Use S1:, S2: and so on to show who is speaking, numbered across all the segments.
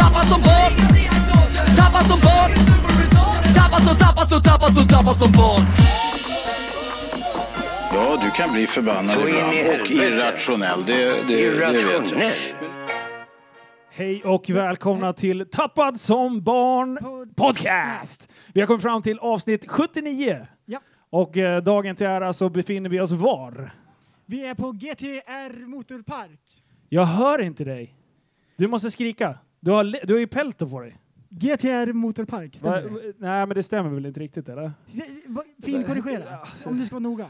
S1: Tappad som barn Tappad som barn Tappad som, tappad som, tappad som, tappad som barn
S2: Ja, du kan bli förbannad
S3: Så in i
S2: ibland och
S3: helvete.
S2: irrationell. Det, det, det vet jag.
S3: Irrationell.
S4: Hej och välkomna till Tappad som barn podcast! Vi har kommit fram till avsnitt 79.
S5: Ja.
S4: Och eh, dagen till ära så befinner vi oss var?
S5: Vi är på GTR Motorpark.
S4: Jag hör inte dig. Du måste skrika. Du har, le- du har ju pelto på dig.
S5: GTR Motorpark,
S4: Va?
S5: stämmer det?
S4: Nej, men det stämmer väl inte riktigt, eller?
S5: Se- va- Finkorrigera, om du ska vara noga.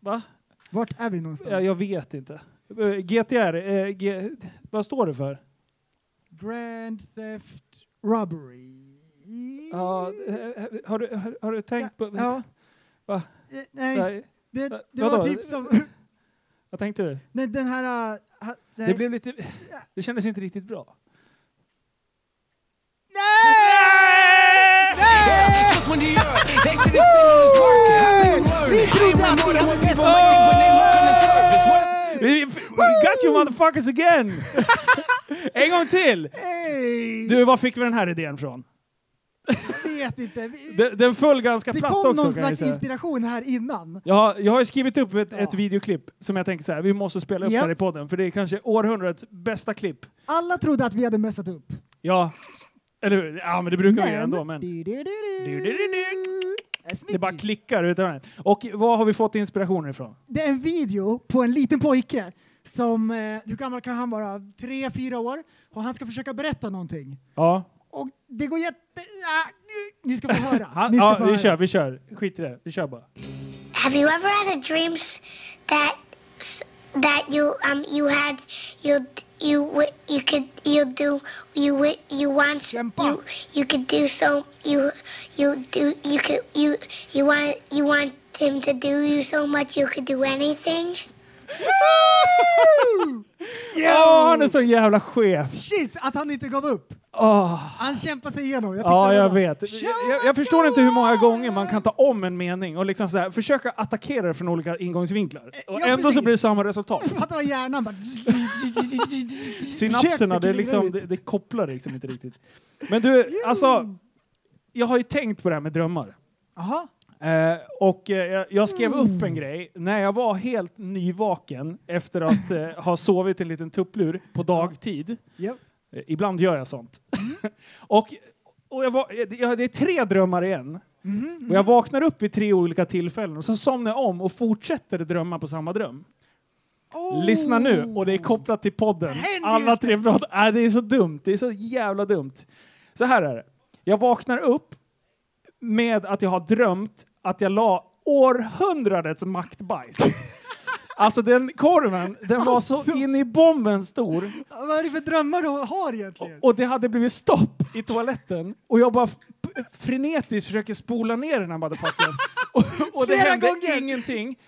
S4: Va?
S5: Vart är vi
S4: Ja,
S5: någonstans?
S4: jag vet inte. Eh, GTR, eh, G- vad står det för?
S5: Grand Theft Robbery.
S4: Ja, eh, har, du, har, har du tänkt på...
S5: Ja.
S4: Va?
S5: Eh, Nej,
S4: Nej,
S5: det,
S4: Va-
S5: det var
S4: vadå?
S5: typ som...
S4: vad tänkte du?
S5: Nej, den här... äh, ha- Nej!
S4: Det blev lite... Det kändes inte riktigt bra.
S5: Nej! Nej!
S6: Just when the earth, they see the ceiling is working. Word.
S5: Vi trodde
S6: I ain't
S5: att
S6: more
S5: vi
S6: than
S5: var
S6: what people think
S5: bäst!
S6: when they look on the surface. What-
S4: We, we got you motherfuckers again! en gång till!
S5: Hey!
S4: Du, var fick vi den här idén från?
S5: vet inte. Vi,
S4: Den, den föll ganska
S5: det
S4: platt
S5: kom
S4: också
S5: någon
S4: kan jag
S5: slags
S4: säga.
S5: inspiration här innan.
S4: Jag har, jag har ju skrivit upp ett,
S5: Ja.
S4: ett videoklipp som jag tänker så här, vi måste spela upp
S5: Japp.
S4: här i podden för det är kanske århundradets bästa klipp.
S5: Alla trodde att vi hade messat upp.
S4: Ja, eller hur? Ja, men det brukar vi göra ändå. Men...
S5: Du, du, du, du.
S4: Du, du, du, du.
S5: Äh, snygg.
S4: Det bara klickar utan den. Och vad har vi fått inspirationen ifrån?
S5: Det är en video på en liten pojke som, eh, hur gammal kan han vara? Tre, fyra år. Och han ska försöka berätta någonting.
S4: Ja,
S5: Och det går jätte... Ah, ni ska få höra.
S4: han,
S5: Ni ska
S4: ja
S5: få
S4: vi
S5: höra.
S4: kör, vi kör. Skit i det, vi kör bara.
S7: Have you ever had a dream s- that s- that you um you had you you w- you could you do you w- you want
S5: Kämpa.
S7: you you could do so you you do you could you you want you want him to do you so much you could do anything.
S4: Åh, han är sån jävla chef!
S5: Shit, att han inte gav upp.
S4: Åh.
S5: Han kämpade sig igenom. Jag tyckte
S4: Ja,
S5: det
S4: jag
S5: var-
S4: vet. Jag, jag, jag förstår inte hur många gånger man kan ta om en mening och liksom så här, försöka attackera det från olika ingångsvinklar. Och
S5: Eh, ja,
S4: ändå så
S5: precis.
S4: blir det samma resultat.
S5: Fattar vad hjärnan bara...
S4: Synapserna,
S5: Försökte
S4: det, är liksom,
S5: kliva
S4: det,
S5: ut.
S4: det kopplar liksom inte riktigt. Men du, alltså, jag har ju tänkt på det här med drömmar.
S5: Jaha.
S4: Eh, och eh, jag, jag skrev
S5: Mm.
S4: upp en grej när jag var helt nyvaken efter att eh, ha sovit en liten tupplur på dagtid.
S5: Japp.
S4: Eh, Ibland gör jag sånt. och och jag var, jag, det är tre drömmar igen.
S5: Mm-hmm,
S4: Och jag vaknar upp vid tre olika tillfällen och sen somnar jag om och fortsätter drömma på samma dröm.
S5: Oh.
S4: Lyssna nu och det är kopplat till podden.
S5: händer
S4: Alla
S5: ju.
S4: tre prat. Äh, det är så dumt. Det är så jävla dumt. Så här är det. Jag vaknar upp med att jag har drömt att jag la århundradets maktbajs. alltså den korven, den var så
S5: Alltså.
S4: in i bomben stor.
S5: Vad är det för drömmar du har egentligen?
S4: Och det hade blivit stopp i toaletten och jag bara f- frenetiskt försöker spola ner den här motherfuckern. och, och det
S5: Flera
S4: hände
S5: gånger.
S4: ingenting.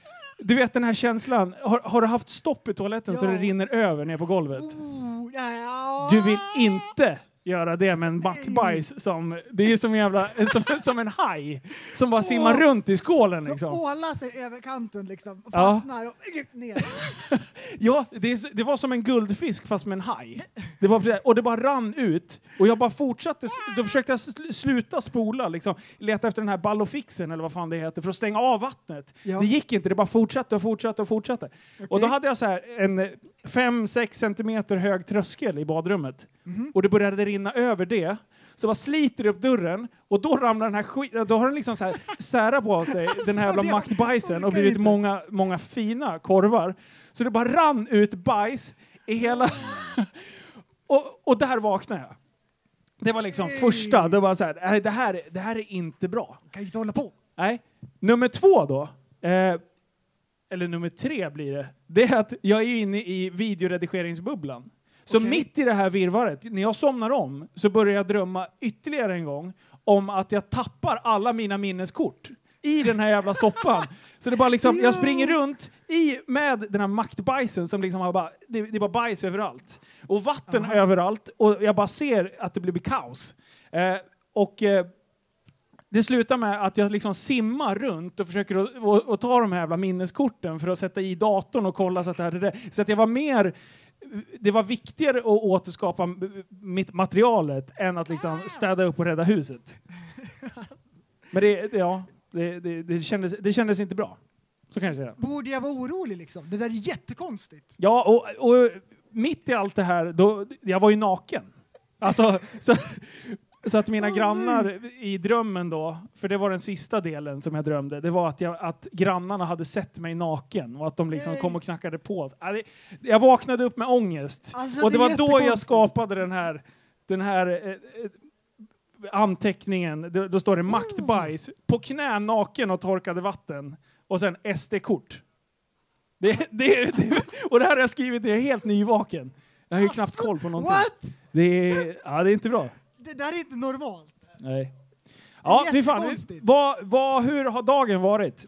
S4: Du vet den här känslan, har, har du haft stopp i toaletten så
S5: Ja.
S4: det rinner över ner på golvet?
S5: Oh, ja.
S4: Du vill inte göra det med en mackbajs som, det är ju som en jävla, som, som en haj som bara simmar runt i skålen liksom.
S5: Åla sig över kanten liksom. och
S4: Ja.
S5: Fastnar och ner.
S4: Ja, det, är s- det var som en guldfisk fast med en haj. Det var, precis- och det bara rann ut. Och jag bara fortsatte. s- Då försökte jag sl- sluta spola, liksom. leta efter den här ballofixen eller vad fan det heter, för att stänga av vattnet.
S5: Ja.
S4: Det gick inte, det bara fortsatte och fortsatte och fortsatte. Och då
S5: Okej.
S4: hade jag så här en 5-6 centimeter hög tröskel i badrummet. Mm. Och det började rinna över det. Så jag bara sliter upp dörren och då ramlar den här skiten, då har den liksom så här särat på sig, den här jävla
S5: det-
S4: maktbajsen och
S5: orkar
S4: blivit
S5: inte.
S4: många, många fina korvar. Så det bara rann ut bajs i hela... och, och där vaknade jag. Det var liksom första, det var så här, "Nej, det här, är- det här är inte bra.
S5: Kan ju inte hålla på.
S4: Nej. Nummer två då, eh, eller nummer tre blir det, det är att jag är inne i videoredigeringsbubblan. Så mitt i det här virvaret, när jag somnar om, så börjar jag drömma ytterligare en gång om att jag tappar alla mina minneskort i den här jävla soppan. Så det är bara liksom, jag springer runt i, med den här maktbajsen som liksom har bara, det, det är bara bajs överallt. Och vatten överallt och jag bara ser att det blir kaos. Eh, och eh, det slutar med att jag liksom simmar runt och försöker att, och, och ta de här jävla minneskorten för att sätta i datorn och kolla så att det här är det. Så att jag var mer... Det var viktigare att återskapa m- mitt materialet än att liksom städa upp och rädda huset. Men det, det- ja, det, det, det, kändes, det kändes inte bra. Så kan jag säga.
S5: Borde jag vara orolig liksom? Det där är jättekonstigt.
S4: Ja, och, och mitt i allt det här, då, jag var ju naken. Alltså, så, så att mina grannar i drömmen då, för det var den sista delen som jag drömde, det var att, jag, att grannarna hade sett mig naken och att de liksom kom och knackade på. Ja, det- Jag vaknade upp med ångest.
S5: Alltså,
S4: och det,
S5: det är
S4: var då jag
S5: jättekonstigt.
S4: skapade den här, den här eh, eh, anteckningen, då, då står det
S5: Mm.
S4: maktbajs, på knä naken och torkade vatten och sen SD-kort. Det, det, det, och det här har jag skrivit, det är helt nyvaken. Jag har ju knappt koll på någonting.
S5: What?
S4: Det är, ja, det är inte bra.
S5: Det där är inte normalt.
S4: Nej. Ja, fy fan.
S5: Jättekonstigt.
S4: Vad, vad, hur har dagen varit?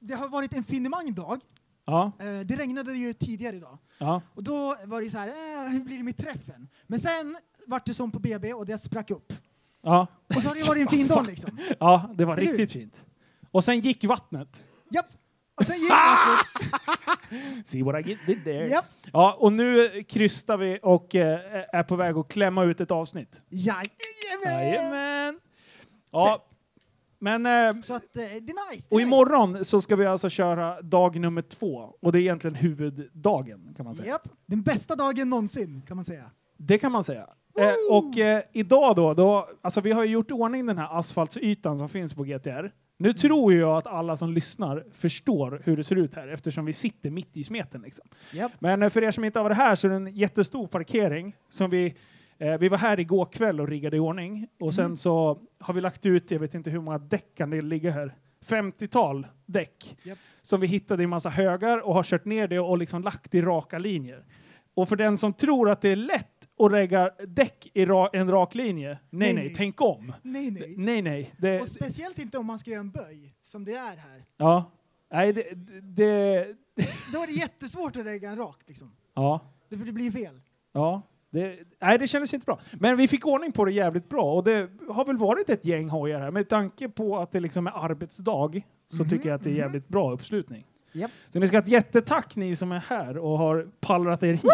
S5: Det har varit en finemang dag.
S4: Ja,
S5: Eh, Det regnade ju tidigare idag.
S4: ja.
S5: Och då var det ju så här, eh, hur blir det med träffen? Men sen vart det som på BB och det sprack upp.
S4: Ja,
S5: Och så har det varit en fin dag liksom.
S4: ja det var
S5: Eller hur?
S4: riktigt fint. Och sen gick vattnet.
S5: Japp. Och sen gick det.
S4: See what I did there.
S5: Japp.
S4: Ja, och nu krystar vi och eh, är på väg att klämma ut ett avsnitt.
S5: Jajamän!
S4: Jajamän! Ja, men... Eh,
S5: Så att eh, det är nice. det är
S4: Och
S5: nice.
S4: imorgon så ska vi alltså köra dag nummer två. Och det är egentligen huvuddagen kan man säga.
S5: Japp. Den bästa dagen någonsin kan man säga.
S4: Det kan man säga. Eh, och eh, idag då, då, alltså vi har ju gjort i ordning den här asfaltsytan som finns på GTR. Nu tror ju jag att alla som lyssnar förstår hur det ser ut här eftersom vi sitter mitt i smeten. Liksom.
S5: Japp.
S4: Men eh, för er som inte har varit här så är det en jättestor parkering som vi eh, vi var här igår kväll och riggade i ordning och
S5: Mm.
S4: sen så har vi lagt ut, jag vet inte hur många däck kan det ligga här, 50-tal däck
S5: Japp.
S4: som vi hittade i massa högar och har kört ner det och liksom lagt i raka linjer. Och för den som tror att det är lätt att lägga däck i ra en rak linje, nej nej,
S5: Nej, nej.
S4: tänk om.
S5: Nej,
S4: D-
S5: nej.
S4: Nej nej. Det,
S5: Och speciellt inte om man ska göra en böj, som det är här.
S4: ja. Nej, det, det,
S5: Då är det jättesvårt att lägga en rakt liksom.
S4: ja.
S5: Det- För det blir fel.
S4: Ja. Det, nej, det kändes inte bra. Men vi fick ordning på det jävligt bra och det har väl varit ett gäng hojar här. Med tanke på att det liksom är arbetsdag så tycker jag att det är jävligt bra uppslutning.
S5: Japp.
S4: Så ni ska ha ett jättetack ni som är här och har pallrat er hit.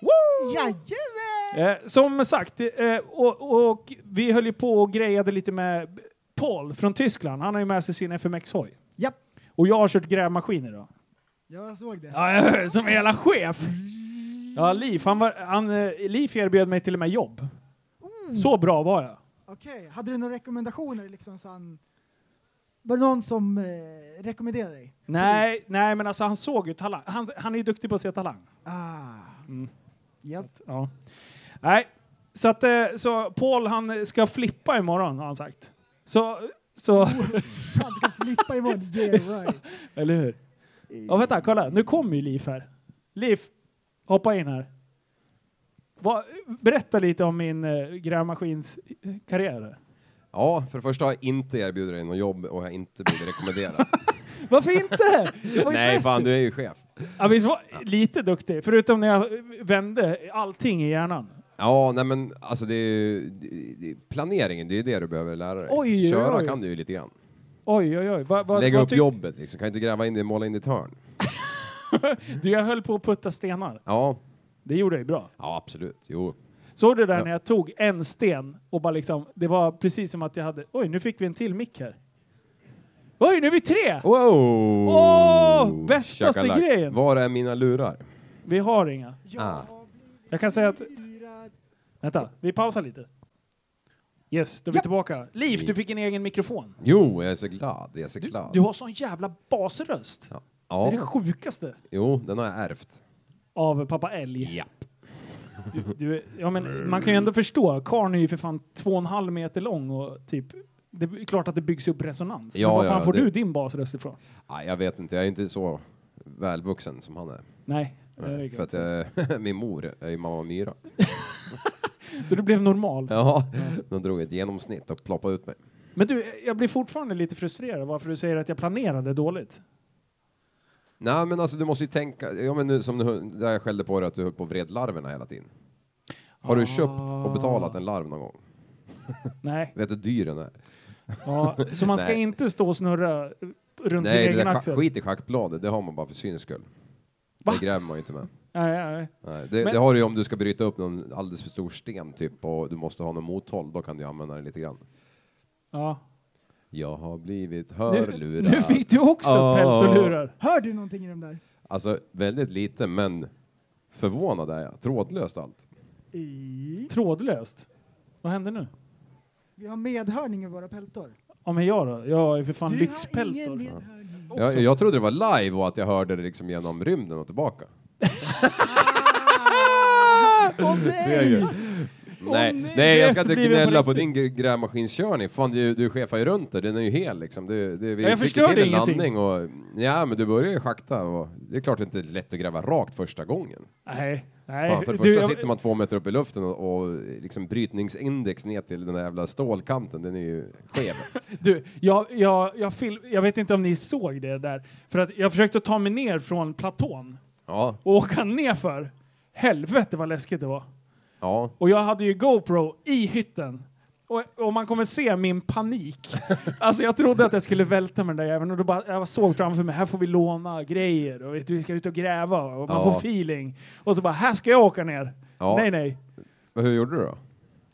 S4: Woo!
S5: Jajamän!
S4: Eh, som sagt, eh, och, och vi höll ju på och grejade lite med Paul från Tyskland. Han har ju med sig sin FMX-hoj.
S5: Japp.
S4: Och jag har kört grävmaskin idag.
S5: Jag såg det.
S4: Ja, som en jävla chef! Ja, Liv, han var, han, eh, Liv erbjöd mig till och med jobb. Så bra var jag.
S5: Okej, hade du några rekommendationer liksom så han... Var det någon som eh, rekommenderade dig?
S4: Nej, nej men alltså han såg ju talang. Han, han är ju duktig på att se talang. Mm.
S5: Ah. Japp.
S4: Ja. Nej, så att eh, så Paul han ska flippa imorgon har han sagt. Så, så
S5: Han ska flippa imorgon. Yeah right. Eh.
S4: eller hur? Ja, vänta, kolla. Nu kommer ju Liv här. Liv, hoppa in här. Va, berätta lite om min eh, grävmaskinskarriär. här.
S8: Ja, för det första har jag inte erbjudit dig något jobb och jag har inte blivit rekommenderad.
S4: Varför inte? Jag var ju
S8: Nej,
S4: bäst.
S8: fan du är ju chef.
S4: Ja, visst var lite duktig, förutom när jag vände allting i hjärnan.
S8: Ja, nej men alltså det är ju det- det- planeringen, det är ju det du behöver lära dig.
S4: Oj,
S8: Köra
S4: oj.
S8: kan du ju lite grann.
S4: Oj, oj, oj. Va, va,
S8: Lägga
S4: vad
S8: upp
S4: tyck-
S8: jobbet liksom, kan ju inte gräva in det, måla in i ett hörn.
S4: Du, jag höll på att putta stenar.
S8: Ja,
S4: Det gjorde jag ju bra.
S8: ja absolut, jo.
S4: Såg du där
S8: Ja.
S4: när jag tog en sten och bara liksom, det var precis som att jag hade, oj, nu fick vi en till mick här. Oj, nu är vi tre!
S8: Wow!
S4: Åh, bästaste
S8: Shakalak.
S4: grejen.
S8: Var är mina lurar?
S4: Vi har inga.
S8: Ah.
S4: Jag kan säga att,
S5: Fyra.
S4: vänta, vi pausar lite. Yes, då är vi tillbaka. Liv, du fick en egen mikrofon.
S8: Jo, jag är så glad, jag är så glad.
S4: Du har sån jävla basröst.
S8: Ja,
S4: Det är det
S8: ja.
S4: sjukaste
S8: jo, den har jag ärvt.
S4: av pappa Älg.
S8: Japp.
S4: Du, ja, men man kan ju ändå förstå. Karln är ju för fan två och en halv meter lång och typ... Det är klart att det byggs upp resonans.
S8: Ja,
S4: men var
S8: ja,
S4: fan
S8: ja,
S4: får
S8: det-
S4: du din basröst ifrån?
S8: Nej, jag vet inte, jag är inte så välvuxen som han är.
S4: Nej. Nej,
S8: För att eh, min mor är ju mamma Myra.
S4: Så du blev normal.
S8: Ja, de drog ett genomsnitt och ploppade ut mig.
S4: Men du, jag blir fortfarande lite frustrerad varför du säger att jag planerade dåligt.
S8: Nej, men alltså du måste ju tänka, ja, men nu, som du, där jag skällde på dig att du höll på och vred larverna hela tiden. Har du köpt och betalat en larv någon gång?
S4: Ah. Nej.
S8: Vet du hur dyr den är?
S4: Ja, så man ska
S8: Nej.
S4: inte stå och snurra runt
S8: Nej,
S4: sin
S8: det
S4: egen
S8: där
S4: axel?
S8: schack, skit i schackbladet, det har man bara för syns skull.
S4: Va?
S8: Det gräver man ju inte med.
S4: Nej, nej.
S8: Nej, det,
S4: Men-
S8: det har du ju om du ska bryta upp någon alldeles för stor sten typ och du måste ha någon mothåll, då kan du använda den lite grann.
S4: Ja.
S8: Jag har blivit
S4: Nu,
S8: hörlurad.
S4: nu fick du också
S8: Ah.
S4: tält och lurar.
S5: Hör du någonting i de där?
S8: Alltså väldigt lite, men förvånad är jag. Trådlöst allt.
S4: Trådlöst. Vad hände nu?
S5: Vi har medhörning i våra peltor.
S4: Ja, men jag då? Jag är för fan
S5: Du har ingen
S4: lyxpeltor.
S5: medhörning.
S8: Jag, jag trodde det var live och att jag hörde det liksom genom rymden och tillbaka.
S4: Ah!
S5: Åh nej!
S8: nej,
S4: nej,
S8: nej,
S4: det
S8: jag ska
S4: efterbliven
S8: inte
S4: på
S8: gnälla på
S4: riktigt.
S8: din gr- grävmaskinskörning. Fan, du, du chefar ju runt det. Den är ju hel liksom. Du, du, vi
S4: Ja, jag
S8: fick ju
S4: förstörde
S8: till en
S4: ingenting.
S8: landning och... Ja, men du börjar ju schakta och... Det är klart det inte är lätt att gräva rakt första gången.
S4: Nej. nej.
S8: Fan, för det
S4: Du,
S8: första
S4: jag-
S8: sitter man två meter upp i luften och, och liksom brytningsindex ner till den där jävla stålkanten. Den är ju skev.
S4: Du, jag, jag, jag, film, jag vet inte om ni såg det där. För att jag försökte ta mig ner från platån
S8: ja,
S4: och åka ner för. Helvete vad läskigt det var.
S8: ja.
S4: Och jag hade ju GoPro i hytten. Och, och man kommer se min panik. Alltså jag trodde att jag skulle välta med den där jäveln och då bara, jag såg framför mig, här får vi låna grejer och vet, du, vi ska ut och gräva och man
S8: Ja.
S4: får feeling. Och så bara, här ska jag åka ner.
S8: Ja.
S4: Nej, nej.
S8: Men hur gjorde du då?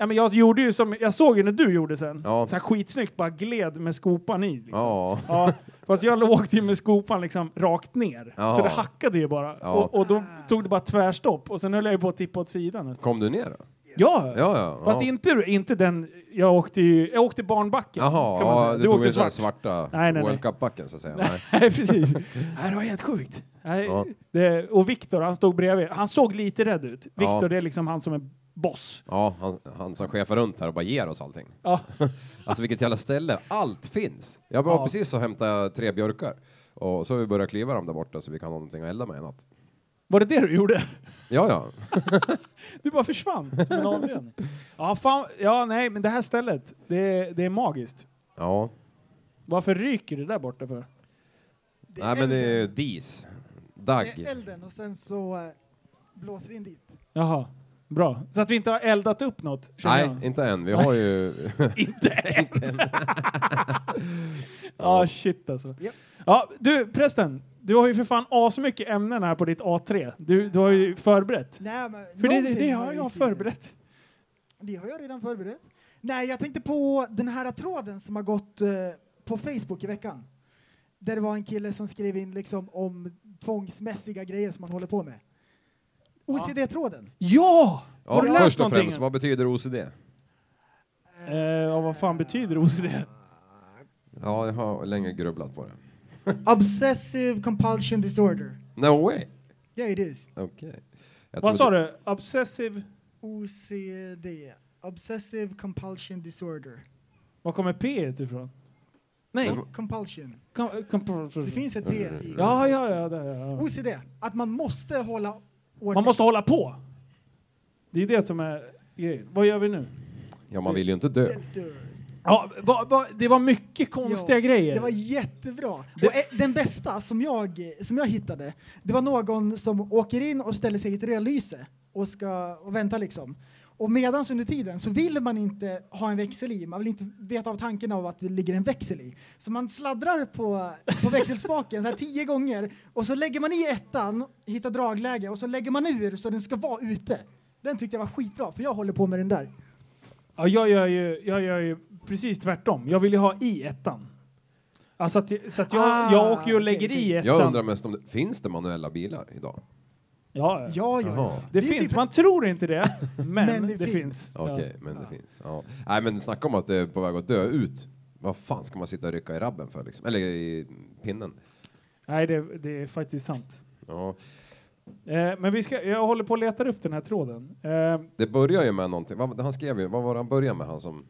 S4: Ja, men jag, gjorde ju som, jag såg ju när du gjorde sen.
S8: Ja.
S4: Så här skitsnyggt, bara gled med skopan i. Liksom.
S8: Ja.
S4: Ja, fast jag åkte ju med skopan liksom rakt ner.
S8: Ja.
S4: Så det hackade ju bara.
S8: Ja.
S4: Och, och då tog det bara tvärstopp. Och sen höll jag ju på att tippa åt sidan. nästan.
S8: Kom du ner då?
S4: Ja!
S8: Ja, ja.
S4: Fast
S8: ja.
S4: inte, inte den... Jag åkte ju... Jag åkte barnbacken.
S8: Jaha,
S4: kan man säga.
S8: ja,
S4: Du,
S8: du tog
S4: åkte
S8: ju den
S4: svart.
S8: svarta
S4: Nej, nej, nej.
S8: World Cup-backen så att säga. Nej.
S4: Nej, precis. Nej, det var helt sjukt. Nej,
S8: Ja.
S4: det, och Viktor, han stod bredvid. Han såg lite rädd ut.
S8: Ja.
S4: Viktor, det är liksom han som är boss.
S8: Ja, han, han som chefar runt här och bara ger oss allting.
S4: Ja.
S8: Alltså vilket jävla ställe, allt finns. Jag var
S4: Ja.
S8: precis och hämtade tre björkar och så har vi börjat kliva dem där borta så vi kan ha någonting att elda med i natt.
S4: Var det det du gjorde?
S8: Ja, ja.
S4: Du bara försvann som en avledning. Ja, fan, ja, nej, men det här stället, det, det är magiskt.
S8: ja.
S4: Varför ryker det där borta för?
S5: Det är
S8: Nej, men det är
S5: elden.
S8: ju dis.
S5: Det är
S8: Dagg.
S5: elden och sen så eh, blåser det in dit.
S4: Jaha, bra. Så att vi inte har eldat upp något? känner
S8: Nej,
S4: jag.
S8: inte än. Vi har ju...
S4: Inte än. Ja, shit alltså.
S5: Japp.
S4: Ja, du prästen, du har ju för fan asmycket ämnen här på ditt A3. Du, du har ju förberett.
S5: Nej, men
S4: För det, det,
S5: någonting
S4: det
S5: ju
S4: har jag
S5: i stilen.
S4: förberett.
S5: Det har jag redan förberett. Nej, jag tänkte på den här tråden som har gått eh, på Facebook i veckan. Där det var en kille som skrev in liksom om tvångsmässiga grejer som man håller på med. OCD-tråden.
S4: Ja!
S8: Ja,
S4: har du läst
S8: först och
S4: någonting?
S8: främst, vad betyder OCD?
S4: Eh, ja, vad fan betyder OCD?
S8: Ja, jag har länge grubblat på det.
S5: Obsessive compulsion disorder.
S8: No way!
S5: Yeah it is.
S8: Okej. Jag
S4: Vad
S8: trodde-
S4: sa du? Obsessive...
S5: OCD. Obsessive compulsion disorder.
S4: Var kommer P ifrån? Nej,
S5: Compulsion.
S4: kom, kom, kom,
S5: Det finns ett
S8: Mm,
S5: D i.
S4: Ja, ja, ja. Där, ja.
S5: OCD. Att man måste hålla ordning.
S4: Man måste hålla på. Det är det som är grejen. Vad gör vi nu?
S8: Ja, man vill ju inte dö.
S4: Ja, va, va, det var mycket konstiga grejer.
S5: Det var jättebra. Och eh, den bästa som jag, som jag hittade, det var någon som åker in och ställer sig i ett rödlyse och ska och vänta liksom. Och medans under tiden så vill man inte ha en växel i, man vill inte veta av tanken av att det ligger en växel i. Så man sladdrar på, på växelspaken så här tio gånger och så lägger man i ettan, hittar dragläge och så lägger man ur så den ska vara ute. Den tyckte jag var skitbra för jag håller på med den där.
S4: Ja, jag gör ju, jag gör ju precis tvärtom. Jag vill ju ha i ettan. Alltså att, så att jag,
S5: Ah,
S4: jag åker ju och lägger
S5: okej,
S4: i ettan.
S8: Jag undrar mest om det... Finns det manuella bilar idag?
S4: Ja, ja.
S5: Ja, ja, ja.
S8: Jaha.
S4: Det,
S5: är ju
S4: finns.
S5: typ-
S4: Man tror inte det, men, det,
S5: det
S4: finns.
S5: finns.
S8: Okej, men det finns. Ja. Nej, men snacka om att det är på väg att dö ut. Vad fan ska man sitta och rycka i rabben för liksom? Eller i pinnen?
S4: Nej, det, det är faktiskt sant.
S8: Ja.
S4: Eh, men vi ska, jag håller på och letar upp den här tråden. Eh,
S8: Det börjar ju med någonting. Vad, han skrev ju, vad var det han började med? Han som...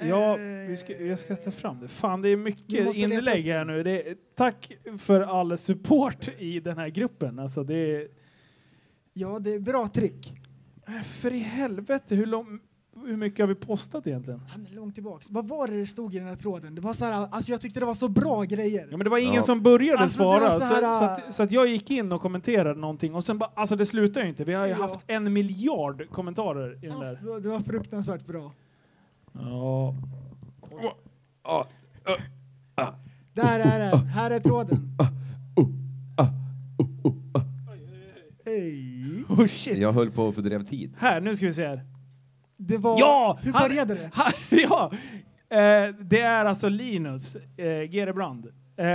S4: Ja, vi ska, jag ska ta fram det. Fan, det är
S5: Vi
S4: mycket
S5: Eh. måste leta upp
S4: inlägg här nu. Det är, tack för all support i den här gruppen. Alltså, det är,
S5: Ja, det är bra trick.
S4: Äh, för i helvete, hur, lång, hur mycket har vi postat egentligen?
S5: Han är långt tillbaks. Vad var det det stod i den här tråden? Det var så här, alltså jag tyckte det var så bra grejer.
S4: Ja, men det var ingen
S8: Ja.
S4: som började
S5: Alltså, det
S4: svara,
S5: var
S4: så,
S5: så här,
S4: så, att, så att jag gick in och kommenterade någonting och sen bara, alltså det slutar ju inte. Vi har ju
S5: Ja.
S4: haft en miljard kommentarer i den där.
S5: Alltså, det var fruktansvärt bra.
S4: Ja.
S5: Där är den. Här är tråden. Hej.
S4: Oh shit.
S8: Jag höll på att fördrev tid.
S4: Här, nu ska vi se här.
S5: Det var...
S4: Ja!
S5: Hur
S4: han-
S5: började det?
S4: han- ja. Eh, det är alltså Linus eh, Gerebrand. Eh,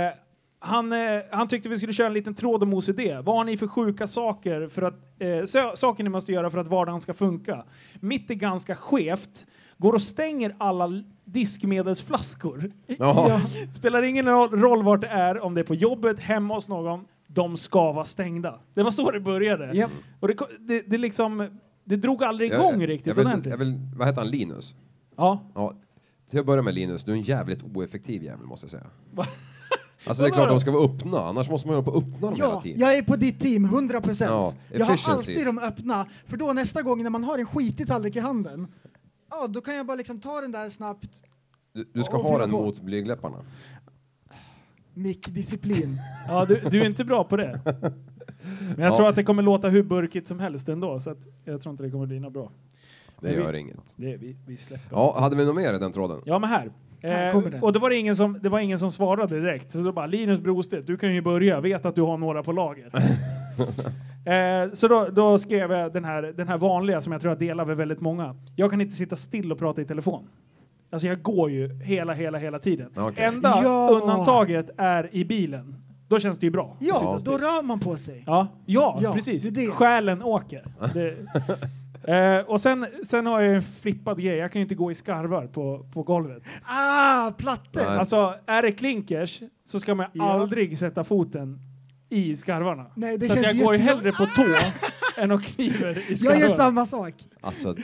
S4: han, eh, han tyckte vi skulle köra en liten tråd om OCD. Vad har ni för sjuka saker, för att, eh, sö- saker ni måste göra för att vardagen ska funka? Mitt är ganska skevt. Går och stänger alla l- diskmedelsflaskor.
S8: Ja.
S4: Spelar ingen ro- roll vart det är, om det är på jobbet, hemma hos någon. De ska vara stängda. Det var så det började.
S5: Japp.
S4: Och det, ko- det, det, liksom, det drog aldrig
S8: Jag-
S4: igång riktigt
S8: jag vill,
S4: ordentligt.
S8: jag vill, Vad heter han? Linus?
S4: Ja.
S8: Ja, till att börja med Linus, du är en jävligt oeffektiv jävel måste jag säga.
S4: Va?
S8: Alltså det är
S4: Vadå
S8: klart
S4: då?
S8: de ska vara öppna, annars måste man hålla på och öppna dem hela
S5: Ja,
S8: tiden.
S5: jag är på ditt team, 100 procent.
S8: Ja,
S5: jag har
S8: efficiency.
S5: alltid de öppna, för då nästa gång när man har en skitig tallrik i handen, ja, då kan jag bara liksom ta den där snabbt,
S8: Du, du ska
S5: Och
S8: ha
S5: fylla
S8: den
S5: på.
S8: mot blygdläpparna.
S5: mick, disciplin.
S4: Ja, du, du är inte bra på det. Men jag
S8: Ja.
S4: tror att det kommer låta hur burkigt som helst ändå, så att jag tror inte det kommer bli något bra.
S8: Det
S4: vi-
S8: gör inget.
S4: Det, vi, vi släpper. Ja.
S8: Ja, hade vi något mer i den tråden?
S4: men här. Eh,
S5: Här kommer den.
S4: och då var det, ingen som, det var ingen som svarade direkt, så då bara Linus Brostedt, du kan ju börja, vet att du har några på lager. Eh, så då, då skrev jag den här, den här vanliga som jag tror jag delar med väldigt många. Jag kan inte sitta still och prata i telefon. Alltså jag går ju hela, hela, hela tiden.
S8: Okej.
S4: Enda
S5: Ja.
S4: undantaget är i bilen. Då känns det ju bra. att
S5: Ja,
S4: sitta still.
S5: då rör man på sig.
S4: Ja, ja,
S5: Ja,
S4: precis.
S5: det är det.
S4: Själen åker. Det, eh, och sen, sen har jag en flippad grej. Jag kan ju inte gå i skarvar på, på golvet.
S5: Ah, platte!
S8: Nej.
S4: Alltså, är det klinkers så ska man
S5: Ja.
S4: aldrig sätta foten i skarvarna.
S5: Nej, det
S4: så att
S5: känns
S4: jag går ju
S5: jätte-
S4: hellre på tå än och kniver i
S5: Jag
S4: skarvarna.
S5: gör samma sak.
S8: Alltså...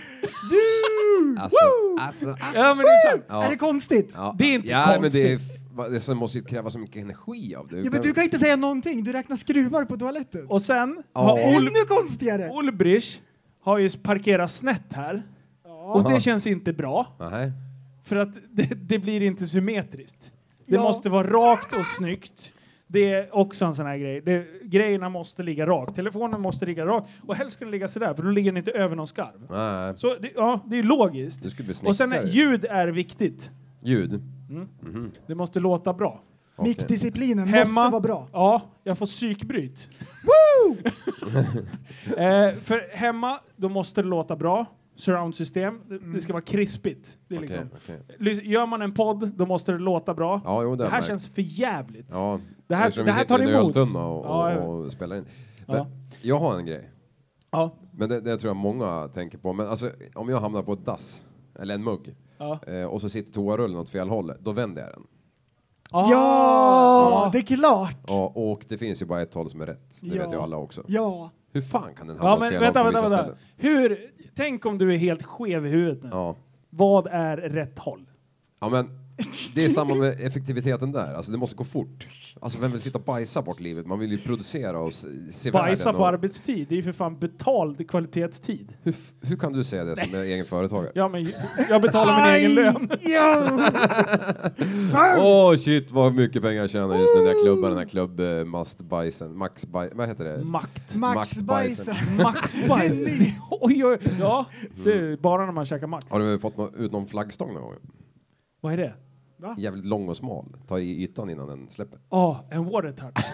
S8: Alltså, alltså, alltså.
S4: Ja, men det är sant.
S8: Ja.
S5: Är det konstigt? Ja.
S8: Ja,
S4: Det är inte
S8: ja, Men det, är,
S4: konstigt.
S8: va, det som måste ju kräva så mycket energi av dig.
S5: men du kan inte säga någonting, du räknar skruvar på toaletten.
S4: Och sen
S8: Ja.
S4: har Ol-
S5: Ännu konstigare!
S4: Ulbrich har ju parkerat snett här. Och det känns inte bra.
S8: Nej.
S4: För att det, det blir inte symmetriskt. Det
S5: Ja.
S4: måste vara rakt och snyggt. Det är också en sån här grej. Det, grejerna måste ligga rakt. Telefonen måste ligga rakt. Och helst ska den ligga sådär, för då ligger den inte över någon skarv.
S8: Nej.
S4: Så det, ja, det är logiskt.
S8: Du skulle bli
S4: Och sen är,
S8: snickare.
S4: ljud är viktigt.
S8: Ljud.
S4: Mm. Det måste låta bra.
S5: Mickdisciplinen
S4: Hemma.
S5: måste vara bra.
S4: Ja, jag får psykbryt.
S5: Woo!
S4: Eh, för hemma, då måste det låta bra. Surroundsystem. Det, det ska vara krispigt. Det är
S8: Mm. Okej,
S4: liksom.
S8: okej.
S4: Lys- Gör man en podd, då måste det låta bra.
S8: Ja, jo, det
S4: det
S8: har
S4: här
S8: jag
S4: känns för jävligt.
S8: Ja,
S4: Det här-
S8: eftersom
S4: det
S8: vi
S4: här
S8: sitter
S4: tar
S8: i en
S4: emot.
S8: öltunna och,
S4: Ja, jag
S8: och, och spelar in. Men
S4: Ja.
S8: Jag har en grej,
S4: Ja.
S8: men det, det tror jag många tänker på. Men alltså, om jag hamnar på ett dass, eller en mugg,
S4: Ja.
S8: eh, och så sitter toarullen åt fel håll, då vänder jag den.
S5: Ja,
S4: Ah.
S5: det är klart!
S8: Ja, och det finns ju bara ett håll som är rätt, det
S5: Ja.
S8: vet ju alla också.
S5: Ja.
S8: Hur fan kan den hamna
S4: Ja,
S8: åt
S4: men
S8: fel
S4: vänta,
S8: håll på
S4: vänta,
S8: vissa
S4: vänta.
S8: ställen?
S4: Hur, tänk om du är helt skev i huvudet nu.
S8: Ja.
S4: Vad är rätt håll?
S8: ja, men det är samma med effektiviteten där. Alltså, det måste gå fort. Alltså, vem vill sitta och bajsa bort livet? Man vill ju producera och se, se
S4: Bajsa
S8: världen.
S4: på
S8: och-
S4: arbetstid, det är ju för fan betald kvalitetstid.
S8: hur, f- hur kan du säga det som är egen företagare?
S4: Ja, men jag betalar min egen lön.
S8: Åh shit vad mycket pengar jag tjänar just nu när jag klubbar den här klubbmastbajsen. Max vad heter det?
S4: Makt.
S5: Max
S8: Maxbajsen.
S5: bajsen.
S4: Maxbajs.
S5: Det är ny.
S4: oj, oj, ja, det är bara när man käkar Max.
S8: Har du fått nå- ut någon flaggstång någon gång?
S4: Vad är det?
S8: Jävligt lång och smal. Ta i ytan innan den släpper.
S4: Ja, en water touch.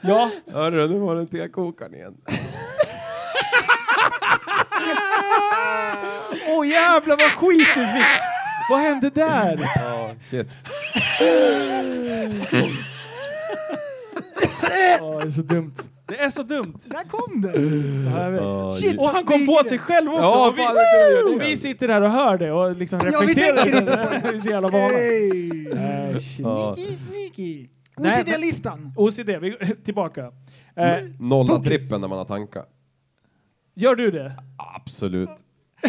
S4: ja,
S8: Hörru, nu var den tekokaren igen.
S4: åh jävlar vad skit du fick. Vad hände där?
S8: Ja, shit.
S4: Ja, det är så dumt. Det är så dumt.
S5: Där kom det!
S4: Ja, jag vet.
S5: Shit,
S4: och
S5: vad
S4: han kom
S5: smyger
S4: på
S5: det.
S4: sig själv också!
S8: Ja,
S4: och, vi,
S8: fan, det kan jag göra det.
S4: och vi sitter här och hör det och liksom
S5: Ja, vi
S4: reflekterar.
S5: tänker inte
S4: det är så jävla vana.
S5: Hey.
S4: Eh, shit.
S5: Sneaky, sneaky.
S4: Nej,
S5: OCD-listan.
S4: OCD, vi går tillbaka. Eh,
S8: Nolla trippen när man har tankar.
S4: gör du det?
S8: Absolut.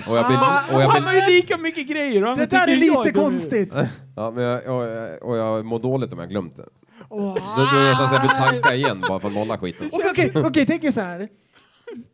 S8: Och jag
S5: Ah.
S8: blir, och jag
S4: Han
S8: blir,
S4: har ju lika mycket grejer och han
S5: Det där
S4: tycker
S5: är
S4: jag
S5: lite
S4: dum i
S5: konstigt.
S8: ja, men jag, och, jag, och jag mår dåligt om jag glömt det.
S5: Ah.
S8: Då blir det nästan så att jag vill tanka igen bara för att nolla skiten.
S5: Okej, okej, okej, tänk er så här.
S4: huvudet.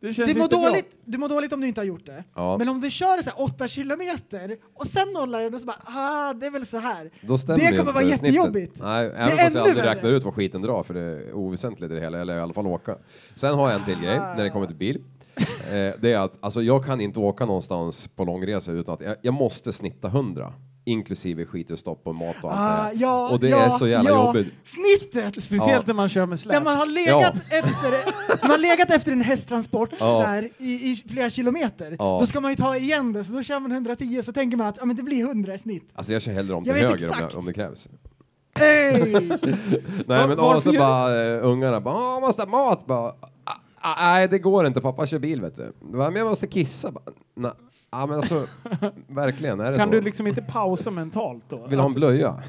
S4: Det känns
S5: Det mår,
S4: inte bra.
S5: dåligt, det mår dåligt om du inte har gjort det.
S8: Ja.
S5: Men om du kör så här 8 kilometer och sen nollar den och så bara ah, det är väl så här.
S8: Då stämmer
S5: det
S8: ju
S5: kommer
S8: inte
S5: vara
S8: snittet.
S5: jättejobbigt.
S8: Nej,
S5: Det är
S8: även fast jag
S5: ännu
S8: aldrig
S5: värre.
S8: räknar ut vad skiten drar, för det är oväsentligt i det hela, eller i alla fall åka. Sen har jag en till grej när det kommer till bil.
S5: Ah.
S8: Eh, det är att alltså, jag kan inte åka någonstans på långresa utan att jag, jag måste snitta 100 inklusive skitutstopp och mat och allt det
S5: Ah,
S8: här.
S5: ja,
S8: Och det
S5: ja,
S8: är så jävla
S5: ja.
S8: jobbigt.
S5: Snittet!
S4: Speciellt
S8: Ja.
S4: när man kör med släp.
S5: Där man har legat, efter, man har legat efter en hästtransport så här, i, i flera kilometer.
S8: Ja.
S5: Då ska man ju ta igen det, så då kör man 110 så tänker man att ja, men det blir 100 i snitt.
S8: Alltså jag kör hellre om till
S5: Jag vet
S8: höger om,
S5: exakt.
S8: jag, om det krävs.
S5: Hey!
S8: Nej men och
S4: varför
S8: så
S4: gör-
S8: bara eh, ungarna bara "Åh, måste ha mat bara. "Ah, ah, Nej det går inte, pappa kör bil vet du. "Va, Men jag måste kissa bara. "Nej." Ja men alltså, verkligen är det
S4: Kan
S8: så?
S4: du liksom inte pausa mentalt då? Alltså,
S8: Vill ha en blöja?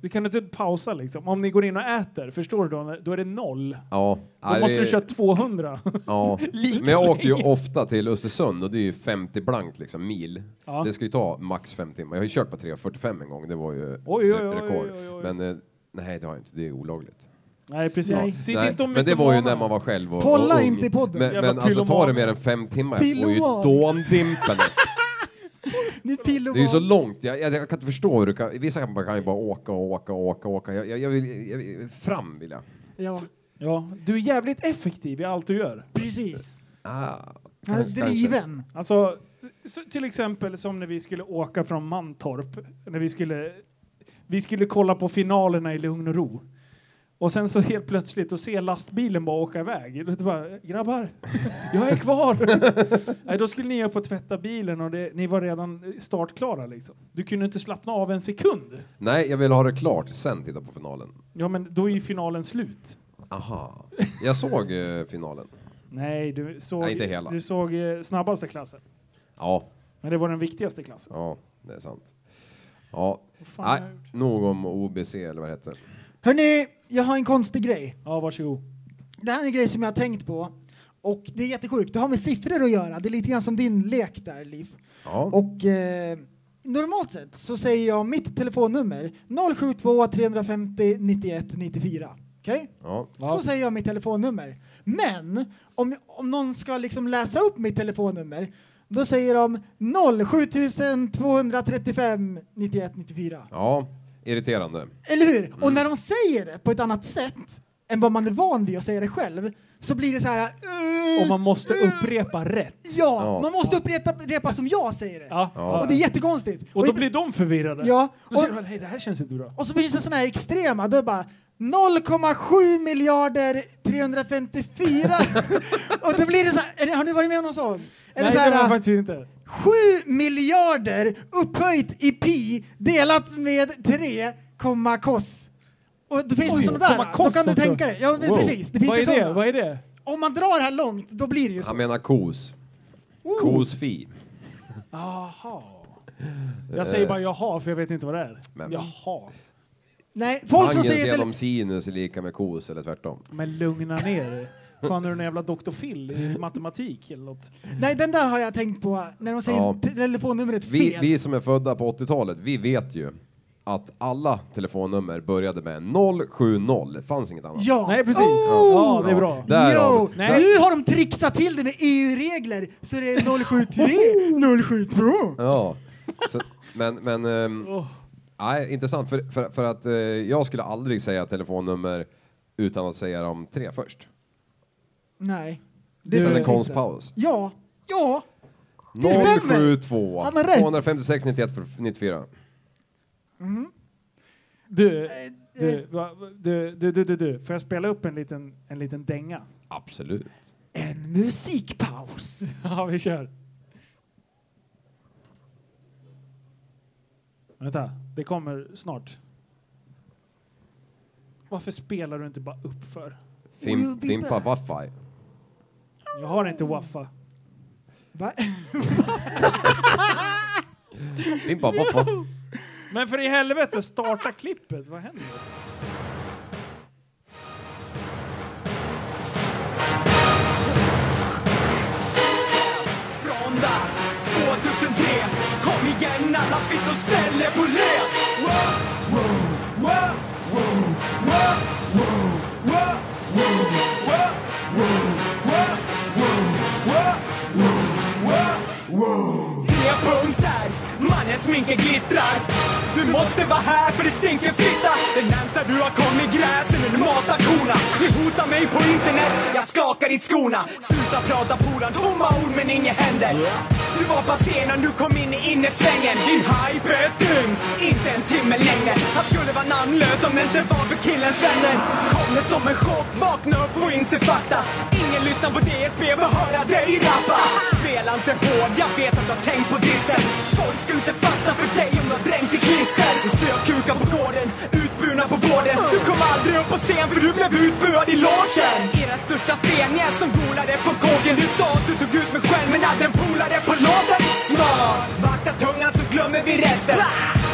S4: Du kan inte pausa liksom. Om ni går in och äter, förstår du då? Då är det noll.
S8: Ja.
S4: Då
S8: nej,
S4: måste
S8: det-
S4: du köra 200.
S8: Ja. Men jag åker ju ofta till Östersund och det är ju 50 blankt liksom, mil.
S4: Ja.
S8: Det ska ju ta max 5 timmar. Jag har ju kört på 3.45 en gång, det var ju
S4: oj,
S8: re-
S4: oj,
S8: rekord.
S4: oj, oj.
S8: Men eh, nej, det har jag inte, det är olagligt.
S4: Nej, precis.
S5: Nej.
S4: Sitt
S8: nej.
S4: inte och
S8: men det var ju
S4: mytomaner.
S8: när man var själv och,
S5: Kolla
S8: och ung.
S5: inte i podden.
S8: Men,
S4: Jävla
S8: men alltså tar
S4: pyloman.
S8: det mer än 5 timmar, jag får ju
S5: Pyloman.
S8: dåndimpen.
S5: Ni pill och
S8: Det är ju så
S5: barn.
S8: långt, jag, jag, jag kan inte förstå hur du kan, vissa kan kan ju bara åka och åka och åka. och åka. Jag, jag, jag vill, jag, vill- fram vill jag.
S5: Ja,
S4: Ja, du är jävligt effektiv i allt du gör.
S5: precis.
S8: Ah,
S5: Han är
S8: kanske.
S5: driven.
S4: Alltså, så, till exempel som när vi skulle åka från Mantorp. När vi skulle, vi skulle kolla på finalerna i lugn och ro. Och sen så helt plötsligt, och se lastbilen bara åka iväg. Och det bara, grabbar, jag är kvar! Nej, då skulle ni upp och tvätta bilen och det, ni var redan startklara liksom. Du kunde inte slappna av en sekund.
S8: Nej, jag vill ha det klart, sen titta på finalen.
S4: Ja, men då är ju finalen slut.
S8: Aha. Jag såg eh, finalen.
S4: Nej, du såg,
S8: Nej, inte hela.
S4: Du såg eh, snabbaste klassen.
S8: Ja,
S4: Men det var den viktigaste klassen.
S8: ja, det är sant. Ja,
S4: fan har
S8: Nej,
S4: jag gjort?
S8: nog om OBC eller vad det heter.
S5: Hörni, jag har en konstig grej.
S4: Ja, varsågod.
S5: Det här är en grej som jag har tänkt på. Och det är jättesjukt, det har med siffror att göra. Det är lite grann som din lek där, Liv.
S8: Ja,
S5: Och eh, normalt sett så säger jag mitt telefonnummer 072 350 91 94. Okej?
S8: ja.
S4: Ja.
S5: Så säger jag mitt telefonnummer. Men om, om någon ska liksom läsa upp mitt telefonnummer då säger de 07235 91 94.
S8: ja. irriterande.
S5: Eller hur? Och
S4: Mm.
S5: när de säger det på ett annat sätt än vad man är van vid att säga det själv så blir det så här... eh,
S4: Och man måste
S5: eh,
S4: upprepa rätt.
S5: Ja,
S8: Ja.
S5: man måste upprepa repa som jag säger det.
S4: Ja.
S8: Ja.
S5: Och det är jättekonstigt.
S4: Och då
S5: jag-
S4: blir de förvirrade.
S5: Ja,
S4: Då säger
S5: och-
S4: de, nej det här känns inte
S8: Eh.
S4: bra.
S5: Och så finns det sådana här extrema, då är det bara 0,7 miljarder 354 och då blir det så här, är det, har ni varit med om någon sån? Eller
S4: nej,
S5: så
S4: det var
S5: här,
S4: faktiskt inte.
S5: 7 miljarder upphöjt i pi delat med 3, komma koss. Och då finns
S4: Oj,
S5: det sådana där,
S4: komma alltså.
S5: då
S4: koss
S5: kan du
S4: också.
S5: tänka dig. Ja, men
S8: Wow.
S5: precis, det finns
S4: Vad
S5: ju
S4: är det?
S5: sådana.
S4: Vad är det?
S5: Om man drar här långt, då blir det ju
S8: Han
S5: så.
S8: menar kos. Kosfi.
S4: Jaha. Jag säger bara jaha för jag vet inte vad det är.
S8: Men-
S4: Jaha.
S5: Nej, folk som
S8: Tangens
S5: säger...
S8: genom
S5: Tele-
S8: Eh, sinus är lika med kos eller tvärtom.
S4: Men lugna ner dig. Fan är du en jävla doktor Phil i matematik eller något?
S5: Nej, den där har jag tänkt på, när de säger
S8: Ja.
S5: telefonnumret fel.
S8: Vi, vi som är födda på 80-talet, vi vet ju att alla telefonnummer började med 070. Det fanns inget annat.
S5: Ja.
S4: Nej precis.
S5: Oh!
S4: Ja det är bra.
S8: Därav.
S5: Jo,
S4: Nej.
S5: nu har de trixat till det med EU-regler så det är 073, 072.
S8: Ja. Så, men, men... ehm, Nej, intressant. För, för, för att eh, jag skulle aldrig säga telefonnummer utan att säga de tre först.
S5: Nej.
S8: Det
S5: gör
S8: Sen
S5: jag
S8: en
S5: inte.
S8: konstpaus.
S5: Ja. Ja. Det stämmer.
S8: 072
S5: Han har rätt.
S8: 256 91 för- 94.
S5: Mhm.
S4: Du,
S5: Eh,
S4: du, va- du, du, du, du, du. Får jag spela upp en liten, en liten dänga?
S8: Absolut.
S5: En musikpaus.
S4: Ja, vi kör. Vänta, det kommer snart. Varför spelar du inte bara upp för?
S8: Fim,
S5: We'll be
S8: fimpa Waffaj.
S4: Jag har inte waffa.
S5: Va?
S8: Fimpa Waffaj.
S4: Men för i helvete, starta klippet. Vad händer?
S1: Från där 2000 alla fittor ställer på led. Wow, wow, wow, wow, wow, wow, wow, wow, wow, wow, wow, wow, wow, wow. Tre punkter, mannens sminke glittrar. Du måste vara här för det stinker fitta. Det närmsta du har kommit gräsen när du matar korna. Du hotar mig på internet, jag skakar i skorna. Sluta prata polan, tomma ord men inget händer. Du var på scenen, du kom in i innersvängen. Din hype är ett dygn, inte en timme längre. Han skulle vara namnlös om det inte var för killens vänner. Kommer som en chock, vakna upp och inse fakta. Ingen lyssnar på DSB för att höra dig rappa. Spela inte hård, jag vet att du har tänkt på dissen. Folk skulle inte fastna för dig om du har dränkt i klister. Stökukar på gården, utburna på båden. Du kom aldrig upp på scen för du blev utbuad i logen. Era största fenja som golade på kåken. Du sa att du tog ut mig själv men hade en polare på lådan. Smart! Vakta tungan så glömmer vi resten.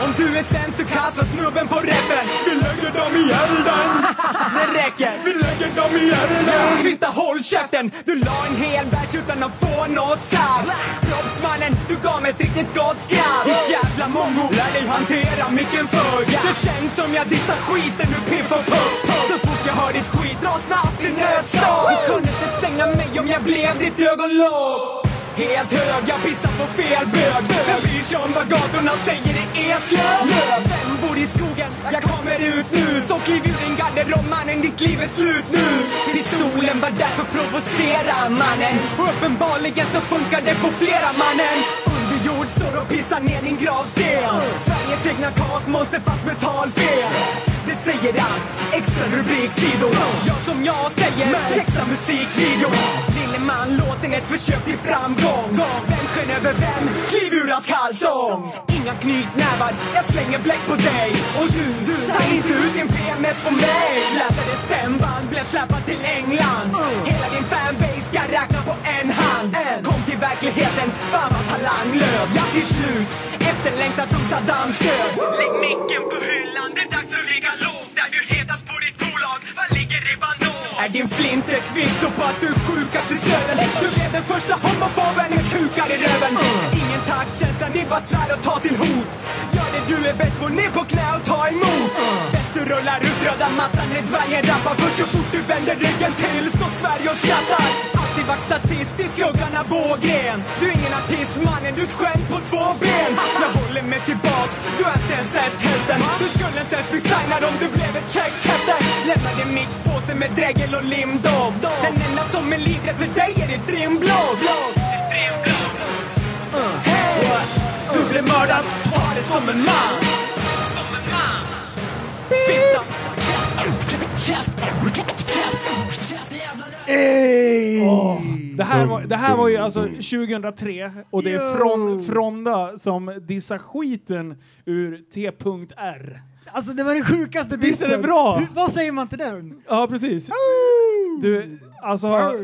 S1: Om du är sämst du kastar snubben på rätten. Vi lägger dem i elden. Det räcker. Vi lägger dem i elden. Fitta håll käften. Du la en hel värld utan att få något sagt. Kroppsmannen, du gav mig ett riktigt gott skratt. Ditt jävla mongo. Lär dig hantera micken först. Det känns som jag dissar skiten nu Piff och Puck. Så fort jag hör ditt skit drar snabbt i nödslag. Du kunde inte stänga mig om jag blev ditt ögonlock. Helt hög, jag pissar på fel bög Vem bryr sig om vad gatorna säger i Eslöv? Vem bor i skogen? Jag kommer ut nu Så kliv ur din garderob mannen, ditt liv är slut nu Pistolen var där för att provocera mannen Och uppenbarligen så funkar det på flera mannen Under jord står och pissar ner din gravsten Sveriges egna kakmonster fast med talfel det säger allt, extra rubriksidor Jag som jag säger, texta musikvideo Lille man, låten är ett försök till framgång Vem över vem, kliv ur hans kalsong Inga knytnävar, jag slänger bläck på dig Och du, du, ta inte ut din PMS på mig Flätade stämband, blev släpad till England Hela din fanbase ska räkna på en hand Kom till verkligheten, fan vad talanglös Ja, till slut, efterlängtad som Saddams död Lägg micken på hyllan, det är dags att ligga lågt Där du hetas på ditt bolag, vad ligger ribban då? Är din flint ett kvitto på att du är sjukast i södern? Du blev den första homofoben med kukar i röven Ingen taktkänsla, ni bara svär och tar till hot Gör det du är bäst på, ner på knä och ta emot Bäst du rullar ut röda mattan när dvärgen rappar För så fort du vänder ryggen till står Sverige och skrattar Alltid varit statist i skuggan av Vågren Du är ingen artist mannen, du är ett skämt på två ben Jag håller mig tillbaks, du har inte ens sett hälften Du skulle inte ens designad om du blev ett checkhäfte Lämnade mickpåse med dregel och limdoft Den enda som är livrädd för dig är ditt rimblad Hey! Du blev mördad, ta det som en man Som en man Fitta
S5: Eh,
S4: Det här, var, det här var ju alltså 2003 och det är från Fronda som dissar skiten ur T.R.
S5: Alltså det var den sjukaste
S4: Visst är det
S5: dissen.
S4: bra?
S5: Hur, vad säger man till den?
S4: Ja, precis. Du, alltså...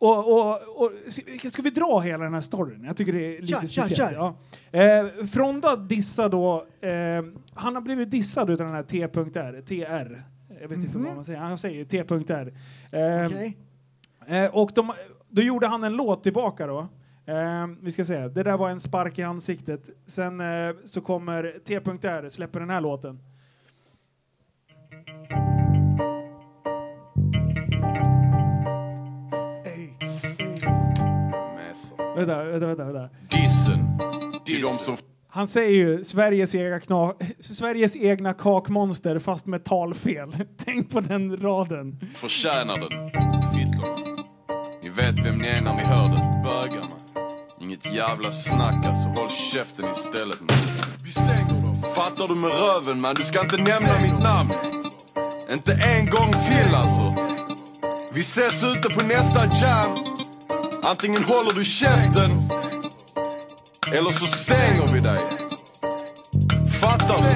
S4: Och, och, och, ska- ska vi dra hela den här storyn? Jag tycker det är lite
S5: Kör, kör,
S4: speciellt.
S5: kör.
S4: Ja. Eh, Fronda dissar då... Eh, han har blivit dissad utav den här T.R. TR. Jag vet inte vad man säger. Han säger T.R. Eh,
S5: Okej.
S4: Eh, och de, då gjorde han en låt tillbaka då. Eh, vi ska se, det där var en spark i ansiktet. Sen eh, så kommer T.R. släpper den här låten. Vänta, vänta, vänta. vänta.
S9: Dissen. Till de som
S4: Han säger ju Sveriges egna, kna, Sveriges egna kakmonster fast med talfel. Tänk på den raden.
S9: förtjänar den. Fittorna. Ni vet vem ni är när ni hör det. Bögarna. Inget jävla snack alltså. Håll käften istället man. Vi stänger dem. Fattar du med röven man? Du ska inte nämna mitt namn. Inte en gång till alltså. Vi ses ute på nästa jam. Antingen håller du käften. Eller så stänger vi dig. Fattar du?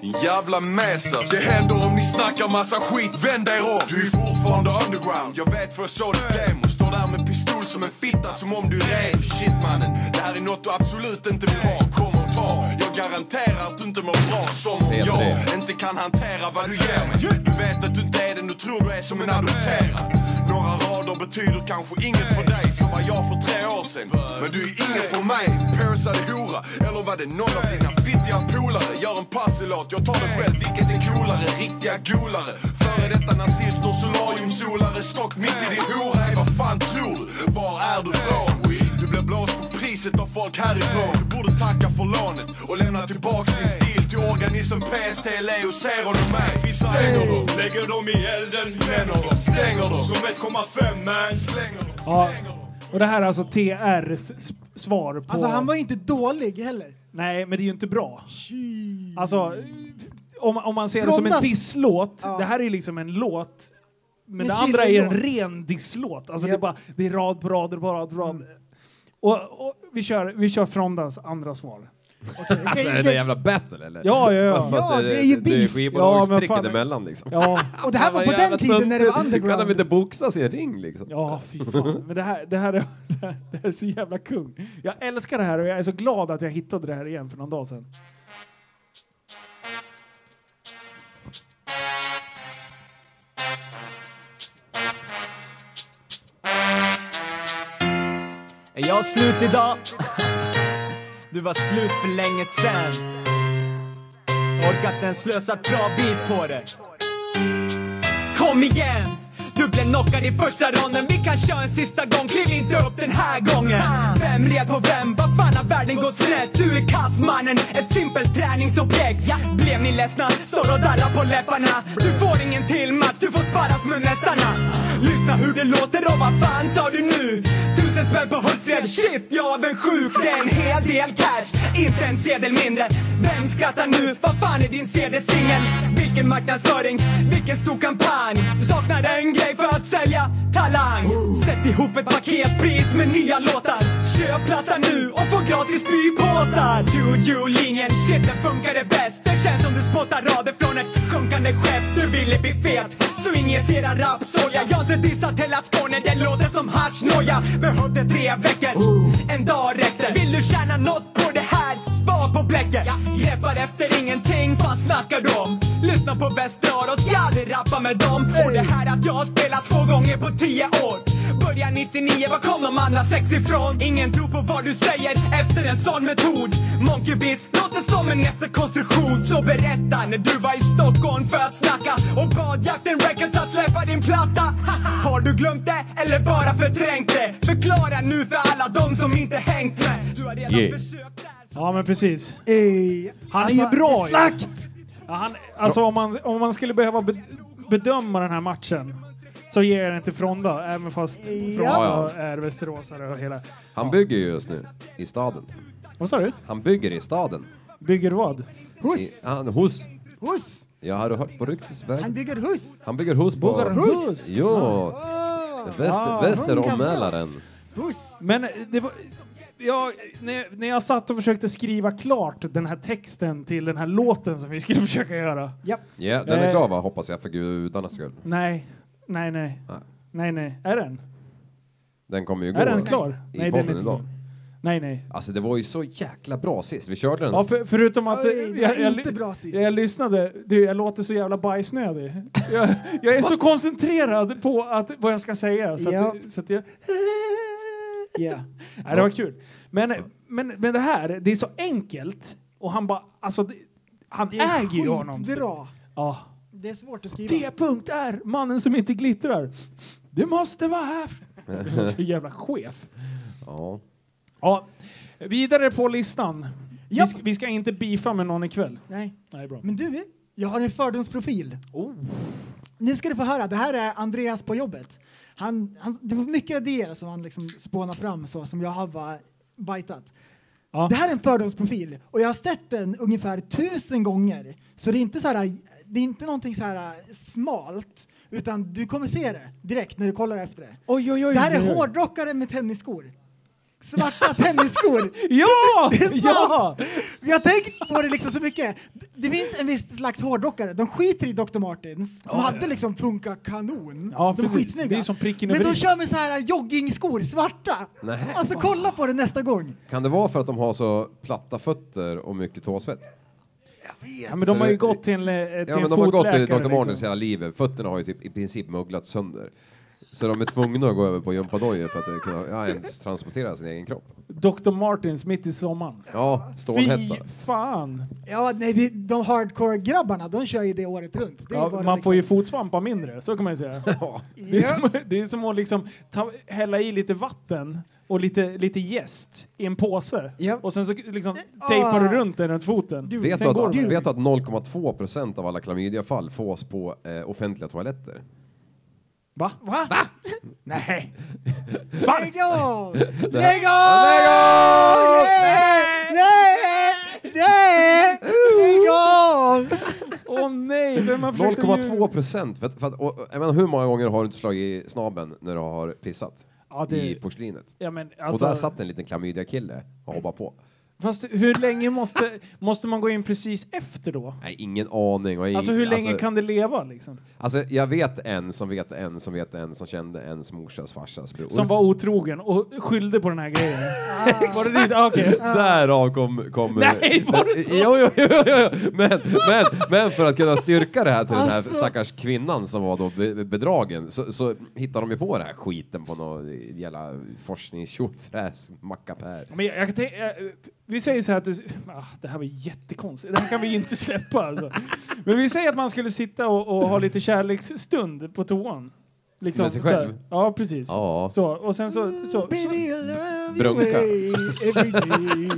S9: Din jävla mes alltså. Det händer om ni snackar massa skit, vänd er om. Du är fortfarande underground, jag vet för jag såg ditt demo. Står där med pistol som en fitta som om du är redo. Shit mannen, det här är något du absolut inte vill ha. Kom och ta, jag garanterar att du inte mår bra som om
S8: Det är
S9: jag
S8: det.
S9: inte kan hantera vad du ger mig. Du vet att du inte är den du tror du är som en adopterad. Några rader
S10: betyder kanske inget för dig som var jag för tre år sedan. Men du är ingen för mig, pösade hora. Eller var det någon av dina fittiga polare? Gör en passelåt, jag tar det själv. Vilket är coolare? Riktiga golare. Före detta nazister, solariumsolare. Stock mitt i din hora. Ey, vad fan tror du? Var är du från? Du blir blåst på priset av folk härifrån. Du borde tacka för lånet och lämna tillbaks din stil till organism PST, Leo, ser och mig. Stänger dem, lägger dem i elden, bränner dem, stänger dem. Som 1,5 man, slänger dem.
S4: Ja. Och det här är alltså TRs s- svar på...
S5: Alltså han var inte dålig heller.
S4: Nej, men det är ju inte bra. Alltså, om, om man ser det som en
S5: Frodas-
S4: disslåt.
S5: Ja.
S4: Det här är ju liksom en låt. Men
S5: En
S4: det andra är en
S5: chillin-låt.
S4: ren disslåt. Alltså det, är
S5: Japp. Mm.
S4: bara, det är rad på rad på rad på rad. Och, och vi kör, vi kör Frondas andra svar.
S5: Okej,
S8: Alltså, är det där jävla battle eller?
S4: Ja, ja, ja.
S8: Fast
S5: Ja, det är ju
S8: Det är
S5: beef.
S8: skivbolagsstricket
S4: Ja, men fan-
S8: emellan liksom.
S4: Ja,
S5: Och det här var på
S8: Vad jävla
S5: den tiden när det var
S8: töntigt. Kan de
S5: underground.
S8: inte boxa sin ring liksom?
S4: ja fy fan. Men det här, det, här är, det här- det här är så jävla kung. Jag älskar det här och jag är så glad att jag hittade det här igen för någon dag sedan.
S1: Är jag slut idag? Du var slut för länge sen. Orkat ens slösa ett bra bit på det. Kom igen! Du blev knockad i första ronden, vi kan köra en sista gång Kliv inte upp den här gången Vem red på vem? Vad fan har världen gått snett? Du är kass mannen, ett simpelt träningsobjekt ja. Blev ni ledsna? Står och darrar på läpparna Du får ingen till match, du får sparras med mästarna Lyssna hur det låter och vad fan sa du nu? Tusen spänn på Hultsfred, shit jag är avundsjuk Det är en hel del cash, inte en sedel mindre Vem skrattar nu? Vad fan är din CD-singel? Vilken marknadsföring, vilken stor kampanj Du saknar en grej för att sälja talang Sätt ihop ett paketpris med nya låtar Köp platta nu och få gratis blypåsar Juju-linjen, shit den funkade bäst Det känns som du spottar rader från ett sjunkande skepp Du ville bli fet, så injicera rapsolja Jag har inte dissat hela Skåne, det låter som haschnoja Behövde tre veckor, en dag räckte Vill du tjäna något på det här? Spar på bläcket Greppar efter ingenting, vad snackar du om? Lyssna på Bäst drar oss, ja det rappar med dem Och det här att jag har spelat två gånger på tio år Börjar 99, var kom de andra sex ifrån? Ingen tror på vad du säger efter en sån metod Monkey Biz låter som en efterkonstruktion Så berätta när du var i Stockholm för att snacka Och bad jakten Records att släppa din platta Haha, Har du glömt det eller bara förträngt det? Förklara nu för alla de som inte hängt med Du har redan
S8: Yeah.
S1: försökt där
S4: Ja, men precis.
S5: Ey,
S4: Han är ju bra ju.
S5: Slakt!
S4: Ja, han, alltså om man, om man skulle behöva be- bedöma den här matchen så ger jag den till Fronda, även fast Fronda
S8: Ja, ja.
S4: är västeråsare och hela...
S8: Han bygger ju just nu, i staden.
S4: Vad sa du?
S8: Han bygger i staden.
S4: Bygger vad?
S8: I,
S5: Hus!
S8: han, hos.
S5: Hus!
S8: Jag har hört på ryktesväg.
S5: Han bygger hus!
S8: Han bygger hus på...
S4: Bygger Ah, hus?
S8: Jo! Väster, väster
S5: hon
S8: om
S5: kan-
S8: Mälaren.
S5: Hus!
S4: Men eh, det var... Jag, när, när jag satt och försökte skriva klart den här texten till den här låten som vi skulle försöka göra.
S5: Japp.
S8: Ja, den är
S4: Eh.
S8: klar va, hoppas jag, för gudarnas skull.
S4: Nej, nej, nej.
S8: Nej.
S4: Nej, nej. Är den?
S8: Den kommer ju gå
S4: Är den klar?
S8: i
S4: nej,
S8: podden
S4: den är inte
S8: idag.
S4: klar. Nej, nej.
S8: Alltså det var ju så jäkla bra sist, vi körde den.
S4: Ja, för, förutom att...
S5: Oj, det var inte
S4: ly-
S5: bra sist.
S4: Jag lyssnade. Du, jag låter så jävla bajsnödig. Jag, jag är så koncentrerad på att, vad jag ska säga. Så
S5: Ja.
S4: att, så att jag...
S5: Ja.
S4: Nej, det var kul. Men, men, men det här, det är så enkelt. Och han bara, alltså, det, han äger ju honom.
S5: Äh, Skitbra.
S4: Ja.
S5: Det är svårt att skriva.
S4: D-punkt är mannen som inte glittrar. Du måste vara här. Det var så jävla chef.
S8: Ja.
S4: Ja, vidare på listan. Vi
S5: Japp.
S4: ska, vi ska inte beefa med någon ikväll.
S5: Nej.
S4: Nej, bra.
S5: Men du, jag har en fördomsprofil.
S4: Oh.
S5: Nu ska du få höra, det här är Andreas på jobbet. Han, han, det var mycket idéer som han liksom spånade fram så, som jag har bara bajtat.
S4: Ja.
S5: Det här är en fördomsprofil och jag har sett den ungefär tusen gånger. Så det är inte så här, det är inte någonting så här äh, smalt, utan du kommer se det direkt när du kollar efter det.
S4: Oj, oj, oj.
S5: Det här
S4: oj,
S5: är
S4: oj.
S5: hårdrockare med tennisskor. Svarta tennisskor.
S4: Ja!
S5: Det är sant!
S4: ja!
S5: Vi har tänkt på det liksom så mycket. Det finns en viss slags hårdrockare, de skiter i Dr. Martins, som hade liksom funkat kanon.
S4: Ja,
S5: de är
S4: precis.
S5: skitsnygga.
S4: Det är som pricken
S5: Men
S4: över
S5: de
S4: i.
S5: kör med så här joggingskor, svarta.
S8: Nej.
S5: Alltså kolla på det nästa gång.
S8: Kan det vara för att de har så platta fötter och mycket tåsvett?
S4: ja! Men de har ju gått till en, eh, till
S8: Ja,
S4: en
S8: men de har gått
S4: fotläkare.
S8: till Dr. Martens
S4: liksom.
S8: hela livet. Fötterna har ju typ i princip mugglat sönder. Så de är tvungna att gå över på gympadojor för att kunna ja, ens transportera sin egen kropp.
S4: Dr. Martins mitt i sommaren.
S8: Ja,
S4: Fy
S8: stålhätta.
S4: fan!
S5: Ja, nej, det- de hardcore-grabbarna, de kör ju det året runt. Det är
S4: Ja,
S5: bara
S4: man
S5: liksom-
S4: får ju fotsvampa mindre, så kan man ju säga. Det, är
S5: Ja.
S4: som, det är som att liksom ta, hälla i lite vatten och lite, lite jäst i en påse.
S5: Ja.
S4: Och sen så liksom tejpar du
S5: Ah.
S4: runt den runt foten.
S5: Du-
S8: Vet du
S4: Sen går
S8: att,
S4: de.
S8: vet du att 0,2 procent av alla klamydiafall fås på eh, offentliga toaletter?
S4: Va?
S5: Va?
S4: Nej! Fan!
S5: Lägg av! Lägg av! Nej! Nej! Nej! Lägg av!
S4: Åh nej! Vem har försökt att ljuga?
S8: 0,2 procent! För, att- för att, och, och, jag menar, hur många gånger har du inte slagit i snabben när du har pissat?
S4: Ja, det-
S8: I porslinet.
S4: Ja, men alltså,
S8: Och där satt en liten klamydiakille och hoppade på.
S4: Fast hur länge måste, måste man gå in precis efter då?
S8: Nej, ingen aning. Och jag-
S4: Alltså hur länge kan det leva liksom?
S8: Alltså, jag vet en som vet en som vet en som kände ens morsas farsas bror.
S4: Som var otrogen och skyllde på den här grejen. var det dit? Ah, Okej.
S8: Därav kom... kom eh,
S4: Nej, var det så?
S8: Jo, jo, jo, jo, jo. Men, men, men för att kunna styrka det här till den här
S5: Alltså.
S8: stackars kvinnan som var då be- bedragen så, så hittade de ju på den här skiten på någon jävla forskningstjofräs mackapär.
S4: Men jag, jag kan tänka, eh, vi säger så här att du, ah, det här var jättekonstigt, det här kan vi inte släppa alltså. Men vi säger att man skulle sitta och, och ha lite kärleksstund på toan. Liksom,
S8: Med sig
S4: så här.
S8: själv?
S4: Ja, precis.
S8: Ja.
S4: Så, och sen så... så, så.
S5: Baby, I love you
S8: Brunka.
S5: every day.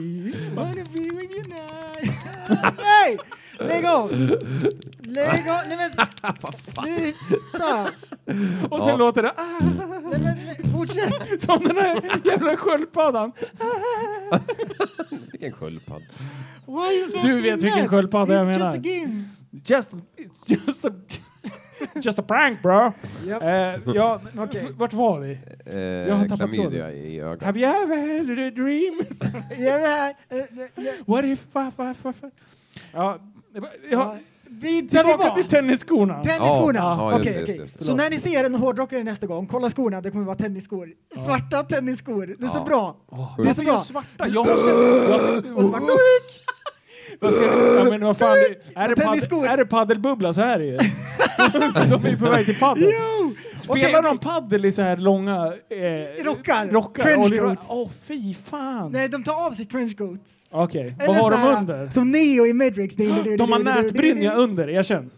S5: Wanna be with you now. Nej! Lägg av! Lägg av! Nej men sluta!
S4: Och sen
S8: Ja.
S4: låter det ah,
S5: Nej men nej, fortsätt!
S4: som den här jävla sköldpaddan.
S8: Vilken sköldpadda.
S5: Why are you
S4: Du vet
S5: fucking
S4: vilken
S5: mad?
S4: sköldpadda jag
S5: It's
S4: menar.
S5: Just a game.
S4: Just, it's just a, just a prank bro.
S5: Japp.
S4: Eh, ja, men
S5: Okej.
S4: f- Vart var vi? Jag har
S8: Eh,
S4: tappat
S8: klamydia
S4: tråden.
S8: i ögat.
S4: Have you ever had a dream?
S5: Jag är här. Eh, nej, nej.
S4: What if... Fa, fa, fa, fa? Ja, ja,
S5: Ja, Vi där vi
S4: tillbaka
S5: var.
S4: till tennisskorna.
S5: Tennisskorna?
S8: Ja, ja,
S5: Okej,
S8: just det,
S5: okej.
S8: just det.
S5: Så när ni ser en hårdrockare nästa gång, kolla skorna, det kommer vara tennisskor. Svarta tennisskor, det är så
S8: Ja.
S5: bra. Det är så
S4: Varför
S5: bra.
S4: just svarta? Jag har sett... Jag,
S5: Och svart, Quick!
S4: vad ska, ja, men vad fan, det- är, det
S5: Tennisskor.
S4: paddel, är det paddelbubbla så här är det De är ju på väg till paddel.
S5: Jo!
S4: Spelar
S5: Okej,
S4: de paddel i så här långa... Eh,
S5: Rockar.
S4: rockar och
S5: Trenchcoats.
S4: lilla- Åh fy fan!
S5: Nej, de tar av sig trenchcoats.
S4: Okej, vad
S5: Eller
S4: har
S5: så här,
S4: de under?
S5: Som Neo i Matrix.
S4: De har nätbrynja under, erkänn.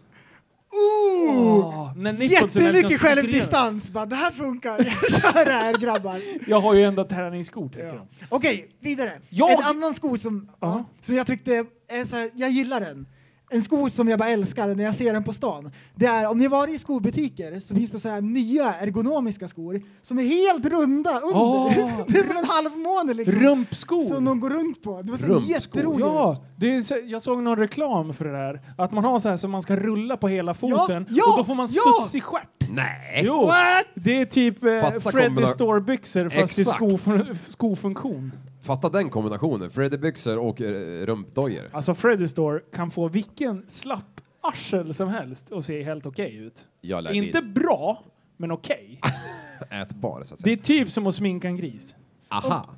S5: Oh!
S4: Oh, när Nicholson är liksom
S5: Jättemycket
S4: strukturerad.
S5: självdistans. Bara, det här funkar. Jag kör det här grabbar.
S4: Jag har ju ändå träningsskor tänkte
S5: Ja.
S4: jag.
S5: Okej, vidare.
S4: Jag-
S5: En annan sko som,
S4: Ja.
S5: som jag tyckte är så här, jag gillar den. En sko som jag bara älskar när jag ser den på stan. Det är om ni varit i skobutiker så finns det så här nya ergonomiska skor som är helt runda under.
S4: Åh.
S5: det är som en halvmåne liksom.
S4: Ah. Rumpskor!
S5: Som de går runt på. Det var så
S8: Rumpskor.
S5: jätteroligt.
S4: Ja, det är, så- jag såg någon reklam för det där. Att man har så här som man ska rulla på hela foten
S5: ja,
S4: och då får man
S5: ja!
S4: studsig stjärt.
S8: Nej!
S4: Jo,
S5: What?
S4: det är typ eh,
S8: Fatta
S4: Freddy
S8: kombina-
S4: Store-byxor fast i
S8: Exakt.
S4: skofun- skofunktion.
S8: Fatta den kombinationen. Freddy byxor och eh, rumpdojor.
S4: Alltså Freddy Store kan få vilken slapp arsel som helst och se helt okej ut.
S8: Jag lär
S4: Inte
S8: dit. Alltså.
S4: bra, men okej.
S8: Ätbar, så att
S4: Det
S8: säga.
S4: är typ som att sminka en gris.
S8: Aha!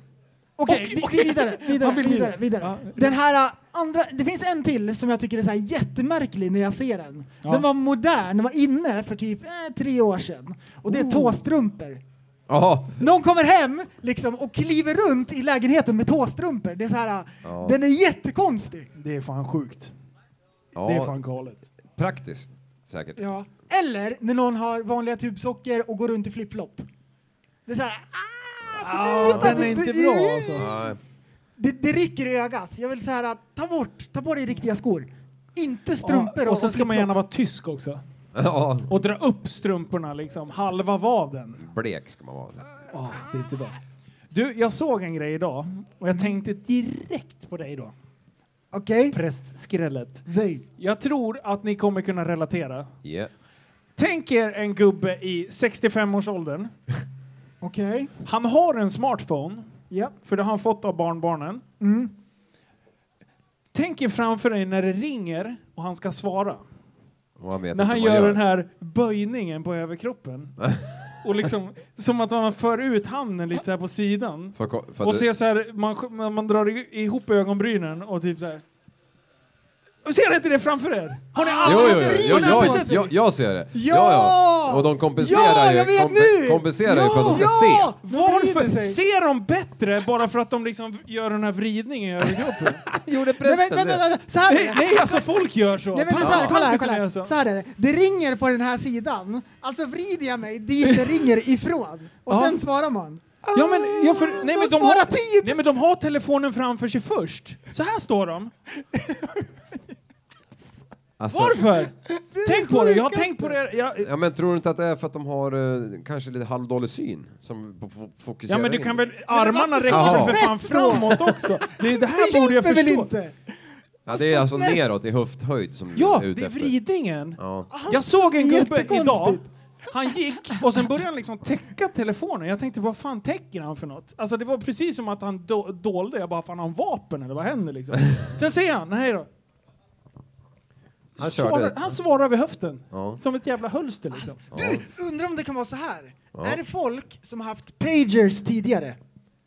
S5: Okej,
S4: Och-
S5: vi-
S4: och-
S5: vi- vidare, vidare,
S4: Han vill
S5: vidare,
S4: vidare.
S5: vidare.
S4: Ja.
S5: Den här äh, andra, det finns en till som jag tycker är så här jättemärklig när jag ser den.
S4: Ja.
S5: Den var modern, den var inne för typ eh, tre år sedan. Och det
S4: Oh.
S5: är tåstrumpor.
S8: Aha.
S5: Någon kommer hem liksom, och kliver runt i lägenheten med tåstrumpor. Det är så här, äh,
S8: Ja.
S5: Den är jättekonstig.
S4: Det är fan sjukt.
S8: Ja,
S4: Det är fan galet.
S8: praktiskt säkert.
S5: Ja. Eller när någon har vanliga tubsockor och går runt i flipflop. Det är så här, ah,
S4: Ah,
S5: sluta,
S4: den är
S5: det-
S4: inte
S5: det-
S4: bra alltså.
S8: Nej.
S5: Det, det rycker i ögat. Jag vill så här, att ta bort, ta på dig riktiga skor. Inte strumpor
S4: och sen ska man gärna vara tysk också.
S8: Ja,
S4: Och dra upp strumporna liksom, halva vaden.
S8: blek ska man vara.
S4: Åh, det är inte bra. Du, jag såg en grej idag och jag tänkte direkt på dig då.
S5: Okej.
S4: Prästskrället.
S5: Säg.
S4: Jag tror att ni kommer kunna relatera.
S8: Yeah.
S4: Tänk er en gubbe i 65-årsåldern.
S5: Okej.
S4: Han har en smartphone,
S5: Ja.
S4: för det har han fått av barnbarnen.
S5: Mm.
S4: Tänk er framför dig när det ringer och han ska svara.
S8: Och han vet
S4: När
S8: inte
S4: han
S8: vad
S4: gör, den här böjningen på överkroppen. och liksom, som att man för ut handen lite så här på sidan.
S8: För, ko- för att
S4: Och
S8: du-
S4: ser så här, man, man drar i- ihop ögonbrynen och typ så här. Ser ni inte det framför er? Har ni
S8: Ah! Jo,
S4: aldrig
S8: jo,
S4: sett
S8: jo,
S4: det?
S8: jo,
S4: Har ni aldrig
S8: jag,
S4: sett det?
S8: jag, jag ser det.
S5: Ja!
S8: Och de kompenserar
S5: Ja,
S8: ju,
S5: jag vet
S8: kompe-
S5: nu!
S8: kompenserar ju för att de ska
S5: Ja! De
S8: se.
S5: vrider
S4: Varför
S5: sig.
S4: ser de bättre bara för att de liksom gör den här vridningen över kroppen?
S8: Gjorde
S5: Nej, men, vänta, vänta, vänta, så här är
S4: Nej,
S5: det.
S4: nej, alltså folk gör så.
S5: Nej, men
S4: Pan-
S5: så här, kolla här,
S4: Pankisen
S5: kolla
S4: gör
S5: här.
S4: så.
S5: Så här är det. Det ringer på den här sidan, alltså vrider jag mig dit det ringer ifrån. Och
S4: Ja.
S5: sen svarar man.
S4: Ja, men, ja, för, nej, men
S5: de
S4: de har,
S5: sparar tid!
S4: nej men de har telefonen framför sig först. Så här står de.
S8: Alltså,
S4: Varför? Tänk på det, jag har
S5: sjukaste.
S4: tänkt på det. Jag,
S8: Ja, men tror du inte att det är för att de har eh, kanske lite halvdålig syn? Som på- på- fokuserar
S4: ja men du
S8: in?
S4: kan väl, armarna
S5: varför
S4: räcker väl
S8: står de
S4: för fan
S5: snett då?
S4: framåt också. Det, det
S5: Det
S4: här borde jag
S5: hjälper väl
S4: förstå.
S5: inte?
S8: Ja, det är alltså
S5: snett.
S8: neråt i höfthöjd som du
S4: Ja,
S8: är ute
S4: det är
S8: efter.
S4: vridningen.
S8: Ja.
S4: Jag såg en gubbe
S5: Alltså, Jättekonstigt.
S4: idag. Han gick och sen började han liksom täcka telefonen. Jag tänkte, vad fan täcker han för något? Alltså det var precis som att han do dolde. Jag bara, fan har han vapen eller vad händer liksom? Sen ser han, nej då.
S8: Han
S4: Svarar,
S8: körde.
S4: han svarar vid höften.
S8: Ja.
S4: Som ett jävla hölster liksom.
S5: Du, undrar om det kan vara så här. Är det folk som har haft pagers tidigare?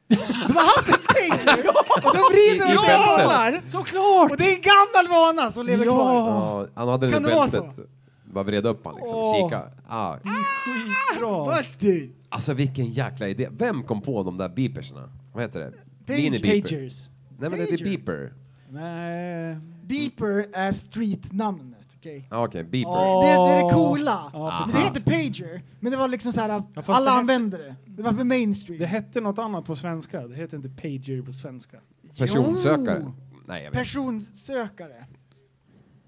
S5: De har haft en pager och de vrider
S8: I- i
S5: och sen
S8: bältet.
S5: kollar.
S4: Såklart!
S5: Och det är en gammal vana som lever kvar.
S4: Ja,
S8: Ja, han hade den
S5: Kan
S8: i
S5: det vara
S8: bältet. Bara vred upp han liksom,
S4: Åh.
S8: kika. Ah.
S4: skitbra.
S5: Busty!
S8: Alltså vilken jäkla idé. Vem kom på de där beepersna? Vad heter det? Mini-beeper.
S4: Pagers.
S8: Nej men det är
S5: Pager.
S8: beeper.
S4: Nej.
S5: Beeper är streetnamnet. okej?
S8: Ja, Ah, Okej, beeper. Ah,
S5: Det, det är det coola.
S4: Ja,
S5: det heter pager, men det var liksom så här,
S4: fast
S5: alla
S4: det här-
S5: använde det. Det var för mainstream.
S4: Det hette något annat på svenska. Det heter inte pager på svenska.
S8: Personsökare.
S5: Jo.
S8: Nej, jag vet
S5: Personsökare.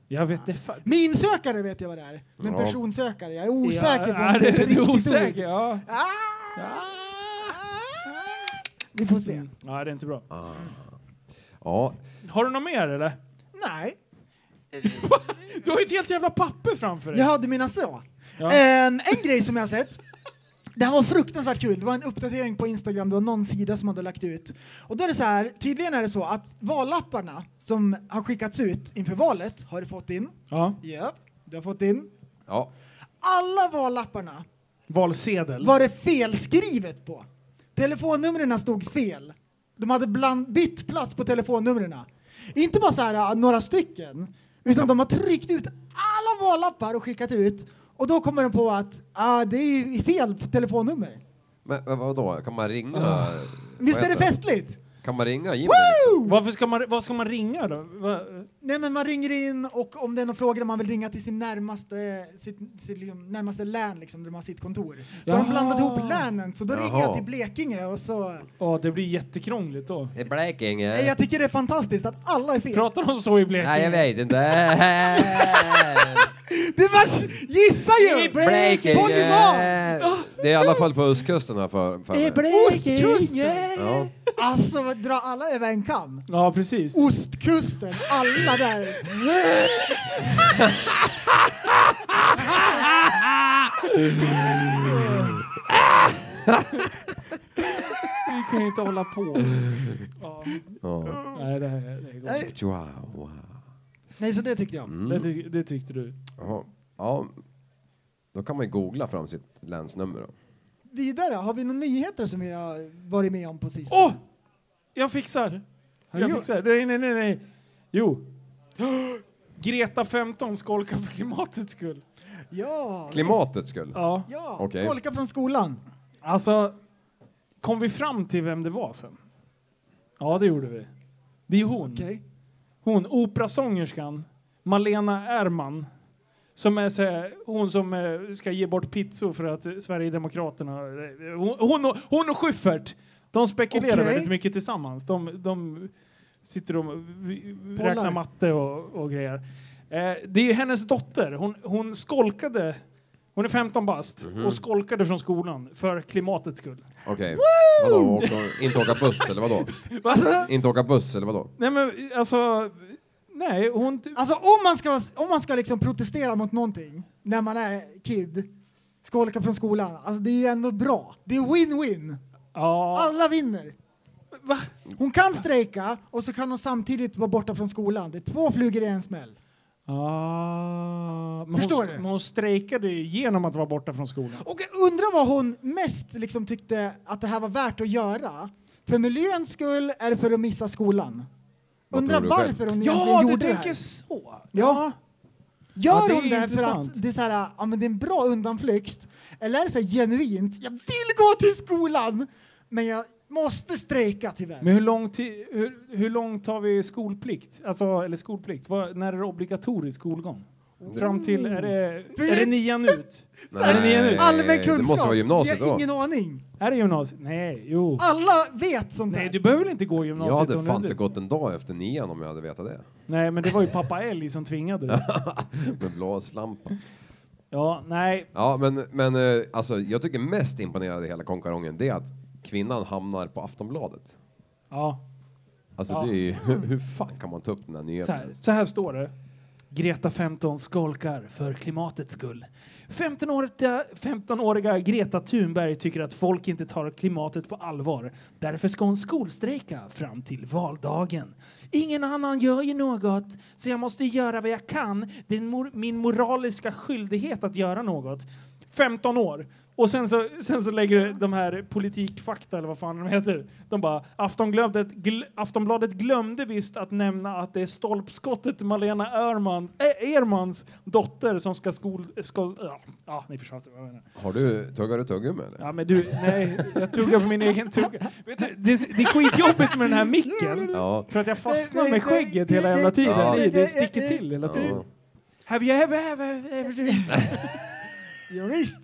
S4: Jag vet det fan.
S5: Minsökare vet jag vad det är, men
S8: Ja.
S5: personsökare, jag är osäker på
S4: ja,
S5: om det är ett
S4: du
S5: riktigt
S4: osäker?
S5: ord.
S4: Ja.
S5: Ah! Vi får se.
S4: Mm. ja, det är inte bra.
S8: Ja,
S4: Har du något mer eller?
S5: Nej,
S4: Du har ju ett helt jävla papper framför dig.
S5: jag hade mina så.
S4: Ja.
S5: En, en grej som jag har sett, det här var fruktansvärt kul, det var en uppdatering på Instagram, det var någon sida som hade lagt ut. Och då är det så här, tydligen är det så att vallapparna som har skickats ut inför valet har du fått in.
S4: Ja.
S5: Ja, du har fått in.
S8: ja.
S5: Alla vallapparna
S4: Valsedel.
S5: var det felskrivet på. Telefonnumren stod fel. De hade bland, bytt plats på telefonnumren. Inte bara så här, äh, några stycken, utan de har tryckt ut alla vallappar och skickat ut. Och då kommer de på att ah, det är ju fel telefonnummer.
S8: Men, men vadå, kan man ringa? vad
S5: Ah. Visst är det
S8: heter
S5: festligt?
S8: Kan man ringa Jimmy liksom?
S4: Varför ska man, vad ska man ringa då? Va?
S5: Nej men man ringer in och om det är någon fråga man vill ringa till sin närmaste, sitt, sitt liksom, närmaste län liksom, där de har sitt kontor. Då har de
S4: Jaha.
S5: blandat ihop länen så då ringer
S8: Jaha.
S5: jag till Blekinge och så...
S4: Ja, det blir jättekrångligt då.
S8: Det är Blekinge.
S5: Nej, jag tycker det är fantastiskt att alla är fel.
S4: Pratar de så i Blekinge?
S8: Nej, jag vet inte.
S5: Du bara gissa ju! Ah, Polyman!
S8: Blekinge! Det är i alla fall på östkusten här för, för mig.
S5: Ostkusten!
S8: Ja.
S5: Alltså, vad dra alla över en kam.
S4: Ja, precis.
S5: Ostkusten, alla där.
S4: Vi kan ju inte hålla på. Ja.
S8: Ja.
S4: Nej, det, här, det, är gott.
S5: Nej,
S8: Wow.
S5: Nej, så det tyckte
S8: Mm.
S5: jag.
S4: det, tyck- det tyckte du.
S8: Jaha. Ja. Då kan man ju googla fram sitt länsnummer då.
S5: Vidare, har vi några nyheter som vi har varit med om på sistone?
S4: Åh! Jag fixar!
S5: Har du
S4: Jag
S5: gjort?
S4: fixar. Nej, nej, nej, nej. Jo. Greta 15 skolkar för klimatets skull.
S5: Ja!
S8: Klimatets skull.
S4: Ja.
S5: Ja,
S8: Okej.
S5: skolka från skolan.
S4: Alltså, kom vi fram till vem det var sen? Ja, det gjorde vi. Det är hon.
S5: Okej.
S4: Hon, operasångerskan, Malena Ärman. Som är så här, hon som eh, ska ge bort pizzor för att eh, Sverigedemokraterna... eh, Hon, hon, och- hon och Schyffert, de spekulerar
S5: Okej.
S4: väldigt mycket tillsammans. De, de sitter och vi-
S5: Bollar.
S4: räknar matte och, och grejer. Eh, det är ju hennes dotter. Hon, hon skolkade... Hon är 15 bast och skolkade från skolan för klimatets skull.
S8: Okej. Vadå, åka- inte åka buss eller vadå? Inte åka buss eller vadå?
S4: Nej men alltså... Nej, hon...
S5: Alltså om man ska, om man ska liksom protestera mot någonting när man är kid, skolka från skolan, alltså det är ju ändå bra. Det är win-win.
S4: Ja.
S5: Alla vinner.
S4: Va?
S5: Hon kan strejka och så kan hon samtidigt vara borta från skolan. Det är två flugor i en smäll.
S4: Ah, men
S5: Förstår
S4: hon,
S5: du?
S4: Men hon strejkade ju genom att vara borta från skolan.
S5: Och jag undrar vad hon mest liksom tyckte att det här var värt att göra. För miljöns skull är det för att missa skolan.
S8: Vad
S5: Undrar
S8: tror du själv?
S5: varför hon
S4: Ja,
S5: egentligen
S4: du
S5: gjorde det här.
S4: tänker så!
S5: Ja.
S4: Ja,
S5: Gör
S4: det är
S5: hon det för
S4: intressant.
S5: att det är, så här, ja, men det är en bra undanflykt? Eller är det så här genuint, jag vill gå till skolan men jag måste strejka tyvärr.
S4: Men hur lång, ti- hur, hur långt har vi skolplikt? Alltså, eller skolplikt, vad, när är det obligatorisk skolgång? Fram till, är det, är det nian ut? Är det nian ut?
S5: Allmän kunskap.
S8: Det måste vara gymnasiet
S5: jag har
S8: då.
S5: ingen aning.
S4: Är det gymnasiet? Nej, jo.
S5: Alla vet sånt
S4: Nej,
S5: här.
S4: du behöver väl inte gå
S8: Jag
S4: gymnasiet
S8: hade
S4: om
S8: fan
S4: du
S8: inte gått en dag efter nian om jag hade vetat det.
S4: Nej, men det var ju pappa Elg som tvingade dig.
S8: Med blåslampa.
S4: Ja, nej.
S8: Ja, men, men eh, alltså, jag tycker mest imponerande i hela konkarongen det är att kvinnan hamnar på Aftonbladet.
S4: Ja.
S8: Alltså
S4: Ja.
S8: det är ju, hur, hur fan kan man ta upp den här
S4: Så
S8: nyheten?
S4: här, så här står det. Greta 15 skolkar för klimatets skull. 15-åriga 15-åriga Greta Thunberg tycker att folk inte tar klimatet på allvar. Därför ska hon skolstrejka fram till valdagen. Ingen annan gör ju något, så jag måste göra vad jag kan. Det är mor min moraliska skyldighet att göra något. 15 år. Och sen så, sen så lägger de här politikfakta, eller vad fan de heter, de bara Aftonbladet, gl Aftonbladet glömde visst att nämna att det är stolpskottet Malena Erman, eh, Ermans dotter som ska skol... skol ja, ja, ni förstår inte vad jag menar.
S8: Har du, tuggar du tuggummi eller?
S4: Ja, men du, nej, jag tuggar på min egen tugga. Vet du, Det, är- det är skitjobbigt med den här micken.
S8: Ja.
S4: För att jag fastnar
S5: Nej, nej,
S4: med skägget
S5: nej,
S4: hela
S5: nej,
S4: jävla tiden.
S8: Ja.
S4: Det, det
S5: nej,
S4: sticker
S5: nej.
S4: till hela tiden.
S8: Ja.
S4: Have you ever, ever, ever...
S5: Ja, visst.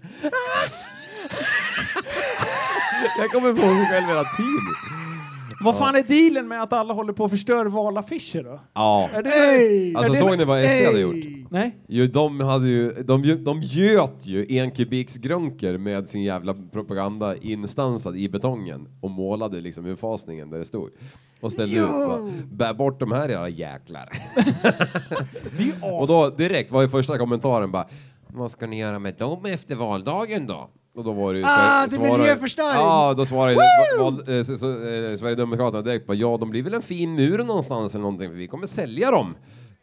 S8: Jag kommer på mig själv hela tiden.
S4: Vad fan är dealen med att alla håller på att förstöra valaffischer då?
S8: Ja.
S4: Är det,
S8: Alltså
S4: är det-
S8: såg ni vad SD hade gjort?
S4: Nej.
S8: Jo, de, hade ju, de, gö- de göt ju enkubiksgrunker med sin jävla propaganda instansad i betongen och målade liksom utfasningen där det stod. Och ställde ut bara, bär bort de här era jäklar. och då direkt var ju första kommentaren bara, vad ska ni göra med dem efter valdagen då? Och då var det ju...
S5: Ah,
S8: Sver-
S5: det är
S8: svarade-
S5: miljöförstöring!
S8: Ja, då svarade ju- val, eh, så, så, eh, Sverigedemokraterna direkt bara, ja de blir väl en fin mur någonstans eller någonting för vi kommer sälja dem.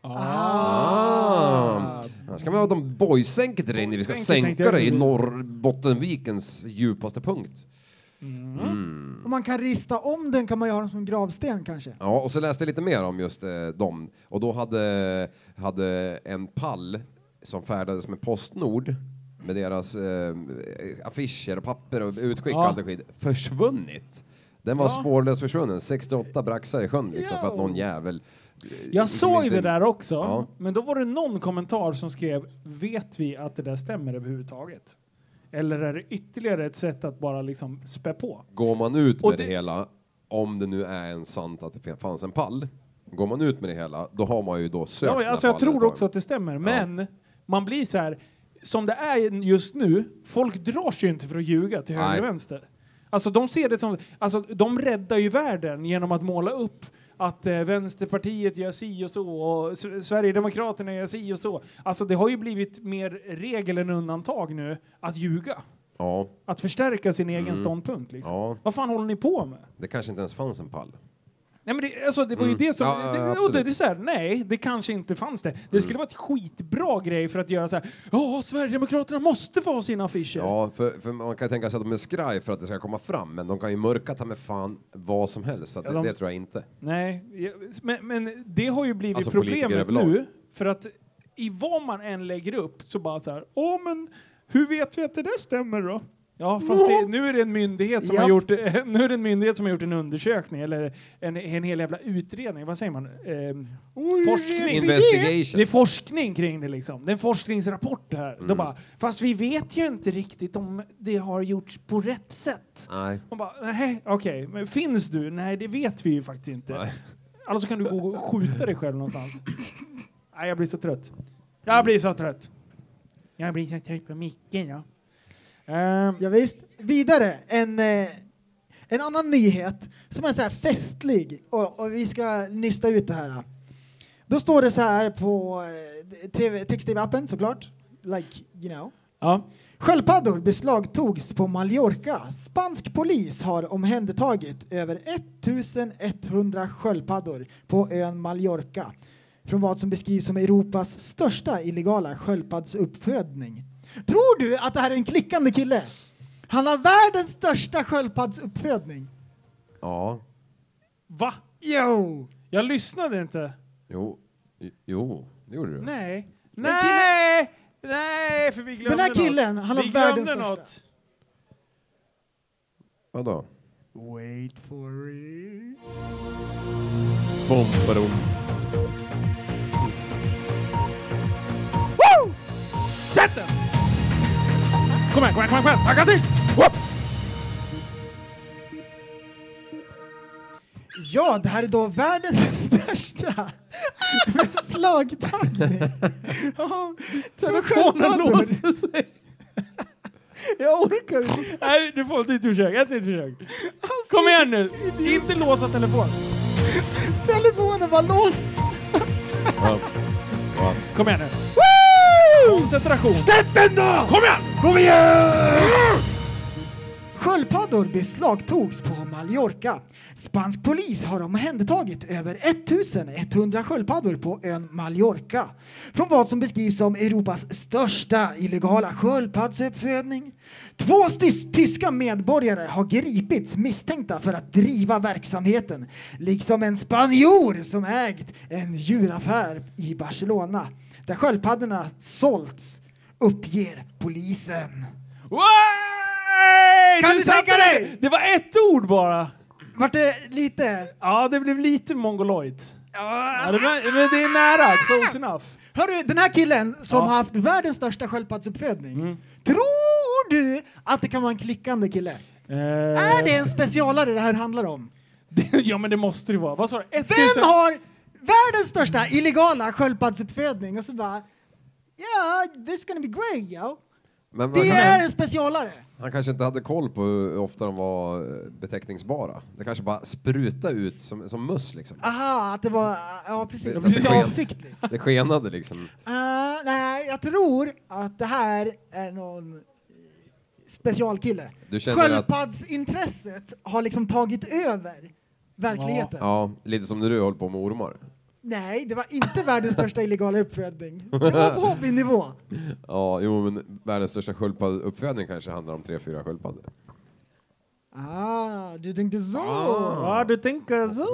S8: Ah. Annars kan man ha de boysänket där inne. Vi ska
S4: Boysänket tänkte jag
S8: sänka det i
S4: också.
S8: Norrbottenvikens djupaste punkt.
S4: Mm.
S8: Mm.
S5: Om man kan rista om den kan man ju ha den som en gravsten kanske.
S8: Ja, och så läste jag lite mer om just eh, dem. Och då hade, hade en pall som färdades med Postnord med deras eh, affischer och papper och utskick och
S4: Ja.
S8: allt och skit försvunnit. Den var spårlöst försvunnen. 68 braxar i sjön liksom för att någon jävel... eh,
S4: Jag
S8: liksom
S4: såg
S8: inte-
S4: det där också,
S8: Ja.
S4: men då var det någon kommentar som skrev Vet vi att det där stämmer överhuvudtaget? Eller är det ytterligare ett sätt att bara liksom spä på?
S8: går man ut
S4: Och
S8: med det...
S4: det-
S8: hela, om det nu är en sant att det fanns en pall, går man ut med det hela, då har man ju då sökt
S4: Ja,
S8: den här
S4: alltså jag
S8: pallen ett
S4: tror
S8: tag.
S4: också att det stämmer, men man blir så här som det är just nu, folk drar sig ju inte för att ljuga till höger
S8: Nej.
S4: och vänster. Alltså de ser det som, alltså de räddar ju världen genom att måla upp att eh, Vänsterpartiet gör si och så och S- Sverigedemokraterna gör si och så. Alltså det har ju blivit mer regel än undantag nu att ljuga.
S8: Ja,
S4: Att förstärka sin egen ståndpunkt liksom.
S8: Mm. Ja.
S4: Vad fan håller ni på med?
S8: det kanske inte ens fanns en pall.
S4: Nej, men det, alltså, det var ju det som...
S8: Mm. Ja, ja,
S4: det, och det,
S8: absolut. Mm.
S4: det är så här, nej, det kanske inte fanns det. Det skulle vara ett skitbra grej för att göra så här. Ja, Sverigedemokraterna måste få ha sina affischer.
S8: Ja, för, för man kan ju tänka sig att de är skraj för att det ska komma fram, men de kan ju mörka ta med fan vad som helst, så att
S4: Ja,
S8: det,
S4: de-
S8: det tror jag inte.
S4: Nej, jag- men, men det har ju blivit
S8: Alltså, politiker
S4: problemet
S8: överlag.
S4: nu. För att i vad man än lägger upp så bara så här, åh men hur vet vi att det där stämmer då? Ja, fast det, nu, är det en myndighet som har
S5: Japp.
S4: gjort, nu är det en myndighet som har gjort en undersökning eller en, en hel jävla utredning. Vad säger man? Ehm, forskning.
S8: Investigation.
S4: Det är forskning kring det liksom. Det är en forskningsrapport det här. De bara, fast vi vet ju inte riktigt om det har gjorts på rätt sätt.
S8: Nej.
S4: Man bara, nej, okej, men finns du? Nej, det vet vi ju faktiskt inte. Alltså kan du gå och skjuta dig själv någonstans. nej, jag blir så trött. Jag blir så trött. Jag blir så trött på micken, ja. Ehm,
S5: Ja, visst. Vidare, en, eh, en annan nyhet som är så här festlig och, och vi ska nysta ut det här. Då står det så här på eh, TV text-tv-appen såklart. Like, you know.
S4: ja.
S5: Sköldpaddor beslagtogs på Mallorca. Spansk polis har omhändertagit över 1100 sköldpaddor på ön Mallorca från vad som beskrivs som Europas största illegala sköldpaddsuppfödning. Tror du att det här är en klickande kille? Han har världens största sköldpaddsuppfödning.
S8: Ja.
S4: Va?
S5: Jo!
S4: Jag lyssnade inte.
S8: Jo, i- jo, det gjorde du.
S4: Nej. Nej! Nej, för vi glömde
S5: Den här killen,
S4: något.
S5: han
S4: vi
S5: har världens
S4: glömde
S5: största.
S4: något.
S8: Vadå?
S5: Wait for it.
S8: Bom, badom.
S4: Woo! Sätt den! Kom igen, kom igen, kom igen, kom igen. Tacka till! Whoop!
S5: Ja, det här är då världens största slagtaggning. Ja,
S4: Telefonen
S5: sköldpaddor.
S4: låste sig. Jag orkar inte. Nej, du får ett nytt försök. Ett nytt försök.
S5: Alltså,
S4: Kom igen nu! Inte låsa telefonen.
S5: Telefonen var låst.
S8: Ja. Ja.
S4: Kom igen nu. Koncentration.
S5: Sätt den då!
S4: Kom igen!
S5: Sköldpaddor beslagtogs på Mallorca. Spansk polis har omhändertagit över 1100 sköldpaddor på ön Mallorca från vad som beskrivs som Europas största illegala sköldpaddsuppfödning. Två stys- tyska medborgare har gripits misstänkta för att driva verksamheten, liksom en spanjor som ägt en djuraffär i Barcelona där sköldpaddorna sålts, uppger polisen.
S4: Way!
S5: Kan du
S4: satte
S5: tänka dig?
S4: det! Det var ett ord bara.
S5: Vart det lite
S4: Ja, det blev lite mongoloid. Ja, det
S5: Ah!
S4: var, men det är nära. Close enough.
S5: Hörru, den här killen
S4: Ja.
S5: som
S4: Mm.
S5: har haft världens största sköldpaddsuppfödning. Tror du att det kan vara en klickande kille? Är det en specialare det här handlar om?
S4: Eh, ja, men det måste det vara. Vad sa du? Ett
S5: Vem
S4: tusen-
S5: har världens största illegala sköldpaddsuppfödning? Och så bara... Yeah, this is gonna be great, yo.
S8: Men man
S5: Det är en
S8: kan,
S5: specialare.
S8: han kanske inte hade koll på hur ofta de var eh, beteckningsbara. Det kanske bara spruta ut som, som möss liksom.
S5: Aha, att det var... Ja, precis.
S8: Det-
S5: Det
S8: det sker.
S5: var avsiktligt.
S8: Det skenade liksom.
S5: Ah, nej, jag tror att det här är någon eh, specialkille.
S8: Du känner att-
S5: Sköldpaddsintresset har liksom tagit över verkligheten.
S8: Ja, lite som när du höll på med ormar.
S5: Nej, det var inte världens största illegala uppfödning. Det var på hobbynivå.
S8: Ja, jo men världens största sköldpaddeuppfödning kanske handlar om tre, fyra sköldpaddor.
S5: Ah, du tänkte så.
S4: Ja, Ah, du tänker så.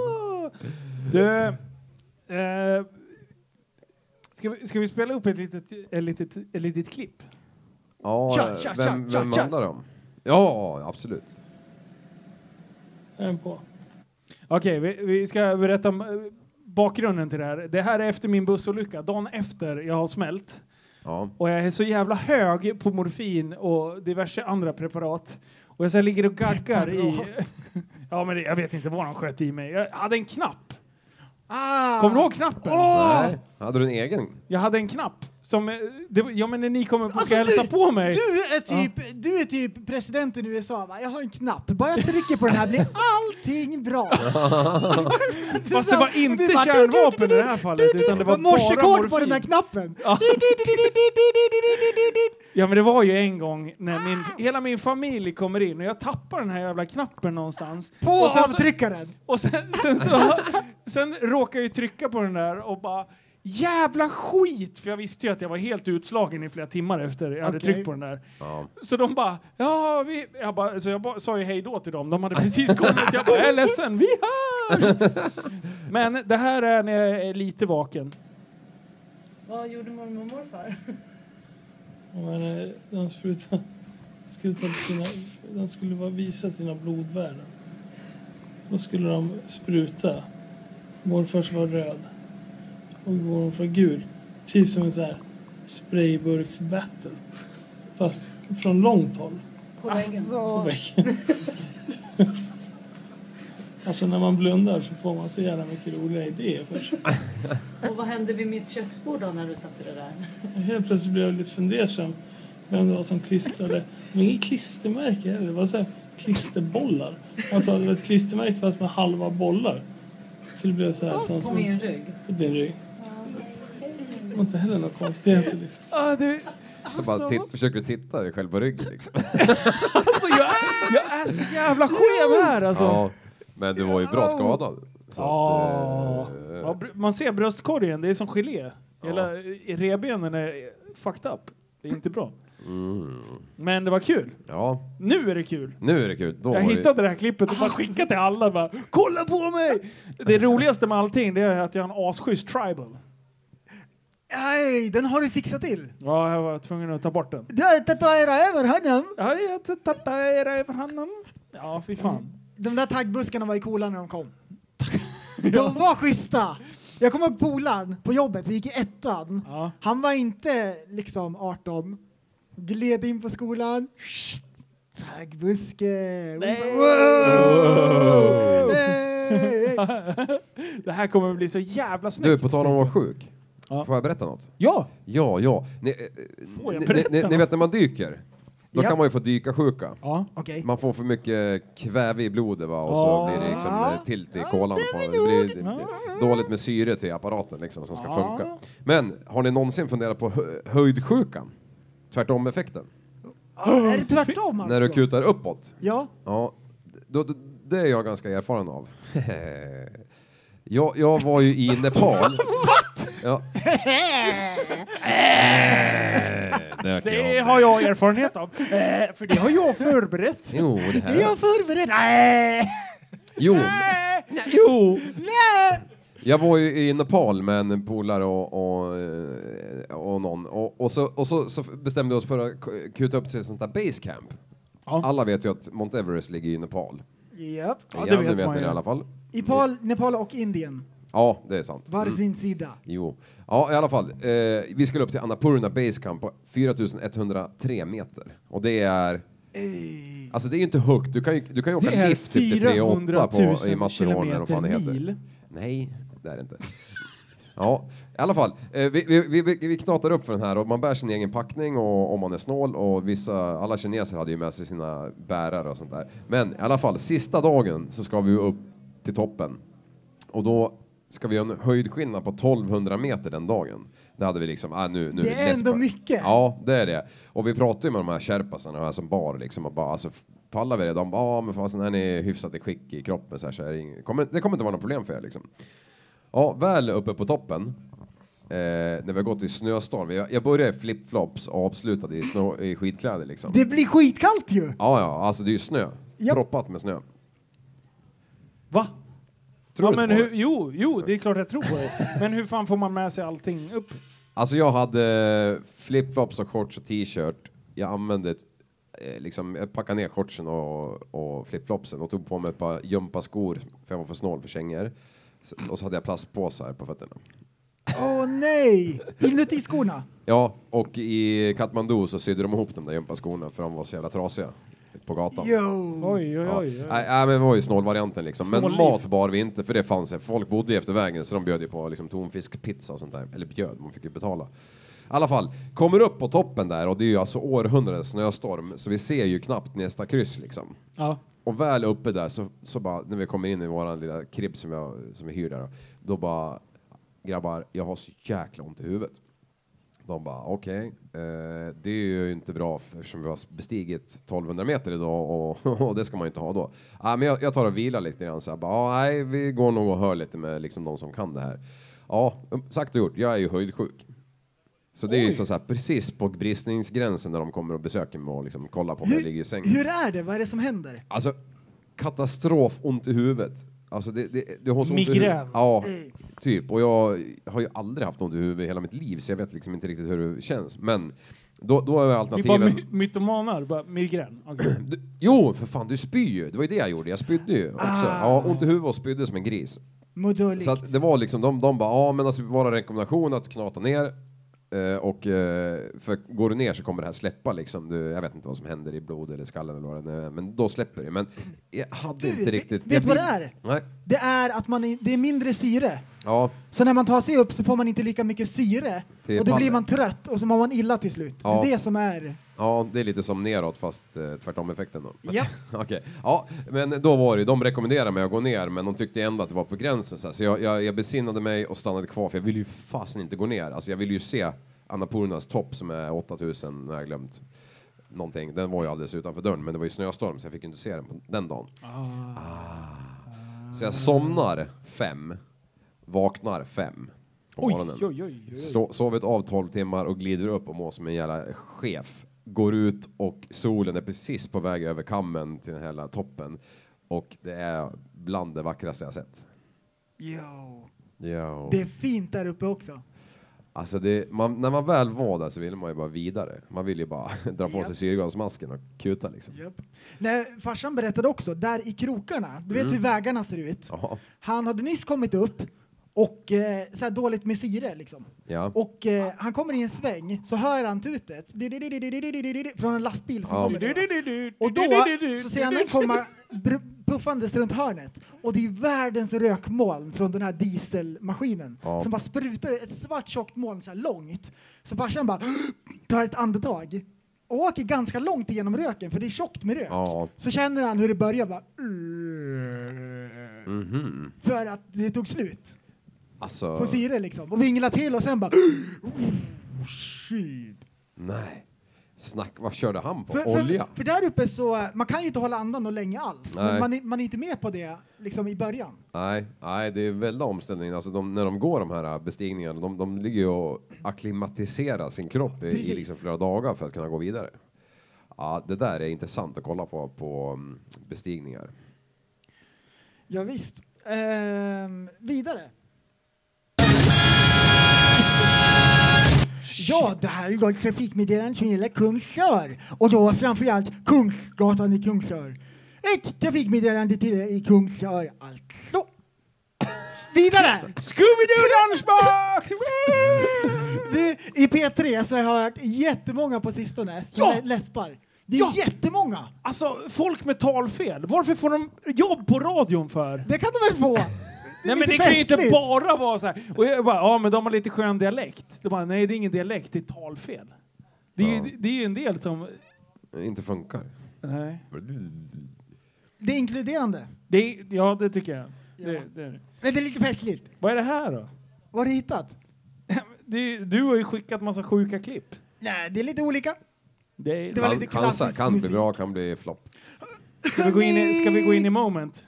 S4: Du, eh, ska, vi, ska vi spela upp ett litet, ett litet, ett litet klipp?
S8: Ja,
S5: Tja, tja, tja,
S8: vem,
S5: tja,
S8: vem
S5: tja.
S8: handlar det om? Ja, absolut.
S4: En på. Okej, vi, vi ska berätta om eh, bakgrunden till det här. Det här är efter min bussolycka, dagen efter jag har smält.
S8: Ja.
S4: Och jag är så jävla hög på morfin och diverse andra preparat. Och jag så här ligger och gaggar i... ja, men det, jag vet inte vad de sköt i mig. Jag hade en knapp.
S5: Ah.
S4: Kommer du ihåg knappen?
S8: Nej, hade du en egen?
S4: Jag hade en knapp. Som, eh, det, var- ja men när ni kommer på
S5: Alltså,
S4: ska hälsa
S5: du-
S4: på mig.
S5: Du är, typ, du är typ presidenten i USA va? Jag har en knapp, bara jag trycker på den här blir allting bra. Du
S4: Fast
S5: sa-
S4: det var
S5: du
S4: inte
S5: bara-
S4: kärnvapen i det här fallet, utan det var bara
S5: morsekod på
S4: morfin.
S5: den här knappen.
S4: Ja. Ja men det var ju en gång när min, hela min familj kommer in och jag tappar den här jävla knappen någonstans.
S5: På
S4: och sen så,
S5: avtryckaren.
S4: och sen, sen, så, sen råkar jag ju trycka på den där och bara Jävla skit! För jag visste ju att jag var helt utslagen i flera timmar efter jag hade
S5: Okej.
S4: tryckt på den där.
S8: Ja.
S4: Så de bara, ja vi... Jag bara, så jag bara, sa ju hej då till dem, de hade precis kommit. Jag bara, jag är ledsen, vi hörs! Men det här är när jag är lite vaken.
S11: Vad gjorde mormor och morfar?
S12: Men eh, de sprutade, sprutade sina, de skulle bara visa sina blodvärden. Då skulle de spruta. Morfars var röd och morfar gul. Typ som en sån här sprayburks-battle. Fast från långt håll.
S11: På väggen?
S5: Så,
S12: Alltså när man blundar så får man så jävla mycket roliga idéer för sig.
S11: Och vad hände vid mitt köksbord då när du satte det där?
S12: Och Helt plötsligt blev jag lite fundersam vem det var som klistrade. Men inget klistermärke heller. Det var så här klisterbollar. Alltså det var ett klistermärke fast med halva bollar. Så det blev så
S5: Ah.
S12: här som
S11: Alltså, På
S12: som
S11: min rygg?
S12: på din rygg. Det var inte heller några konstigheter liksom.
S4: Ah, det,
S8: Så
S5: Alltså.
S8: bara titt, försöker du titta dig själv på ryggen liksom.
S4: alltså jag, jag är så jävla skev här alltså.
S8: Ja. Men du var ju bra skadad. Så
S4: Ja.
S8: att, eh,
S4: Ja, br- man ser bröstkorgen, det är som gelé. Hela eh, revbenen är fucked up. Det är inte bra.
S8: mm.
S4: Men det var kul.
S8: Ja,
S4: Nu är det kul.
S8: nu är det kul. Då
S4: Jag
S8: var det- Ah.
S4: hittade det här klippet och bara skickade till alla. Bara, Kolla på mig! Det roligaste med allting det är att jag har en asschysst tribal.
S5: Nej, den har du fixat till.
S4: Ja, jag var tvungen att ta bort den.
S5: Du har tatuerat över honom.
S4: Ja, jag tatuerade över honom. Ja, fy fan.
S5: De där taggbuskarna var ju coola när de kom. De var schyssta! Jag kommer ihåg polaren på jobbet, vi gick i ettan. Han var inte liksom 18. Gled in på skolan. Sht, Taggbuske! Wow!
S4: Oh.
S5: Nej.
S4: Det här kommer att bli så jävla snyggt.
S8: Du, på tal om att vara sjuk. Får jag berätta något?
S4: Ja!
S8: Ja, ja. Ni, eh,
S4: Får jag
S8: ni-
S4: berätta
S8: ni, ni, ni
S4: något?
S8: vet när man dyker, då
S5: Ja.
S8: kan man ju få dyka sjuka.
S4: Ja.
S5: Okej.
S8: Man får för mycket kväve i blodet va? och
S4: Ja.
S8: så blir det liksom eh, tilt i kolan. På, det blir eh, dåligt med syre till apparaten liksom, som ska
S4: Ja.
S8: funka. Men har ni någonsin funderat på hö- höjdsjukan? Tvärtom-effekten.
S5: Är det tvärtom alltså?
S8: När du kutar uppåt.
S5: Ja.
S8: Ja, då, då, det är jag ganska erfaren av. jag, jag var ju i Nepal. ja.
S4: Det har jag erfarenhet av. Eh, för det har jag förberett.
S8: Jo, det här.
S5: Jag förberedd. Nej!
S8: Jo,
S5: Jo! Nej!
S8: jag var ju i Nepal med en polare och, och, eh, och någon och, och, så, och så, så bestämde vi oss för att k- kuta upp till ett sånt där basecamp. Alla vet ju att Mount Everest ligger i Nepal.
S5: Japp.
S4: Ja, det
S8: Jävlar,
S4: vet man
S8: ni
S4: ju.
S8: det i alla fall.
S5: I Pal, Nepal och Indien.
S8: Ja, det är sant. Mm.
S5: Var sin sida.
S8: Jo. Ja, i alla fall. Eh, vi skulle upp till Annapurna Base Camp på 4103 meter. Och det är... Alltså det är ju inte högt. Du kan ju, du kan ju åka
S4: Det är
S8: lift upp till 3,8 typ på, i
S4: 400 000
S8: Matterhorn eller vad fan det
S4: kilometer
S8: heter.
S4: mil.
S8: Nej, det är det inte. Ja, i alla fall. Eh, vi, vi, vi- vi, vi knatar upp för den här och man bär sin egen packning och om man är snål och vissa, alla kineser hade ju med sig sina bärare och sånt där. Men i alla fall, sista dagen så ska vi ju upp till toppen och då ska vi göra en höjdskillnad på 1200 meter den dagen. Det hade vi liksom, ah, nu, nu
S5: Det är
S8: less
S5: ändå
S8: på-
S5: mycket.
S8: Ja, det är det. Och vi pratade ju med de här sherpasarna de här som bar liksom och bara, alltså pallar vi det? De bara, ja ah, men fasen är ni hyfsat i skick i kroppen så här, så här, ing- kommer, det kommer inte vara något problem för er liksom. Ja, väl uppe på toppen. Eh, när vi har gått i snöstorm. Jag, jag började i flipflops och avslutade i, snö, i skidkläder liksom.
S5: Det blir skitkallt ju!
S8: Ja, ja, alltså det är ju snö.
S5: Ja.
S8: Proppat med snö.
S4: Va?
S8: Tror
S4: ja,
S8: du
S4: men
S8: inte på
S4: hur,
S8: det?
S4: jo, jo, det är klart jag tror på det. Men hur fan får man med sig allting upp?
S8: Alltså jag hade eh, flipflops och shorts och t-shirt. Jag använde ett, eh, liksom, jag packade ner shortsen och, och flipflopsen och tog på mig ett par gympaskor för jag var för snål för kängor. Så- Och så hade jag plastpåsar på fötterna.
S5: Åh nej! Inuti skorna.
S8: Ja, och i Katmandu så sydde de ihop de där gympaskorna för de var så jävla trasiga på gatan.
S5: Yo!
S4: Oj, oj,
S8: Ja.
S4: oj. oj.
S8: Nej, nej, men det var ju snålvarianten liksom. Men
S4: Snålliv.
S8: mat bar vi inte för det fanns det. Folk bodde ju efter vägen så de bjöd ju på liksom, tonfiskpizza och sånt där. Eller bjöd, man fick ju betala. I alla fall, kommer upp på toppen där och det är ju alltså århundradets snöstorm så vi ser ju knappt nästa kryss liksom.
S4: Ja.
S8: Och väl uppe där så, så bara, när vi kommer in i våran lilla kribb som, jag, som vi hyr där, då, då bara grabbar, jag har så jäkla ont i huvudet. De bara okej, eh, det är ju inte bra för- eftersom vi har bestigit 1200 meter idag och, och det ska man ju inte ha då. Ah, men jag, jag tar och vilar lite grann så jag bara, ah, nej vi går nog och hör lite med liksom de som kan det här. Ja, um, sagt och gjort, jag är ju höjdsjuk. Så det är ju så så här, precis på bristningsgränsen när de kommer och besöker mig och liksom kollar på mig, jag ligger i sängen.
S5: Hur är det? Vad är det som händer?
S8: Alltså, katastrof ont i huvudet. Alltså, det, det, det har så ont i
S4: Migrän.
S8: huvudet. Ja, typ. Och jag har ju aldrig haft ont i huvudet i hela mitt liv, så jag vet liksom inte riktigt hur det känns. Men då, då är
S4: Vi bara
S8: alternativen...
S4: my mytomanar, bara migrän. Okej.
S8: Du, jo, för fan, du spyr ju. Det var ju det jag gjorde. Jag spydde ju också.
S4: Ah.
S8: Ja, ont i huvudet och spydde som en gris.
S5: Modulikt.
S8: Så att det var liksom, de, de bara, ja men alltså vår rekommendation är att knata ner eh, och eh, för går du ner så kommer det här släppa liksom. Du, jag vet inte vad som händer i blod eller skallen eller vad det nu är, men då släpper det. Men jag hade
S5: Du,
S8: inte
S5: vet-
S8: riktigt...
S5: vet
S8: jag
S5: du vad
S8: blir-
S5: det är?
S8: Nej.
S5: Det är att man är, det är mindre syre.
S8: Ja,
S5: Så när man tar sig upp så får man inte lika mycket syre.
S8: Till
S5: och då blir
S8: pallen.
S5: man trött och så mår man illa till slut.
S8: Ja.
S5: Det är det som är...
S8: ja, det är lite som neråt fast eh, tvärtom effekten då.
S5: Ja.
S8: Okej, ja, men då var det De rekommenderade mig att gå ner, men de tyckte ändå att det var på gränsen. Så, här. så jag, jag, jag besinnade mig och stannade kvar, för jag ville ju fasen inte gå ner. Alltså, jag ville ju se Annapurnas topp som är 8000, nu har jag glömt någonting. Den var ju alldeles utanför dörren, men det var ju snöstorm så jag fick ju inte se den på den dagen. Ah. Så jag somnar fem, vaknar fem på
S4: Oj,
S8: morgonen.
S4: oj, oj, oj.
S8: Slå, sovit av 12 timmar och glider upp och mår som en jävla chef. går ut och solen är precis på väg över kammen till den här lilla toppen. Och det är bland det vackraste jag sett.
S5: Jo.
S8: Ja.
S5: Det är fint där uppe också.
S8: Alltså det, man, när man väl var där så ville man ju bara vidare. Man ville ju bara dra på
S5: Japp.
S8: sig syrgasmasken och kuta liksom.
S5: Japp. Nej, farsan berättade också, där i krokarna, du vet
S8: Mm.
S5: hur vägarna ser ut.
S8: Jaha.
S5: Han hade nyss kommit upp och eh, så här dåligt med syre liksom.
S8: Ja.
S5: Och eh, han kommer i en sväng så hör han tutet Di-di-di-di-di-di-di-di-di-di, från en lastbil som
S8: Ja.
S5: kommer. Och då så ser han den komma br- puffandes runt hörnet och det är världens rökmoln från den här dieselmaskinen
S8: Ja.
S5: som bara sprutar ett svart tjockt moln så här långt. Så farsan bara tar ett andetag och åker ganska långt igenom röken för det är tjockt med rök.
S8: Ja.
S5: Så känner han hur det börjar bara
S4: Mm.
S8: Mhm.
S5: för att det tog slut
S8: Alltså.
S5: på syre liksom och vinglar till och sen bara shit.
S8: Nej. Snack, vad körde han på?
S5: För,
S8: Olja?
S5: för, för där uppe så, man kan ju inte hålla andan och länge alls, men
S8: Nej.
S5: man, är- man är inte med på det liksom i början.
S8: Nej, nej, det är väldigt omställning. Alltså de, när de går de här bestigningarna, de, de ligger ju och akklimatiserar sin kropp i,
S5: Precis.
S8: i liksom flera dagar för att kunna gå vidare. Ja, det där är intressant att kolla på, på mm, bestigningar.
S5: Ja, visst. Ehm, vidare. Ja, det här är då ett trafikmeddelande som gäller Kungsör och då framförallt Kungsgatan i Kungsör. Ett trafikmeddelande till er i Kungsör, alltså. Vidare!
S4: Scooby-Doo lunchbox!
S5: Du, I P3 så har jag hört jättemånga på sistone som
S4: Ja!
S5: lä- läspar. Det är jättemånga!
S4: Alltså, folk med talfel, varför får de jobb på radion för?
S5: Det kan de väl få?
S4: Nej men
S5: lite
S4: det kan ju inte
S5: festligt.
S4: bara vara så här. Och jag bara, ja men de har lite skön dialekt. De bara, nej det är ingen dialekt, det är talfel. Det är,
S8: Ja.
S4: ju, det är ju en del som...
S8: Det Inte funkar.
S4: Nej.
S5: Det är inkluderande.
S4: Det är, ja, det tycker jag. Det, det är det.
S5: Men det är lite festligt.
S4: Vad är det här då?
S5: Vad har du hittat?
S4: Det, du har ju skickat massa sjuka klipp.
S5: Nej, det är lite olika.
S4: Det är,
S5: Det var lite
S8: kan, kan,
S5: klassisk
S8: kan bli
S5: musik.
S8: bra, kan bli flopp.
S4: ska, vi gå in i, ska vi gå in i moment?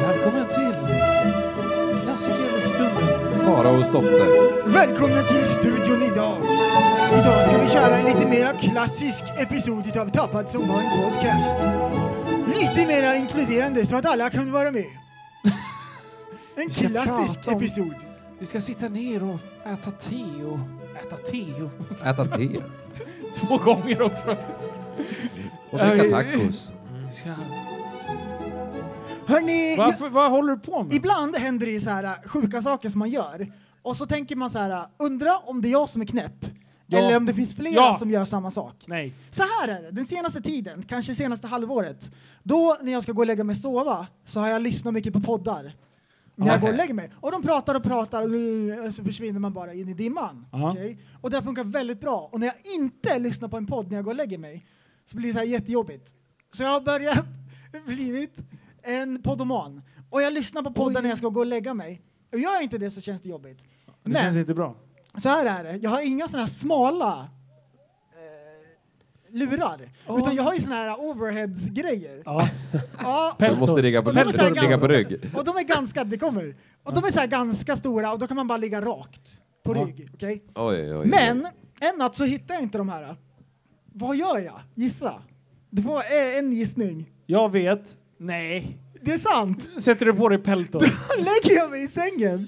S4: Välkommen till klassikerstunden.
S8: Faraos dotter.
S5: Välkomna till studion idag. Idag ska vi köra en lite mer klassisk episod utav Tappad som var en podcast. Lite mer inkluderande så att alla kan vara med. En
S4: ska
S5: klassisk
S4: prata om-
S5: episod.
S4: Vi ska sitta ner och äta te och... Äta te och...
S8: Äta te.
S4: Två gånger också.
S8: Och dricka tacos.
S4: Vi ska...
S5: Hörni,
S4: Varför, vad håller du på med?
S5: ibland händer det ju så här äh, sjuka saker som man gör. Och så tänker man så här, äh, undra om det är jag som är knäpp.
S4: Ja.
S5: Eller om det finns flera
S4: Ja.
S5: som gör samma sak.
S4: Nej.
S5: Så här är det, den senaste tiden, kanske senaste halvåret, då när jag ska gå och lägga mig och sova så har jag lyssnat mycket på poddar. När jag
S4: Aha.
S5: går och lägger mig. Och de pratar och pratar och så försvinner man bara in i dimman.
S4: Aha.
S5: Okej? Och det funkar väldigt bra. Och när jag inte lyssnar på en podd när jag går och lägger mig så blir det så här jättejobbigt. Så jag har börjat blivit en poddoman. Och jag lyssnar på poddar när jag ska gå och lägga mig. Och gör jag inte det så känns det jobbigt.
S4: Det känns inte bra.
S5: Så här är det, jag har inga sådana här smala eh, lurar. Utan jag har ju sådana här overheads-grejer.
S4: Ja.
S5: Ja,
S8: Du måste ligga på,
S5: Och de är så här
S8: ligga på
S5: ganska-
S8: rygg.
S5: Och de är ganska, det kommer. Och de är så här ganska stora och då kan man bara ligga rakt på
S4: Ja.
S5: rygg. Okej?
S8: Oj, oj, oj.
S5: Men en natt så hittar jag inte de här. Vad gör jag? Gissa. Du får eh, en gissning.
S4: Jag vet. Nej.
S5: Det är sant!
S4: Sätter du på dig peltor?
S5: lägger jag mig i sängen.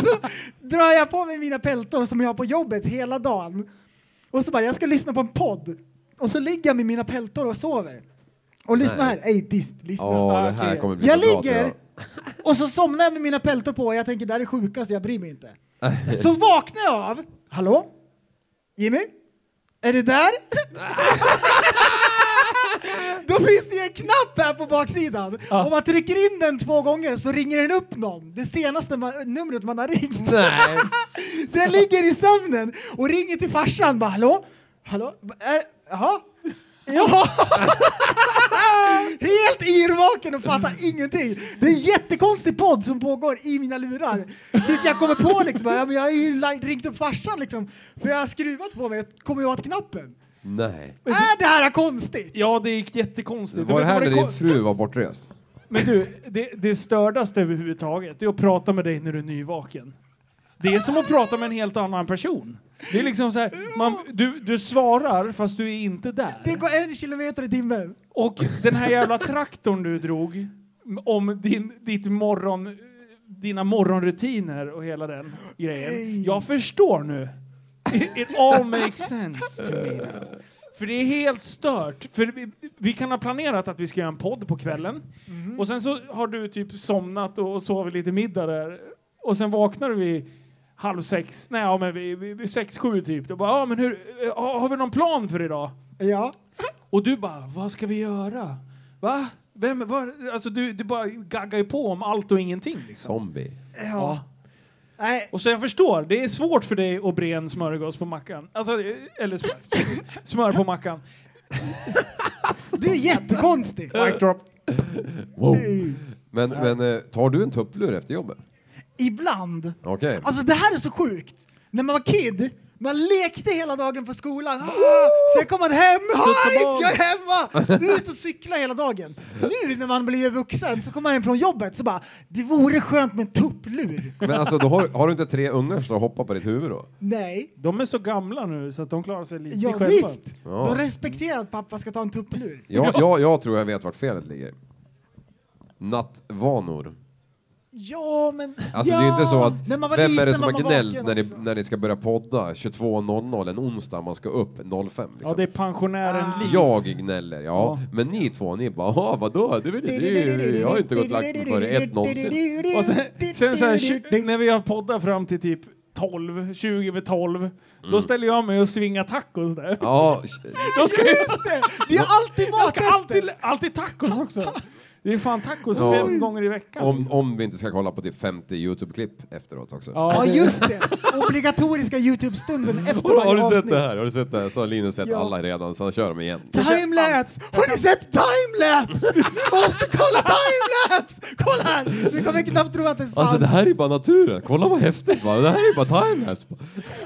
S5: så drar jag på mig mina peltor som jag har på jobbet hela dagen. Och så bara, jag ska lyssna på en podd. Och så ligger jag med mina peltor och sover. Och lyssna
S8: Nej.
S5: här, ey dist, lyssna.
S8: Åh, det här kommer bli
S5: jag
S8: så bra, tror
S5: ligger och så somnar jag med mina peltor på och jag tänker det här är sjukast, jag bryr mig inte. så vaknar jag av, hallå? Jimmy? Är du där? Då finns det ju en knapp här på baksidan.
S4: Ja.
S5: Om man trycker in den två gånger så ringer den upp någon. Det senaste ma- numret man har ringt.
S8: Nej.
S5: Så jag ligger i sömnen och ringer till farsan bara hallå? Hallå? Va- är- Jaha? Ja. Helt yrvaken och fattar ingenting. Det är en jättekonstig podd som pågår i mina lurar. Tills jag kommer på liksom, ja, men jag har ju la- ringt upp farsan liksom. För jag har skruvat på mig, kommer ju åt knappen.
S8: Nej.
S5: Är det här konstigt?
S4: Ja, det är jättekonstigt. Du
S8: Var det
S4: vet
S8: här
S4: vad
S8: när
S4: kom-
S8: din fru var bortrest?
S4: Men du, det, det stördaste överhuvudtaget det är att prata med dig när du är nyvaken. Det är som att prata med en helt annan person. Det är liksom så här, man, du, du svarar fast du är inte där.
S5: Det går en kilometer i timmen.
S4: Och den här jävla traktorn du drog m- om din, ditt morgon, dina morgonrutiner och hela den grejen. Jag förstår nu. It, it all makes sense to me. now. För det är helt stört. För vi, vi kan ha planerat att vi ska göra en podd på kvällen. Och sen så har du typ somnat och, och sovit lite middag där. Och sen vaknar vi halv sex, nej ja, men vi, vi, vi, sex, sju typ. Då bara, ja men hur, eh, har vi någon plan för idag?
S5: Ja.
S4: Och du bara, vad ska vi göra? Va? Vem, var, alltså du, du bara gaggar ju på om allt och ingenting. Liksom.
S8: Zombie.
S5: Ja. Nej.
S4: Och så jag förstår, det är svårt för dig att bre en smörgås på mackan. Alltså, eh, eller smör, smör på mackan.
S5: Du Alltså. är jättekonstig.
S4: Mic drop.
S8: Wow. Men, men eh, tar du en tupplur efter jobbet?
S5: Ibland.
S8: Okej.
S5: Alltså det här är så sjukt. När man var kid, man lekte hela dagen på skolan. Ah, sen kom man hem. Hype,
S4: boll.
S5: jag är hemma! Ut och cykla hela dagen. Nu när man blir vuxen så kommer man hem från jobbet så bara, det vore skönt med en tupplur.
S8: Men alltså, då har, har du inte tre ungar som hoppar på ditt huvud då?
S5: Nej.
S4: De är så gamla nu så att de klarar sig lite
S5: Ja,
S4: själva.
S5: visst.
S8: Ja.
S5: De respekterar att pappa ska ta en tupplur.
S8: Ja, jag, jag tror jag vet vart felet ligger. Nattvanor.
S5: Ja, men...
S8: Alltså
S5: ja.
S8: det är inte så att,
S5: När man var
S8: vem är det
S5: liten
S8: som
S5: var
S8: har
S5: man
S8: gnällt
S5: vaken
S8: när ni,
S5: också.
S8: när ni ska börja podda 22.00 en onsdag man ska upp 05? Liksom.
S4: Ja, det är pensionären
S5: Ah.
S4: Liv.
S8: Jag gnäller, ja. Men ni två, ni bara "Jaha, vadå? Du, du, du, du, jag har ju inte gått och lagt mig före ett någonsin.
S4: Och sen, sen så här, tju- när vi har poddat fram till typ 12, 20 över 12, då ställer jag mig och svingar tacos där.
S8: Mm. Ja,
S4: Då ska jag,
S5: Just det! Det är alltid
S4: jag
S5: mat
S4: ska alltid, alltid tacos också. Det är fan tacos
S8: Ja.
S4: fem gånger i veckan. liksom.
S8: om, om vi inte ska kolla på typ 50 YouTube-klipp efteråt också.
S5: Ja, just det. Obligatoriska Youtube-stunden efter
S8: Har, har
S5: varje
S8: du
S5: avsnitt.
S8: sett det här? Har du sett det här? Så har Linus sett alla redan, så han kör dem igen.
S5: Timelapse! Har ni sett timelapse? Ni måste kolla timelapse! Kolla här! Du kommer knappt tro att det är sant.
S8: Alltså det här är ju bara naturen, kolla vad häftigt va? Det här är ju bara timelapse.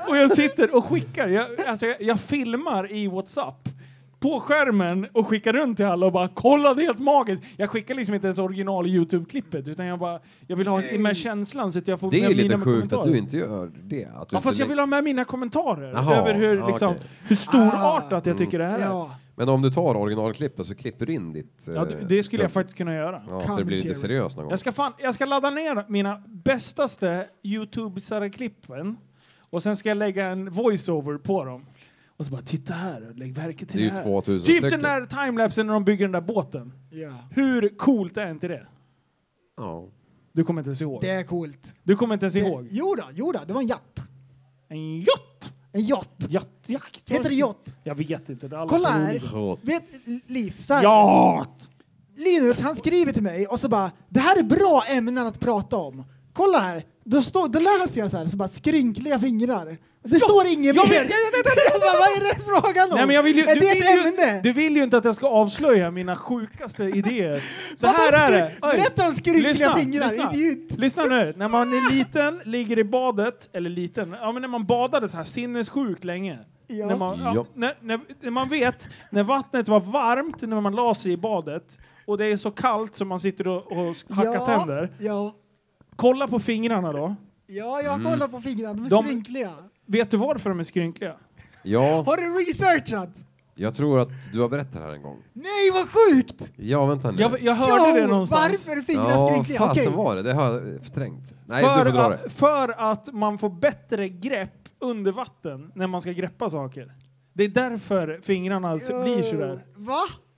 S4: Och jag sitter och skickar. Jag, alltså jag, jag filmar i Whatsapp på skärmen och skickar runt till alla och bara kolla det är helt magiskt. Jag skickar liksom inte ens original Youtube-klippet utan jag bara jag vill ha med känslan så att jag får
S8: Det är
S4: med
S8: ju
S4: mina
S8: lite sjukt att
S4: kommentarer.
S8: du inte gör det. Att du
S4: Ja,
S8: inte
S4: fast jag vill ha med mina kommentarer
S8: Jaha,
S4: över hur,
S8: ja,
S4: liksom,
S8: okej.
S4: hur storartat jag tycker det här är. Ja,
S5: Mm. Ja.
S8: Men om du tar originalklippet så klipper du in ditt... eh,
S4: du- det skulle jag
S8: trupp-
S4: faktiskt kunna göra.
S8: Ja, så det blir lite
S5: Commentary.
S8: seriöst någon gång.
S4: Jag ska, fan, jag ska ladda ner mina bästaste Youtube-klippen och sen ska jag lägga en voiceover på dem. Och så bara titta här, och lägg märke till
S8: Det
S4: det,
S8: är ju
S4: här.
S8: 2000
S4: typ
S8: stycken.
S4: den där timelapsen när de bygger den där båten.
S5: ja.
S4: Hur coolt är inte det?
S8: Ja.
S4: Du kommer inte ens ihåg.
S5: Det är coolt.
S4: Du kommer inte ens ihåg.
S5: Jo då, jo då, det var en jatt.
S4: En yacht!
S5: En yatt.
S4: Yacht, yacht.
S5: Heter det yacht?
S4: Jag vet inte. Det är alla
S5: Kolla
S4: som-
S5: här. Vet, Liv, så här.
S4: Yacht!
S5: Linus, han skriver till mig och så bara “Det här är bra ämnen att prata om”. Kolla här, då, står, då läser jag så här, så bara skrynkliga fingrar. Det står inget
S4: jag
S5: mer!
S4: vet,
S5: Jag
S4: jag vet,
S5: bara, vad är det frågan om?
S4: Nej, men jag vill ju,
S5: är
S4: du,
S5: det
S4: vill
S5: ett
S4: ju,
S5: ämne?
S4: du vill ju inte att jag ska avslöja mina sjukaste idéer. Så
S5: Vadå
S4: här är
S5: skri-
S4: det. Oj.
S5: Berätta om skrynkliga
S4: Lyssna,
S5: fingrar,
S4: lyssna.
S5: idiot!
S4: Lyssna nu, när man är liten, ligger i badet, eller liten, ja men när man badade så här sinnessjukt länge.
S5: Ja.
S4: När, man, ja,
S8: Ja.
S4: när, när, när man vet, när vattnet var varmt när man la sig i badet och det är så kallt som man sitter och, och hackar
S5: ja,
S4: tänder.
S5: Ja,
S4: Kolla på fingrarna då.
S5: ja jag kollar på fingrarna, de är
S4: Mm. De-
S5: skrynkliga.
S4: Vet du varför de är skrynkliga?
S8: ja,
S5: Har du researchat?
S8: jag tror att du har berättat det här en gång.
S5: Nej, vad sjukt!
S8: Ja, vänta nu.
S4: Jag, jag hörde
S5: Jo,
S4: det någonstans.
S5: Varför är fingrar
S8: Alltså, ja,
S5: skrynkliga?
S8: fasen
S5: Okej,
S8: var det? Det har jag förträngt. Nej, du får
S4: för,
S8: dra det.
S4: att, för att man får bättre grepp under vatten när man ska greppa saker. Det är därför fingrarna s- blir sådär.
S5: Eh, va?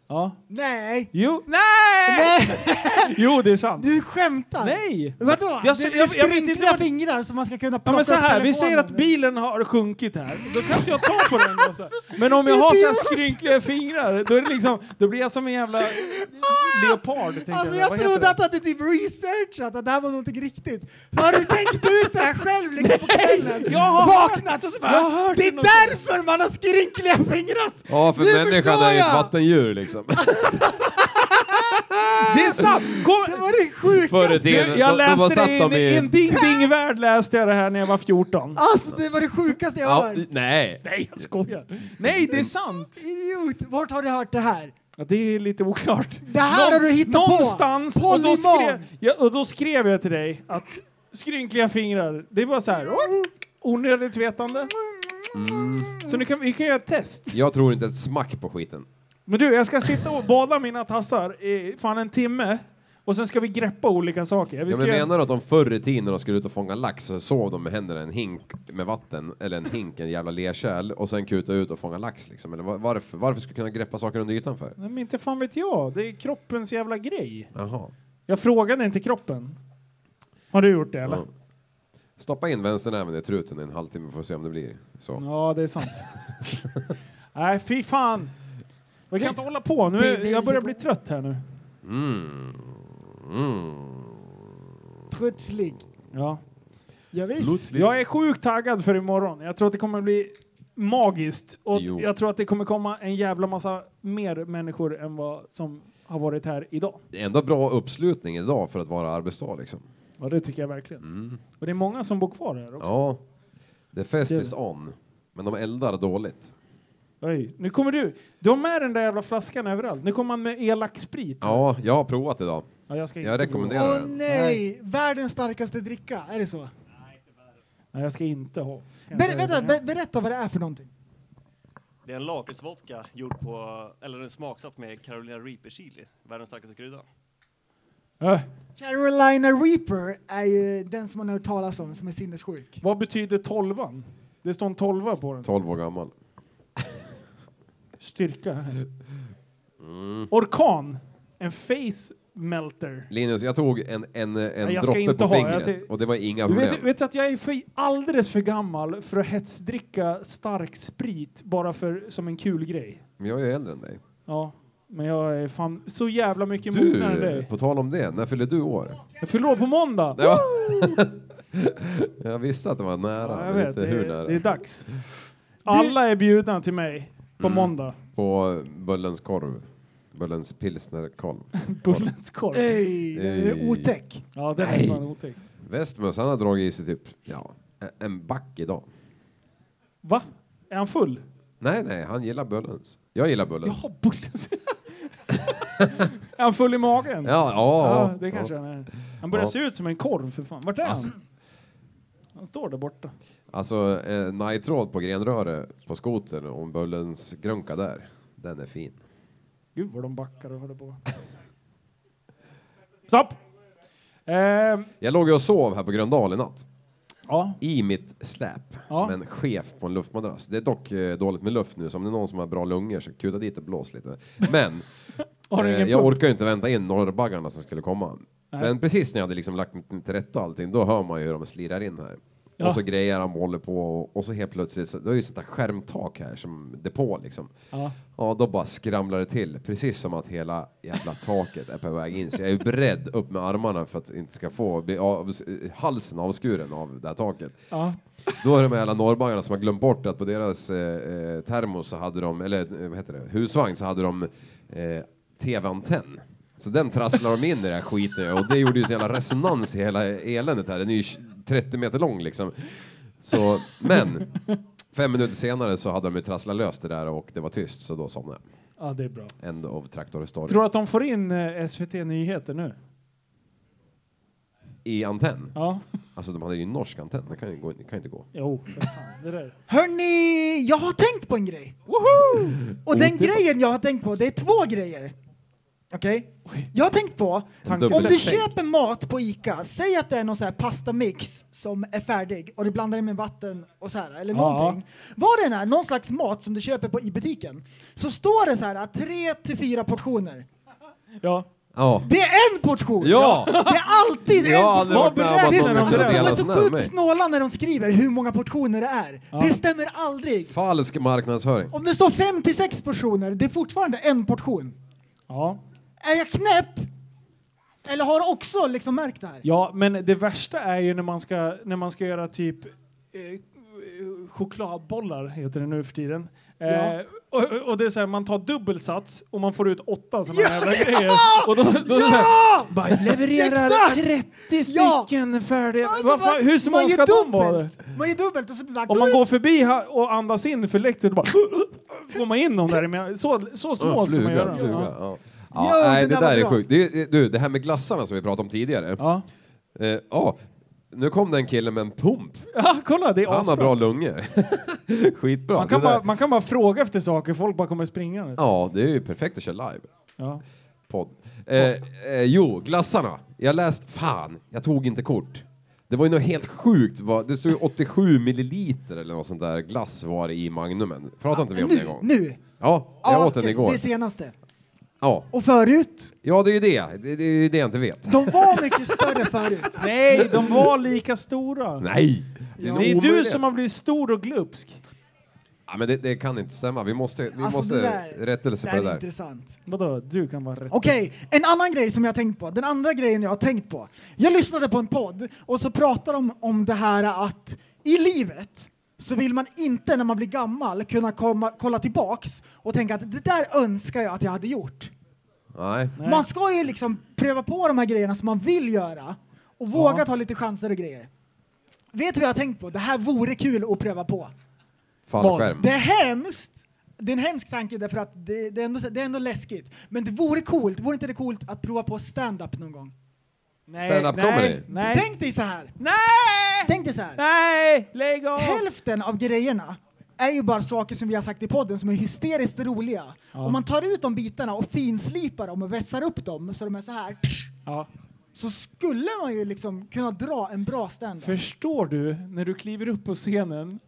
S4: Ja.
S5: Nej!
S4: Jo, nej! Jo, det är sant.
S5: Du skämtar?
S4: Nej!
S5: Vadå?
S4: Jag-
S5: det
S4: jag-
S5: är
S4: jag vet
S5: skrynkliga
S4: inte vad-
S5: fingrar som man ska kunna
S4: Ja,
S5: plocka
S4: men så
S5: upp
S4: här, vi
S5: telefonen
S4: säger att
S5: med.
S4: bilen har sjunkit här, då kan inte jag ta på den. Då, så här. men om jag har så här skrynkliga fingrar, då, är det liksom, då blir jag som en jävla leopard. tänkte
S5: Alltså
S4: Vad
S5: jag
S4: heter
S5: trodde
S4: det?
S5: att du hade typ researchat att det här var någonting riktigt. Så har du tänkt ut det här själv liksom på kvällen?
S4: jag har
S5: Vaknat och så bara
S4: Jag har hört
S5: Det är
S4: det någonstans."
S5: därför man har skrynkliga fingrat!
S8: Ja, för
S5: Nu
S8: människan
S5: förstår
S8: är ju ett
S5: jag!
S8: vattendjur liksom.
S4: Det är sant! Kom,
S5: Det var det sjukaste!
S8: Förr i tiden.
S4: du, jag
S8: de- de har
S4: läste
S8: satt
S4: det i en,
S8: dem
S4: i en ding-ding-värld läste jag det här när jag var 14.
S5: Alltså det var det sjukaste jag
S8: Ja,
S5: hört!
S8: nej.
S4: Nej, jag skojar. Nej, det är sant.
S5: Idiot! Vart har du hört det här?
S4: Ja, det är lite oklart.
S5: Det här har du hittat på.
S4: någonstans, Och då,
S5: Polyman.
S4: skrev, ja, och då skrev jag till dig att skrynkliga fingrar. Det är bara så här. Onödigt vetande. Så nu kan, vi kan göra ett test.
S8: Mm. Jag tror inte ett smack på skiten.
S4: Men du, jag ska sitta och bada mina tassar i fan en timme. Och sen ska vi greppa olika saker. Vi ska
S8: Ja, men
S4: göra-
S8: menar du att de förr i tiden när de skulle ut och fånga lax så sov de med händerna i en hink med vatten, eller en hink, en jävla lerkärl och sen kuta ut och fånga lax liksom? Eller var- varför, varför skulle kunna greppa saker under ytan för?
S4: Nej, men inte fan vet jag. Det är kroppens jävla grej.
S8: Jaha.
S4: Jag frågade inte kroppen. Har du gjort det eller?
S8: Ja. Stoppa in vänsternäven i truten i en halvtimme för att se om det blir så.
S4: Ja, det är sant. Nej, fy fan. Vi kan inte hålla på. Nu,
S5: Det vill
S4: jag börjar
S5: det
S4: bli trött här nu.
S8: Mm. Mm.
S5: Trutslig.
S4: Ja.
S5: Ja, visst.
S4: Jag är sjukt taggad för imorgon. Jag tror att det kommer bli magiskt. Och
S8: Jo.
S4: jag tror att det kommer komma en jävla massa mer människor än vad som har varit här idag.
S8: Det är ändå bra uppslutning idag för att vara arbetsdag liksom.
S4: Ja, det tycker jag verkligen.
S8: Mm.
S4: Och det är många som bor kvar här också.
S8: Ja, det är fest
S4: Det-
S8: is on. Men de eldar dåligt.
S4: Oj, nu kommer du. Du har med den där jävla flaskan överallt. Nu kommer man med elak sprit.
S8: Ja, jag har provat idag.
S4: Ja, jag ska
S8: Jag
S4: inte
S8: rekommenderar
S4: prova.
S5: Åh
S8: den.
S5: nej! Världens starkaste dricka, är det så?
S4: Nej, jag ska inte ha. Kan jag
S5: Ber
S4: säga
S5: vänta,
S4: det?
S5: be berätta vad det är för någonting.
S13: Det är en lakritsvodka gjord på, eller den smaksatt med Carolina Reaper chili, världens starkaste krydda.
S4: Äh,
S5: Carolina Reaper är ju den som man har hört talas om som är sinnessjuk.
S4: vad betyder tolvan? Det står en tolva på den.
S8: 12 år gammal.
S4: Styrka.
S8: Mm.
S4: Orkan. En face melter.
S8: Linus, jag tog en, en, en
S4: Nej, jag ska
S8: droppe
S4: inte
S8: på
S4: ha, jag
S8: fingret
S4: tänk-
S8: och det var inga
S4: Du
S8: problem.
S4: vet, vet du att jag är för, alldeles för gammal för att hetsdricka stark sprit bara för, som en kul grej.
S8: Men jag är ju äldre än dig.
S4: Ja, men jag är fan så jävla mycket
S8: Du,
S4: mognare än dig.
S8: på tal om det, när fyller du år?
S4: Jag fyller år på måndag.
S8: Ja. jag visste att det var nära,
S4: Ja, jag
S8: men
S4: vet,
S8: inte
S4: det,
S8: hur
S4: är,
S8: nära.
S4: det är dags. Alla är bjudna till mig
S8: Mm.
S4: på måndag.
S8: På Böllens korv. Böllens pilsnerkorv.
S4: Bullens korv.
S5: Ej, den är
S8: Ej.
S5: otäck.
S4: Ja, den är
S8: Nej.
S4: fan otäck.
S8: Westmös, han har dragit i sig typ ja, e- en back idag.
S4: Va? Är han full?
S8: Nej, nej, han gillar Böllens. Jag gillar Böllens.
S4: Jaha, Bullens. är han full i magen?
S8: Ja, ja,
S4: det
S8: ja.
S4: kanske han är. Han börjar
S8: Ja.
S4: se ut som en korv för fan. Vart är han? Han står där borta.
S8: Alltså, eh, nitrod på grenröre på skotern och en Böllens grönka där. Den är fin.
S4: Gud vad de backar och håller på. Stopp! Ehm,
S8: Jag låg ju och sov här på Gröndal i natt.
S4: ja,
S8: I mitt släp,
S4: Ja.
S8: som en chef på en luftmadrass. Det är dock eh, dåligt med luft nu, så om det är någon som har bra lungor så kuta dit och blås lite. Men
S4: Har du
S8: eh,
S4: ingen
S8: jag
S4: pump?
S8: orkar ju inte vänta in norrbaggarna som skulle komma.
S4: Nej.
S8: Men precis när jag hade liksom lagt mig till rätta och allting, då hör man ju hur de slirar in här.
S4: Ja.
S8: Och så grejer de håller på och, och så helt plötsligt, så, då är det ju sånt där skärmtak här som depå liksom.
S4: ja.
S8: Ja, då bara skramlar det till. Precis som att hela jävla taket är på väg in. Så jag är ju beredd upp med armarna för att inte ska få bli av, halsen avskuren av det här taket.
S4: Ja.
S8: Då är det de här jävla norrbaggarna som har glömt bort att på deras eh, eh, termos så hade de, eller eh, vad heter det, husvagn så hade de eh, tv-antenn. Så den trasslar de in i det här skiten och det gjorde ju så jävla resonans i hela eländet här. Den är ju 30 meter lång liksom. Så, men fem minuter senare så hade de ju trasslat löst det där och det var tyst så då somnade
S4: ja, det är bra.
S8: jag. End of Tractor Story.
S4: Tror du att de får in eh, SVT Nyheter nu?
S8: I antenn?
S4: Ja.
S8: Alltså de hade ju en norsk antenn, det kan ju, gå, det kan ju inte gå.
S4: Jo, för fan. Det där.
S5: Hörni, jag har tänkt på en grej. Och den grejen jag har tänkt på, det är två grejer. Okej? Jag har tänkt på, om
S4: Tankesätt
S5: du
S4: tänk.
S5: köper mat på Ica, säg att det är någon så här pastamix som är färdig och du blandar den med vatten och så här, eller
S4: Ja.
S5: någonting. Vad det än är, någon slags mat som du köper på, i butiken, så står det så här tre till fyra portioner.
S4: Ja.
S8: Ja.
S5: Det är en portion!
S8: Ja!
S5: Det är alltid
S8: Jag har
S5: en
S8: aldrig
S5: portion!
S8: varit med om att
S5: Det
S4: någon människa
S5: är- De
S8: liksom delar
S5: är
S8: sån
S5: så
S8: här med.
S5: sjukt snåla när de skriver hur många portioner det är. Det stämmer aldrig.
S8: Falsk marknadsföring.
S5: Om det står fem till sex portioner, det är fortfarande en portion.
S4: Ja.
S5: Är jag knäpp? Eller har också liksom märkt det här?
S4: ja, men det värsta är ju när man ska, när man ska göra typ eh, chokladbollar, heter det nu för tiden. Eh,
S5: Ja.
S4: och, och det är så här, man tar dubbelsats och man får ut åtta sådana jävla grejer. Och då, då är det så här,
S5: Ja!
S4: Bara levererar
S5: Exakt!
S4: 30
S5: Ja!
S4: stycken färdiga.
S5: Alltså,
S4: Vad fan,
S5: man-
S4: hur små
S5: man
S4: ska
S5: ger
S4: de vara?
S5: dubbelt. Man ger dubbelt och så blir det
S4: Om man
S5: bara-
S4: går förbi här och andas in för läktaren bara får man in dem där Så, så små
S8: Ja,
S4: ska man
S8: fluga,
S4: göra.
S8: Fluga,
S4: Ja.
S8: ja.
S5: Ja,
S8: Ja, nej,
S5: den
S8: det
S5: där var
S8: där är
S5: bra.
S8: sjukt. Det, det- du, det här med glassarna som vi pratade om tidigare.
S4: Ja.
S8: Eh, ja, Nu kom den killen med en pump.
S4: Ja, kolla, det är
S8: Han har
S4: asbra.
S8: bra lungor. Skitbra.
S4: Man kan,
S8: Det där-
S4: bara, man kan bara fråga efter saker, folk bara kommer springa. vet du.
S8: Ja, det är ju perfekt att köra live.
S4: Ja.
S8: Podd. Eh, eh, jo, glassarna. Jag läst, fan, jag tog inte kort. Det var ju något helt sjukt. Vad, det stod ju 87 milliliter eller något sånt där glass var det i Magnumen. Pratade inte vi om det en
S5: Nu,
S8: gång?
S5: nu!
S8: Ja, jag åt den
S5: det-
S8: igår.
S5: Det senaste.
S8: Ja.
S5: Och förut,
S8: ja, det är ju det. Det, det är ju det jag inte vet.
S5: de var mycket större förut.
S4: Nej, de var lika stora.
S8: Nej!
S4: Det
S8: en
S4: är, du
S8: omöjlighet.
S4: som har blivit stor och glupsk.
S8: Ja, men det, det kan inte stämma. Vi måste, vi
S5: Alltså,
S8: måste
S5: det där-
S8: rättelse
S5: det
S8: på
S5: där
S8: det
S5: är
S8: där.
S5: intressant.
S4: Vadå, du kan vara rätt.
S5: Okej, en annan grej som jag har tänkt på. Den andra grejen jag har tänkt på. Jag lyssnade på en podd och så pratar de om det här att i livet så vill man inte när man blir gammal kunna komma, kolla tillbaks och tänka att det där önskar jag att jag hade gjort.
S8: Nej.
S5: Man ska ju liksom pröva på de här grejerna som man vill göra och våga ta lite chanser och grejer. Vet du vad jag har tänkt på? Det här vore kul att pröva på.
S8: Fallskärm.
S5: Det är hemskt. Det är en hemsk tanke därför att det, det, är ändå, det är ändå läskigt. Men det vore coolt, vore inte det coolt att prova på stand-up någon gång?
S8: Stand-up comedy.
S4: Nej.
S5: Tänk dig så här.
S4: Nej!
S5: Tänk dig så här.
S4: Nej! Lägg av!
S5: Hälften av grejerna är ju bara saker som vi har sagt i podden som är hysteriskt roliga. Om man tar ut de bitarna och finslipar dem och vässar upp dem så de är så här.
S4: Ja.
S5: Så skulle man ju liksom kunna dra en bra stand-up.
S4: Förstår du när du kliver upp på scenen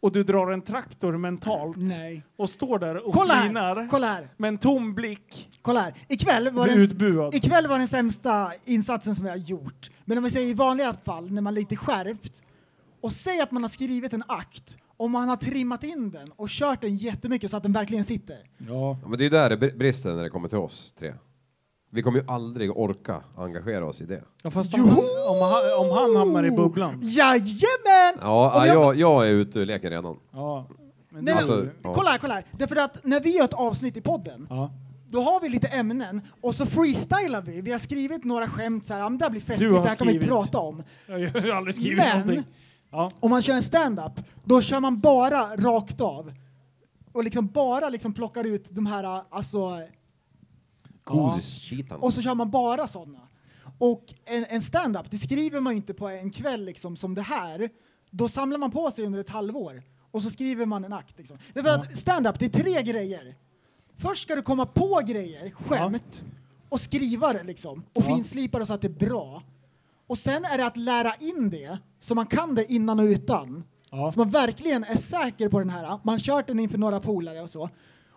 S4: och du drar en traktor mentalt
S5: Nej.
S4: och står där och
S5: Kolla här,
S4: flinar
S5: kolla här.
S4: med en tom blick.
S5: Kolla här. Ikväll var,
S4: Bli
S5: den,
S4: utbuad.
S5: ikväll var den sämsta insatsen som jag har gjort. Men om vi säger i vanliga fall, när man är lite skärpt, och säg att man har skrivit en akt, om man har trimmat in den och kört den jättemycket så att den verkligen sitter.
S4: Ja.
S8: Ja, men det är ju där det br- brister när det kommer till oss tre. Vi kommer ju aldrig orka engagera oss i det.
S4: Ja, fast om han, om, han, om han hamnar i bubblan.
S5: Jajamän!
S8: Ja,
S5: Och
S8: jag, jag är ute ur leken redan.
S4: Ja. Men
S5: Nej, men,
S8: Alltså, ja.
S5: Kolla här, kolla här. Därför att när vi gör ett avsnitt i podden,
S4: Ja.
S5: då har vi lite ämnen och så freestylar vi. Vi har skrivit några skämt så här, "Ah, men det här blir festligt,
S4: Du har
S5: det här kan vi
S4: skrivit.
S5: prata om.
S4: Jag har ju aldrig skrivit
S5: Men-
S4: någonting. Ja.
S5: om man kör en stand-up, då kör man bara rakt av. Och liksom bara liksom plockar ut de här, alltså,
S14: Typ.
S8: Gosskitan.
S5: och så kör man bara sådana. Och en, en stand-up, det skriver man ju inte på en kväll liksom som det här. Då samlar man på sig under ett halvår och så skriver man en akt. Liksom. Därför att stand-up, det är tre grejer. Först ska du komma på grejer, skämt, och skriva det liksom. Och finslipa det så att det är bra. Och sen är det att lära in det, så man kan det innan och utan.
S4: Ja.
S5: Så man verkligen är säker på den här. Man har kört den inför några polare och så.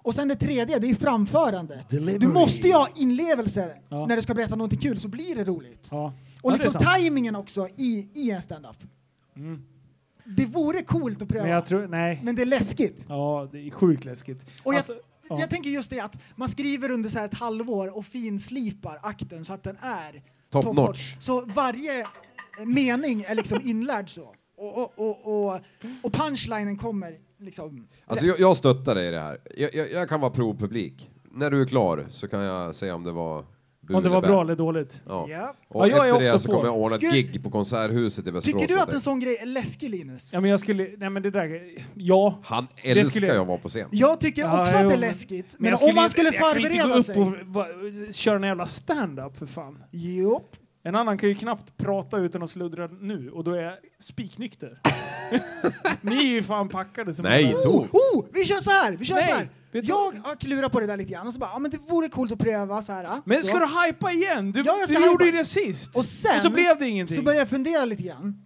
S5: Och sen det tredje, det är ju framförandet. Du måste ju ha inlevelse
S4: Ja.
S5: när du ska berätta någonting kul, så blir det roligt.
S4: Ja.
S5: Och
S4: Ja, det är
S5: liksom
S4: sant.
S5: tajmingen också i, i en stand-up. Det vore coolt att pröva,
S4: Mm. Men
S5: men,
S4: jag tror, nej.
S5: det är läskigt.
S4: Ja, det är sjukt läskigt.
S5: Och jag,
S4: Alltså, ja.
S5: jag tänker just det att man skriver under så här ett halvår och finslipar akten så att den är
S8: Top
S5: top
S8: notch.
S5: Så varje eh, mening är liksom inlärd så. Och, och, och, och, och punchlinen kommer liksom
S8: Alltså, jag, jag stöttar dig i det här. Jag, jag, jag kan vara provpublik. När du är klar så kan jag säga om det var bu
S4: Om det var
S8: eller bä.
S4: bra eller dåligt.
S8: Ja.
S5: Ja.
S8: Och
S4: Ja, jag är
S8: efter det
S4: också
S8: så
S4: på.
S8: kommer jag ordna ett
S5: Skulle-
S8: gig på Konserthuset i Västerås.
S5: Tycker du
S8: åt
S5: att
S8: dig.
S5: en sån grej är läskig Linus?
S4: Ja, men jag skulle, nej men det där, ja.
S8: Han
S4: skulle
S8: älskar
S4: jag-
S8: ju att vara på scen.
S5: Jag tycker
S4: Ja,
S5: också att
S4: jo,
S5: det är
S4: men-
S5: läskigt,
S4: jag
S5: men, om man
S4: ju-
S5: skulle
S4: jag kan ju inte gå
S5: förbereda
S4: upp och
S5: sig.
S4: va, köra en jävla stand-up för fan.
S5: Jo.
S4: En annan kan ju knappt prata utan att sluddra nu och då är jag spiknykter. Ni är ju fan packade som
S8: Nej,
S4: bara-
S8: Tor!
S5: Oh, vi kör så här, vi kör
S4: Nej,
S5: så här.
S4: vet du-
S5: Jag har klurat på det där lite grann och så bara, ja men det vore coolt att pröva så här. ah,
S4: Men
S5: så.
S4: ska du hypa igen? Du,
S5: Ja, jag ska
S4: du gjorde ju
S5: hypa.
S4: det sist.
S5: Och sen
S4: så blev det ingenting.
S5: Så började jag fundera lite grann.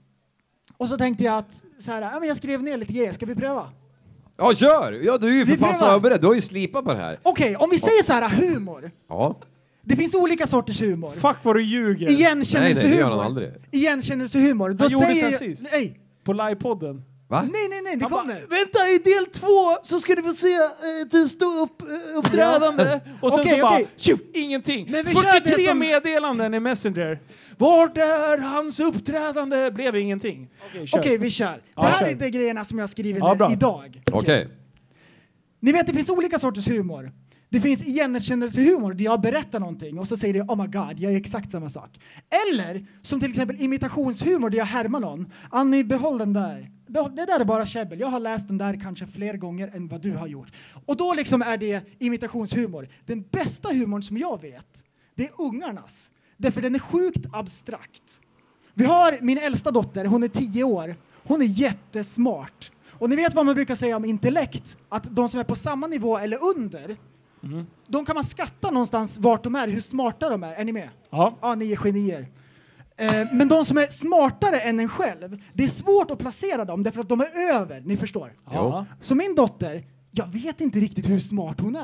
S5: Och så tänkte jag att så här, ja men jag skrev ner lite grejer, ska vi pröva?
S8: Ja, kör! Ja, du är ju
S5: Vi
S8: för fan
S5: prövar.
S8: förberedd. Du har ju slipat på det här.
S5: Okej, om vi säger så här humor.
S8: Ja.
S5: Det finns olika sorters humor.
S4: Fuck vad du ljuger.
S8: Nej, nej, det gör
S5: Igenkännelsehumor.
S8: han aldrig.
S5: Igenkännelsehumor. Då
S4: Han gjorde
S5: säger
S4: så här
S5: jag,
S4: sist.
S5: Nej,
S4: På livepodden.
S8: Va?
S5: nej, nej, nej, det
S4: Han
S5: kommer.
S4: bara, Vänta, i del två så ska du få se eh, ett stå upp, eh, uppträdande. och sen
S5: Okej,
S4: så bara,
S5: okej.
S4: tjup, ingenting.
S5: Men vi kör det
S4: 43
S5: som-
S4: meddelanden i Messenger. Vart är hans uppträdande? Blev ingenting. Okej, kör.
S5: Okej, vi kör.
S4: Ja,
S5: det här
S4: kör.
S5: är de grejerna som jag har skrivit
S4: Ja,
S5: ner
S4: bra.
S5: idag.
S8: Okej.
S5: Ni vet, det finns olika sorters humor. Det finns igenkännelsehumor där jag berättar någonting och så säger det oh my god, jag är exakt samma sak. Eller som till exempel imitationshumor där jag härmar någon. Annie, behåll den där. Behåll, det där är bara käbbel. Jag har läst den där kanske fler gånger än vad du har gjort. Och då liksom är det imitationshumor. Den bästa humorn som jag vet, det är ungarnas. Därför den är sjukt abstrakt. Vi har min äldsta dotter, hon är 10 år. Hon är jättesmart. Och ni vet vad man brukar säga om intellekt? Att de som är på samma nivå eller under, de kan man skatta någonstans vart de är, hur smarta de är. Är ni med?
S4: Ja.
S5: Ja, ah, ni är genier. Eh, men de som är smartare än en själv, det är svårt att placera dem därför att de är över, ni förstår.
S8: Jo.
S5: Så min dotter, jag vet inte riktigt hur smart hon är.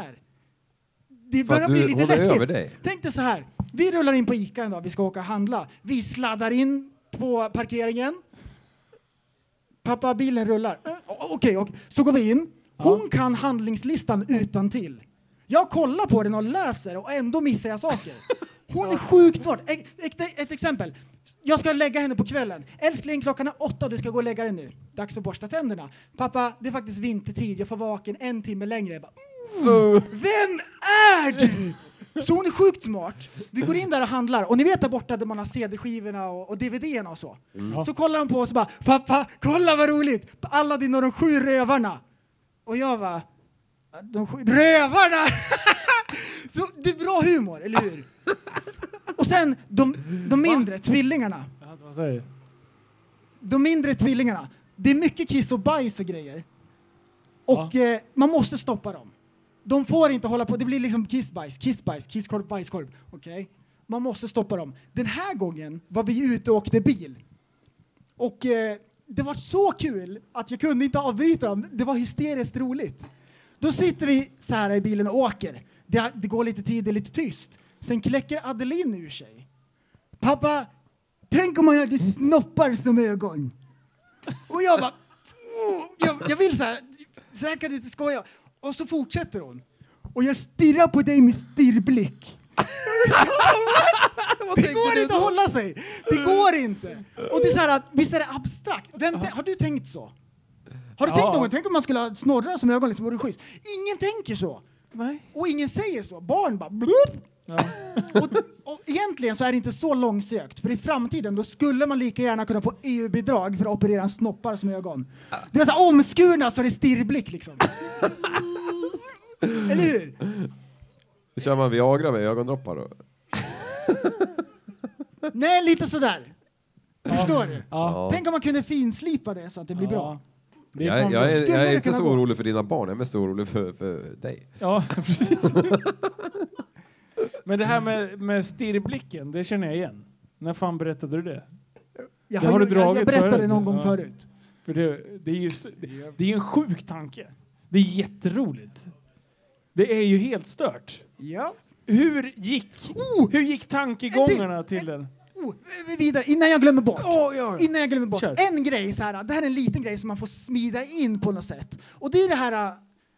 S5: Det
S8: För
S5: börjar
S8: att du-
S5: bli lite
S8: hon är
S5: läskigt.
S8: över dig.
S5: Tänk dig så här, vi rullar in på Ica en dag, vi ska åka och handla. Vi sladdar in på parkeringen. Pappa, bilen rullar. Eh, o- Okej, okej. så går vi in. Hon kan handlingslistan utan till. Jag kollar på den och läser och ändå missar jag saker. Hon är sjukt smart. E- Ett, ett exempel. Jag ska lägga henne på kvällen. Älskling, klockan är åtta och du ska gå och lägga dig nu. Dags att borsta tänderna. Pappa, det är faktiskt vintertid. Jag får vara vaken en timme längre. Jag bara, "Ooh, Vem är du? Så hon är sjukt smart. Vi går in där och handlar och ni vet där borta där man har CD-skivorna och, och DVD-erna och så.
S15: Mm.
S5: Så kollar hon på oss och bara “Pappa, kolla vad roligt! Aladdin och de sju rövarna!” Och jag bara “De sju rövarna!” Så det är bra humor, eller hur? Och sen de, de mindre, tvillingarna.
S4: Vad säger du?
S5: De mindre tvillingarna. Det är mycket kiss och bajs och grejer. Och eh, man måste stoppa dem. De får inte hålla på. Det blir liksom kissbajs, kissbajs, kisskorv, bajskorv. Okej? Man måste stoppa dem. Den här gången var vi ute och åkte bil. Och eh, det var så kul att jag kunde inte avbryta dem. Det var hysteriskt roligt. Då sitter vi så här i bilen och åker. Det, det går lite tid, det är lite tyst. Sen kläcker Adeline ur sig. Pappa, tänk om man hade snoppar som ögon. Och jag bara, "Åh", jag, jag vill så här, så här kan du inte skoja. Och så fortsätter hon. Och jag stirrar på dig med stirrblick. det går inte att hålla sig. Det går inte. Och det är så här att, visst är det abstrakt? Vem tän- har du tänkt så? Har du
S15: Ja.
S5: tänkt någon? Tänk om man skulle ha snorrar som ögon, liksom, vore det schysst. Ingen tänker så. Och ingen säger så. Barn bara blup. och, och egentligen så är det inte så långsökt, för i framtiden då skulle man lika gärna kunna få EU-bidrag för att operera en snoppar som ögon. Det är så här omskurna så det är stirrblick liksom. Eller hur?
S8: Kör man Viagra med ögondroppar då?
S5: Nej, lite sådär. Förstår du?
S8: Ja.
S5: Tänk om man kunde finslipa det så att det blir bra.
S4: Det är
S8: jag, är-
S4: fan-
S8: jag, är,
S5: Skulle
S8: jag är
S5: det
S8: inte
S5: kunna
S8: så
S5: gå?
S8: orolig för dina barn, jag är mest orolig för, för dig.
S4: Ja, precis. Men det här med, med stirrblicken, det känner jag igen. När fan berättade du det?
S5: Jag
S4: Det
S5: har
S4: du
S5: ju- jag- jag
S4: dragit
S5: berättade
S4: förut.
S5: någon gång förut.
S4: För det, det är ju s- det, det är ju en sjuk tanke. Det är jätteroligt. Det är ju helt stört.
S5: Ja.
S4: Hur gick, hur gick tankegångarna till den?
S5: Oh, vi- vidare, innan jag glömmer bort. Innan jag glömmer bort.
S4: Kör.
S5: En grej så här, det här är en liten grej som man får smida in på något sätt. Och det är det här äh,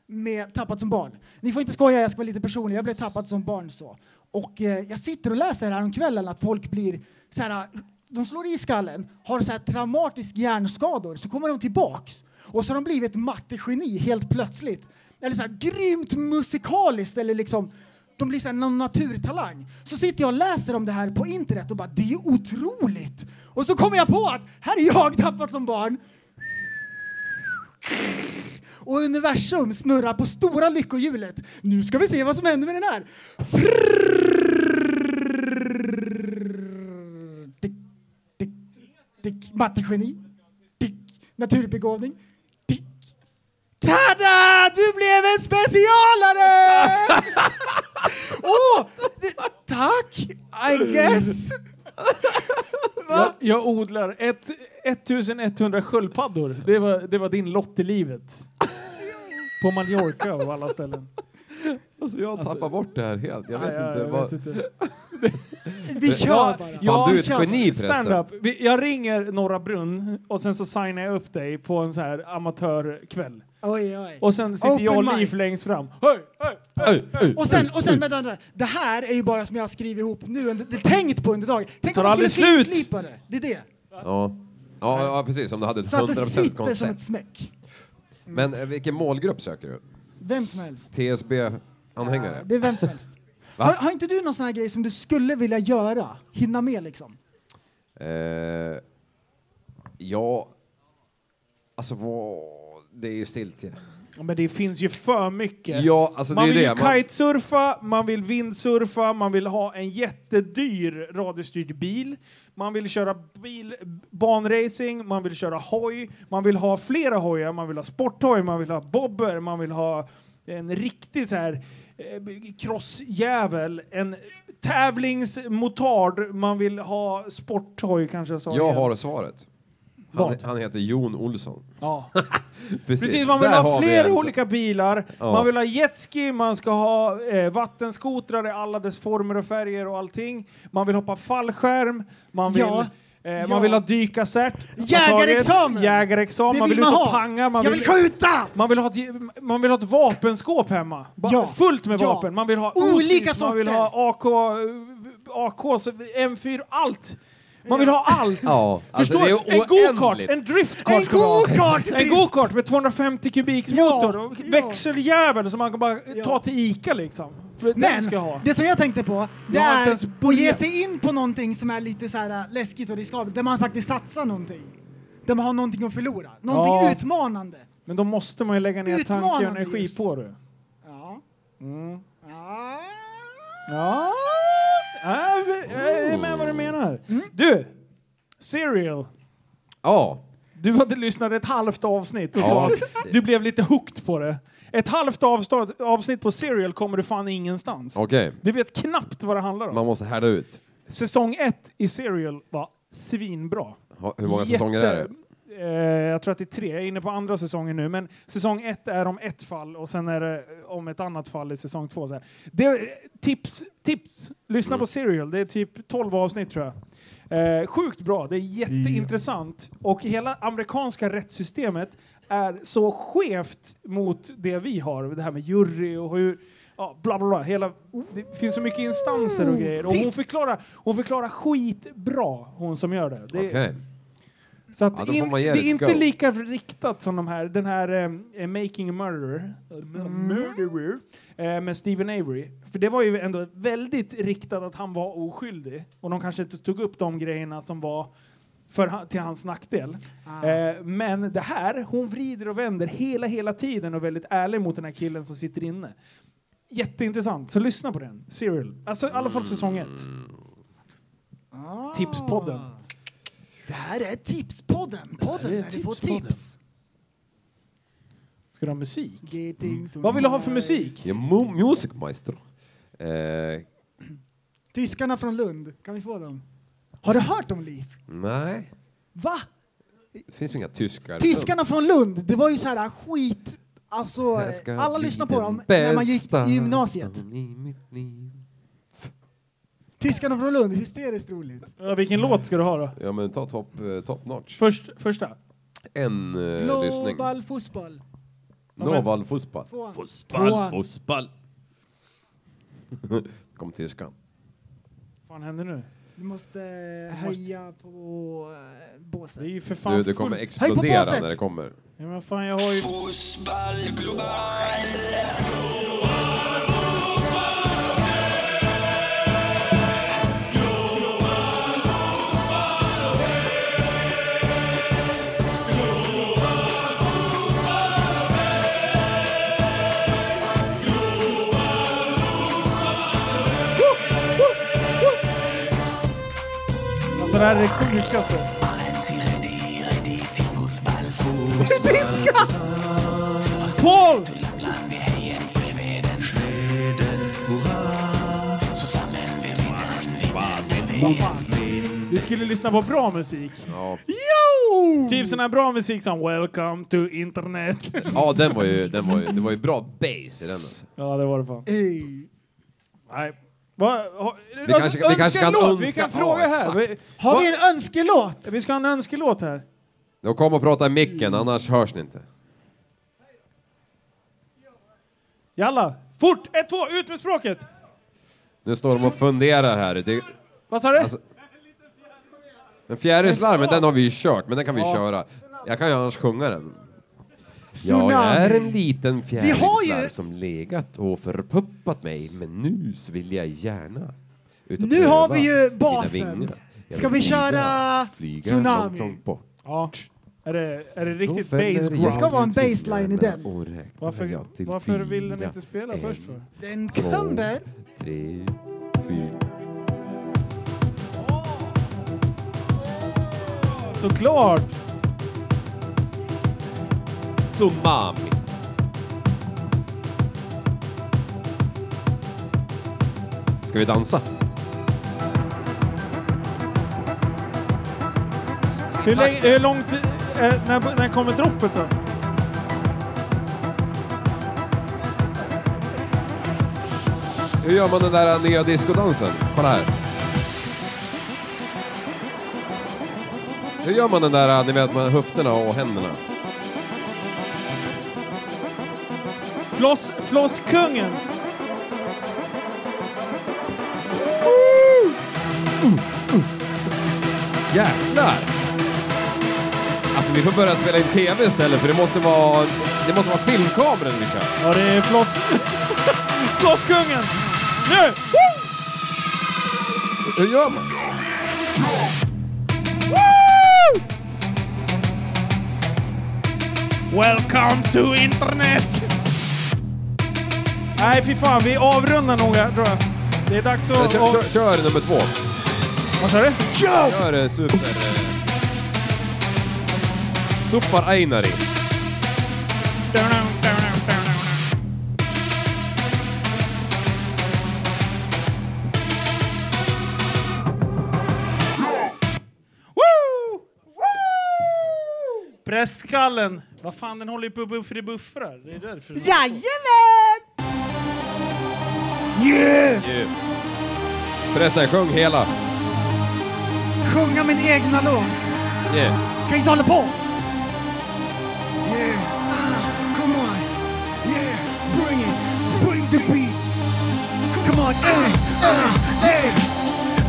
S5: med tappat som barn. Ni får inte skoja, jag ska vara lite personlig. Jag blev tappad som barn så. Och eh, jag sitter och läser här om kvällen att folk blir så här, äh, de slår i skallen, har så här traumatiska hjärnskador, så kommer de tillbaks. Och så har de blivit mattegeni helt plötsligt. Eller så här grymt musikaliskt eller liksom de blir så här någon naturtalang. Så sitter jag och läser om det här på internet och bara det är otroligt. Och så kommer jag på att här är jag tappat som barn. Och universum snurrar på stora lyckohjulet. Nu ska vi se vad som händer med den här. Tick, tick, tick. Mattegeni. Tick. Naturbegåvning. Tick. Tada! Du blev en specialare! Åh! det- tack! I guess.
S4: Jag, jag odlar ett, 1100 sköldpaddor. Det var, det var din lott i livet. På Mallorca av alla ställen.
S8: Alltså jag tappar bort det här helt. Jag
S4: Nej,
S8: vet
S4: jag-
S8: inte.
S4: jag
S8: vad...
S4: vet
S5: Vi kör bara.
S8: Fan, du är ett
S4: kör
S8: geni förresten.
S4: stand-up. Vi- Jag ringer Norra Brunn och sen så signar jag upp dig på en så här amatörkväll.
S5: Oj, oj.
S4: Och sen sitter
S5: Open
S4: jag och
S5: mic.
S4: Liv längst fram. Hej, hej, hej, hej.
S5: Och sen, och sen vänta, vänta. Det här är ju bara som jag har skrivit ihop nu, under, det är tänkt på under dagen. Tänk
S4: Tar
S5: om man skulle
S4: aldrig slut.
S5: finslipa det. Det är det.
S8: Ja. Ja, ja, precis. Om du hade ett
S5: Så att det
S8: 100%
S5: sitter som ett
S8: koncept.
S5: smäck.
S8: Men eh, vilken målgrupp söker du?
S5: Vem som helst.
S8: TSB-anhängare?
S5: Det är vem som helst.
S8: Va?
S5: Har, har inte du någon sån här grej som du skulle vilja göra? Hinna med liksom?
S8: Eh, ja, alltså vad... Det är ju stiltje.
S4: Ja, Men det finns ju för mycket.
S8: Ja, alltså, det
S4: man
S8: är
S4: vill
S8: det.
S4: ju
S8: Man-
S4: kitesurfa, man vill vindsurfa, man vill ha en jättedyr radiostyrd bil, man vill köra bil, banracing, man vill köra hoj, man vill ha flera hojar, man vill ha sporthoj, man vill ha bobber, man vill ha en riktig så här eh, crossjävel, en tävlingsmotard, man vill ha sporthoj kanske jag sa.
S8: Jag
S4: igen.
S8: har svaret. Han, han heter Jon Olsson.
S4: Ja.
S8: Precis,
S4: Precis, man vill
S8: där
S4: ha
S8: har vi
S4: flera
S8: en-
S4: olika bilar.
S8: Ja.
S4: Man vill ha jetski, man ska ha eh, vattenskotrar i alla dess former och färger och allting. Man vill hoppa fallskärm, man vill,
S5: Ja.
S4: eh,
S5: Ja.
S4: man vill ha dykkassert.
S5: Jägarexamen!
S4: Jägarexamen!
S5: Det
S4: Man
S5: vill
S4: vill ut och
S5: man ha.
S4: panga. Man
S5: Jag vill skjuta!
S4: Man vill ha ett, ge- man vill ha ett vapenskåp hemma. Bara
S5: Ja.
S4: Fullt med
S5: Ja.
S4: vapen. Man vill ha
S5: Olika
S4: Uzis, Man vill
S5: sorter.
S4: ha eh, AK, AKs, M4, allt. Man vill ha allt!
S8: Ja, alltså,
S4: Förstår du?
S8: det är
S4: En go-kart,
S8: oändligt.
S4: en driftkart! ska vara.
S5: go-kart
S4: En
S5: drift.
S4: go-kart med 250 kubiks motor och växeljävel som man kan bara ta till Ica liksom. Den
S5: Men
S4: ska jag ha.
S5: det som jag tänkte på, det
S4: Jag har inte
S5: är
S4: ens
S5: att ge
S4: börjat.
S5: sig in på någonting som är lite så här äh, läskigt och riskabelt, där man faktiskt satsar någonting. Där man har någonting att förlora, någonting
S4: Ja.
S5: utmanande.
S4: Men då måste man ju lägga ner tanke och
S5: Utmanande
S4: energi
S5: just.
S4: på det.
S5: Ja.
S4: Mm.
S5: Ja.
S4: Ja, jag vet- jag är med vad du menar.
S8: Mm.
S4: Du, Serial.
S8: Ja.
S4: Du hade lyssnat ett halvt avsnitt och
S8: Ja.
S4: sa att du blev lite hooked på det. Ett halvt avstå- avsnitt på Serial kommer du fan ingenstans.
S8: Okej,
S4: Du vet knappt vad det handlar om.
S8: man måste härda ut.
S4: Säsong ett i Serial var svinbra.
S8: Ha- Hur många säsonger är det?
S4: Eh, jag tror att det är tre. Jag är inne på andra säsongen nu. Men säsong ett är om ett fall och sen är det eh, om ett annat fall i säsong två. Så här. Det, tips, tips! Lyssna
S8: Mm.
S4: på Serial. Det är typ 12 avsnitt tror jag. Eh, sjukt bra. Det är jätteintressant.
S8: Mm.
S4: Och hela amerikanska rättssystemet är så skevt mot det vi har. Det här med jury och hur... Ja, bla bla bla. Hela, det finns så mycket instanser och grejer. Och hon
S8: Mm. Tips.
S4: förklarar, hon förklarar skitbra, hon som gör det. det
S8: Okej.
S4: så att
S8: Ja, då får
S4: in,
S8: man
S4: det
S8: ge
S4: är
S8: det ett
S4: inte
S8: go.
S4: lika riktat som de här, den här eh, eh, Making a Murderer, eh,
S8: Mm.
S4: murderer eh, med Stephen Avery. För det var ju ändå väldigt riktat att han var oskyldig. Och de kanske inte tog upp de grejerna som var för, han- till hans nackdel.
S8: Ah.
S4: Eh, men det här, hon vrider och vänder hela, hela tiden och är väldigt ärlig mot den här killen som sitter inne. Jätteintressant, så lyssna på den. Serial. Alltså i alla fall säsong ett.
S8: Mm.
S4: Tipspodden.
S5: Ah. Det här är tipspodden, podden där vi får tips.
S4: Ska du ha musik? Mm. Vad vill du ha för musik?
S8: Ja, mu- music maestro. Eh,
S5: Tyskarna från Lund, kan vi få dem? Har du hört om Liv?
S8: nej,
S5: Va?
S8: det finns inga tyskar.
S5: Tyskarna från Lund, det var ju så här skit... Alltså,
S8: Jag ska
S5: alla
S8: bli
S5: lyssnade på
S8: den
S5: dem när man gick
S8: bästa
S5: i gymnasiet.
S8: i mitt liv.
S5: Tyskarna från Lund, hysteriskt roligt.
S4: Ja, vilken låt ska du ha då?
S8: Ja men ta top, eh, top notch.
S4: Först, första.
S8: En eh, lyssning.
S5: Global fotboll.
S8: Noval fotboll.
S5: Tvåan.
S8: Fotboll,
S5: Tvåan.
S8: fotboll. Kom tyskan.
S4: Vad fan händer nu?
S5: Du måste eh, höja på eh, båset.
S4: Det är ju för fan
S8: Du, det kommer
S4: fullt.
S8: explodera när det kommer.
S4: Ja, men fan, jag har ju... Alltså det här är det sjukaste.
S5: Tyska!
S4: Paul! Vi skulle lyssna på bra musik.
S8: Ja,
S5: Jo!
S4: Typ sån här bra musik som Welcome to internet.
S8: ja den var ju, den var ju, det var ju bra bass i den alltså.
S4: ja, det var det fan.
S5: Ey.
S4: Nej. Va, ha, alltså,
S8: Vi kanske- vi kanske kan
S4: önskelåt. Vi
S8: önska-
S4: kan fråga
S8: ja,
S4: här. Vi,
S5: Har
S4: va-
S5: vi en önskelåt?
S4: vi ska ha en önskelåt här.
S8: Då kom och prata i micken, annars hörs ni inte.
S4: Jalla! Fort! Ett, två, ut med språket!
S8: Nu står de och funderar här. Det,
S4: Vad sa du?
S8: Alltså- men fjärilslarmen, den har vi ju kört, men den kan vi köra. Jag kan ju annars sjunga den. Jag är en liten fjärilslarv
S5: ju-
S8: som legat och förpuppat mig, men nu så vill jag gärna ut och
S5: Nu har
S8: pröva
S5: vi ju
S8: mina
S5: basen.
S8: vingar. Jag
S5: Ska
S8: vill
S5: vi köra
S8: flyga, flyga
S5: Tsunami?
S8: långt, långt bort.
S4: ja. Är det, är det riktigt
S5: fäller
S4: bass
S5: jag
S4: growl?
S5: Det ska vara en baseline i den.
S15: Och räknar
S4: Varför,
S15: jag till
S4: varför vill den
S15: fyra.
S4: inte spela först för?
S5: Den
S15: Två,
S5: kommer!
S15: Tre, fyra.
S4: Såklart!
S16: Umami.
S8: Ska vi dansa?
S4: Hur, länge, hur långt... Eh, när, när kommer droppet då?
S8: Hur gör man den där nya discodansen? Kolla här. Hur gör man den där, ni vet, med höfterna och händerna?
S4: Floss, flosskungen!
S8: Jävlar! Alltså vi får börja spela in TV istället för det måste vara, det måste vara filmkameran vi kör.
S4: Ja, det är floss... flosskungen! Nu!
S8: Hur gör man?
S4: Welcome to internet! Nej, fy fan. Vi avrundar nog här, tror jag. Det är dags
S8: Kör,
S4: att...
S8: kör, kör nummer två.
S4: Vad sa du?
S8: Kör eh, super... eh, Super Einari.
S4: Woo! Prästskallen. Vad fan, den håller ju på att buffra- buffra. Det är därför.
S5: Jajamän!
S8: Yeah! Förresten, sjung hela.
S5: Sjunga min egna låt.
S8: Yeah.
S5: Kan inte hålla på!
S14: Yeah, ah, come on. Yeah, bring it. Bring the beat. Come on, ah, ah, yeah.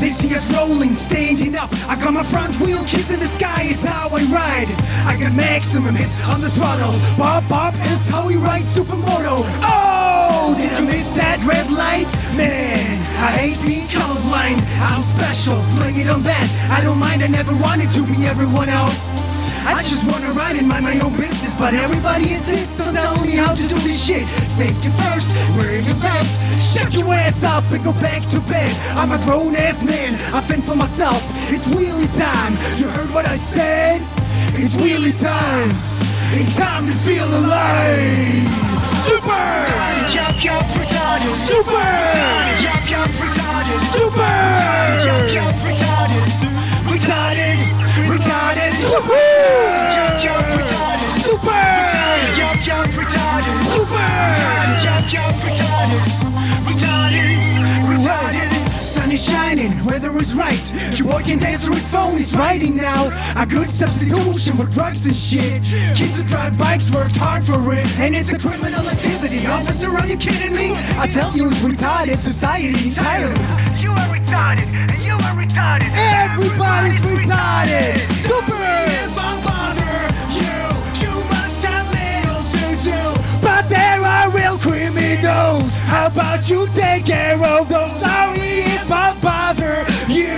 S14: They see us rolling, standing up. I got my front wheel kissing the sky, it's how I ride. I got maximum hits on the throttle. Bob Bob is how we ride supermoto. Oh, did I miss that red light? Man, I hate being colorblind. I'm special, blame it on that. I don't mind, I never wanted to be everyone else. I just wanna ride and mind my own business, but everybody insists on telling me how to do this shit. Safety first, wear your vest, shut your ass up and go back to bed. I'm a grown ass man, I fend for myself. It's wheelie time. You heard what I said? It's wheelie time. It's time to feel alive. Super! Time to jump, jump, retarded. Super! Time to jump, jump, retarded. Super! Time to jump, jump, retarded. Retarded, retarded. Super! Time to jump, jump, retarded. Super! Time to jump, jump, retarded. Super! Time to jump, jump, retarded. Retarded, retarded. Sun is shining, weather is right. Your boy can dance through his phone, he's writing now. A good substitution for drugs and shit. Kids who drive bikes worked hard for it, and it's a criminal activity. Officer, are you kidding me? I tell you, it's retarded society entirely. You are retarded, and you are retarded. Everybody's retarded. Super. If I bother you, you must have little to do. But there are real criminals. How about you take care of those? Sorry if I bother you.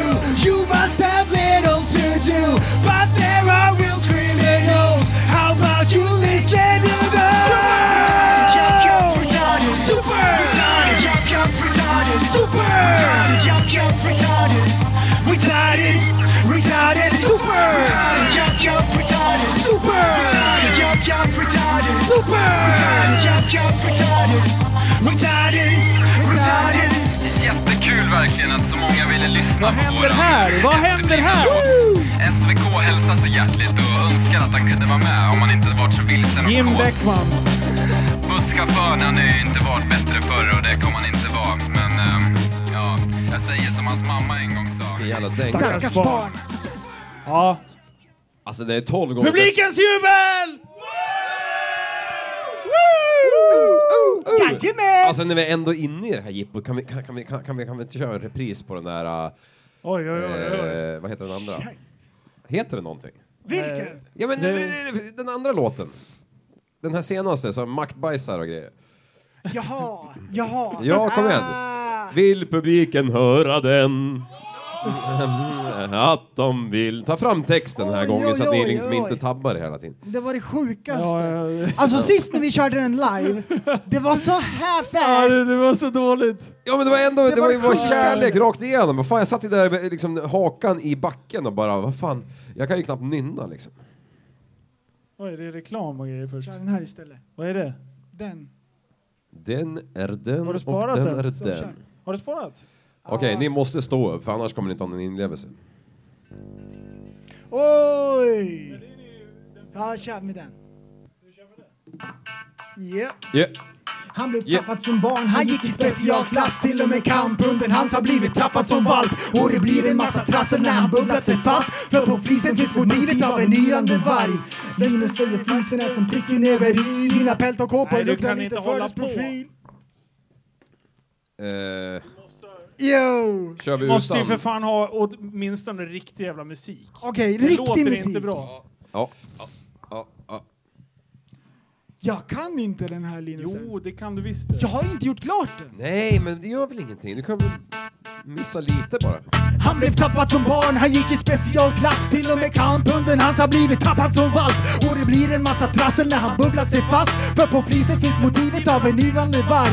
S14: You must have little to do. But there are real criminals. How about you listen to those? Jump, jump, retarded. Super. Retarded. Jump, jump, retarded. Super. Retarded. Jump, jump, retarded. Retarded. Retarded. Super. Retarded. Jump, jump, retarded. Super. Retarded. Jump, jump, retarded. Super. Retarded. Jump, jump, retarded. Retarded. Retarded.
S17: Jättekul verkligen att så många ville lyssna Vad på händer
S4: här? Vad händer här?
S17: SVK hälsar så hjärtligt och önskar att han kunde vara med om han inte varit så vilsen och
S4: Jim
S17: kåt.
S4: Beckman.
S17: Busschauffören, han har ju inte varit bättre förr och det kommer han inte vara. Men ehm, ja, jag säger som hans mamma en gång sa.
S8: Jävla
S5: Stackars barn.
S4: Ja.
S8: Alltså det är tolv gånger...
S4: Publikens jubel!
S5: Uh. Jajamän!
S8: Alltså när vi är ändå inne i det här jippot, kan vi, kan, kan, vi, kan, kan, vi, kan vi inte köra en repris på den där... eh,
S4: Oj, oj, oj, oj.
S8: Eh, vad heter den andra? Heter den någonting?
S5: Vilken?
S4: Eh,
S8: Ja men den andra låten. Den här senaste som maktbajsar och grejer.
S5: Jaha, Ah, jaha.
S8: Ja, kom igen. Vill publiken höra den? att de vill... Ta fram texten den här
S5: Oj,
S8: gången så att ni
S5: oj,
S8: liksom
S5: oj.
S8: inte tabbar hela tiden.
S5: Det var det sjukaste.
S4: Ja, ja.
S5: Alltså sist när vi körde den live, det var så här
S4: Ja,
S5: fast.
S4: det, det var så dåligt.
S8: Ja men det var ändå, det, var ju vår
S5: sjukaste.
S8: kärlek rakt igenom. Vad fan, jag satt ju där med liksom hakan i backen och bara, vad fan, jag kan ju knappt nynna liksom.
S4: Oj, det är reklam och grejer först. Kör
S5: den här istället.
S4: Vad är det?
S5: Den.
S8: Den är den
S4: Har du
S8: och
S4: sparat
S8: den
S4: den?
S8: är
S4: Så,
S8: den.
S4: kör. Har du sparat?
S8: Okej, ni måste stå upp för annars kommer ni inte ha någon inlevelse.
S5: Oj! Ja, kör med den. Yep.
S8: Yeah.
S5: Han blev
S8: Yeah.
S5: tappad som barn, han gick i specialklass Till och med kamphunden hans har blivit tappad som valp Och det blir en massa trassel när han bubblat sig fast För på flisen finns motivet av en yrande varg Linus säger flisen är som pricken över i Dina pält och kåpor
S4: Nej, du
S5: luktar
S4: kan
S5: lite
S4: inte hålla
S5: fördomsprofil
S8: Eh,
S5: Yo!
S8: kör vi
S4: Måste ju
S8: utan...
S4: för fan ha åtminstone riktig jävla musik.
S5: Okej,
S4: Det
S5: riktig
S4: låter
S5: musik.
S4: inte bra.
S8: Ja, ja, ja, ja.
S5: Jag kan inte den här Linus.
S4: Jo, det kan du visst.
S5: Jag har inte gjort klart den.
S8: Nej, men det gör väl ingenting. Du kan väl missa lite bara.
S5: Han blev tappad som barn, han gick i specialklass Till och med kamphunden hans har blivit tappad som valp Och det blir en massa trassel när han bubblat sig fast För på flisen finns motivet av en nyvande varg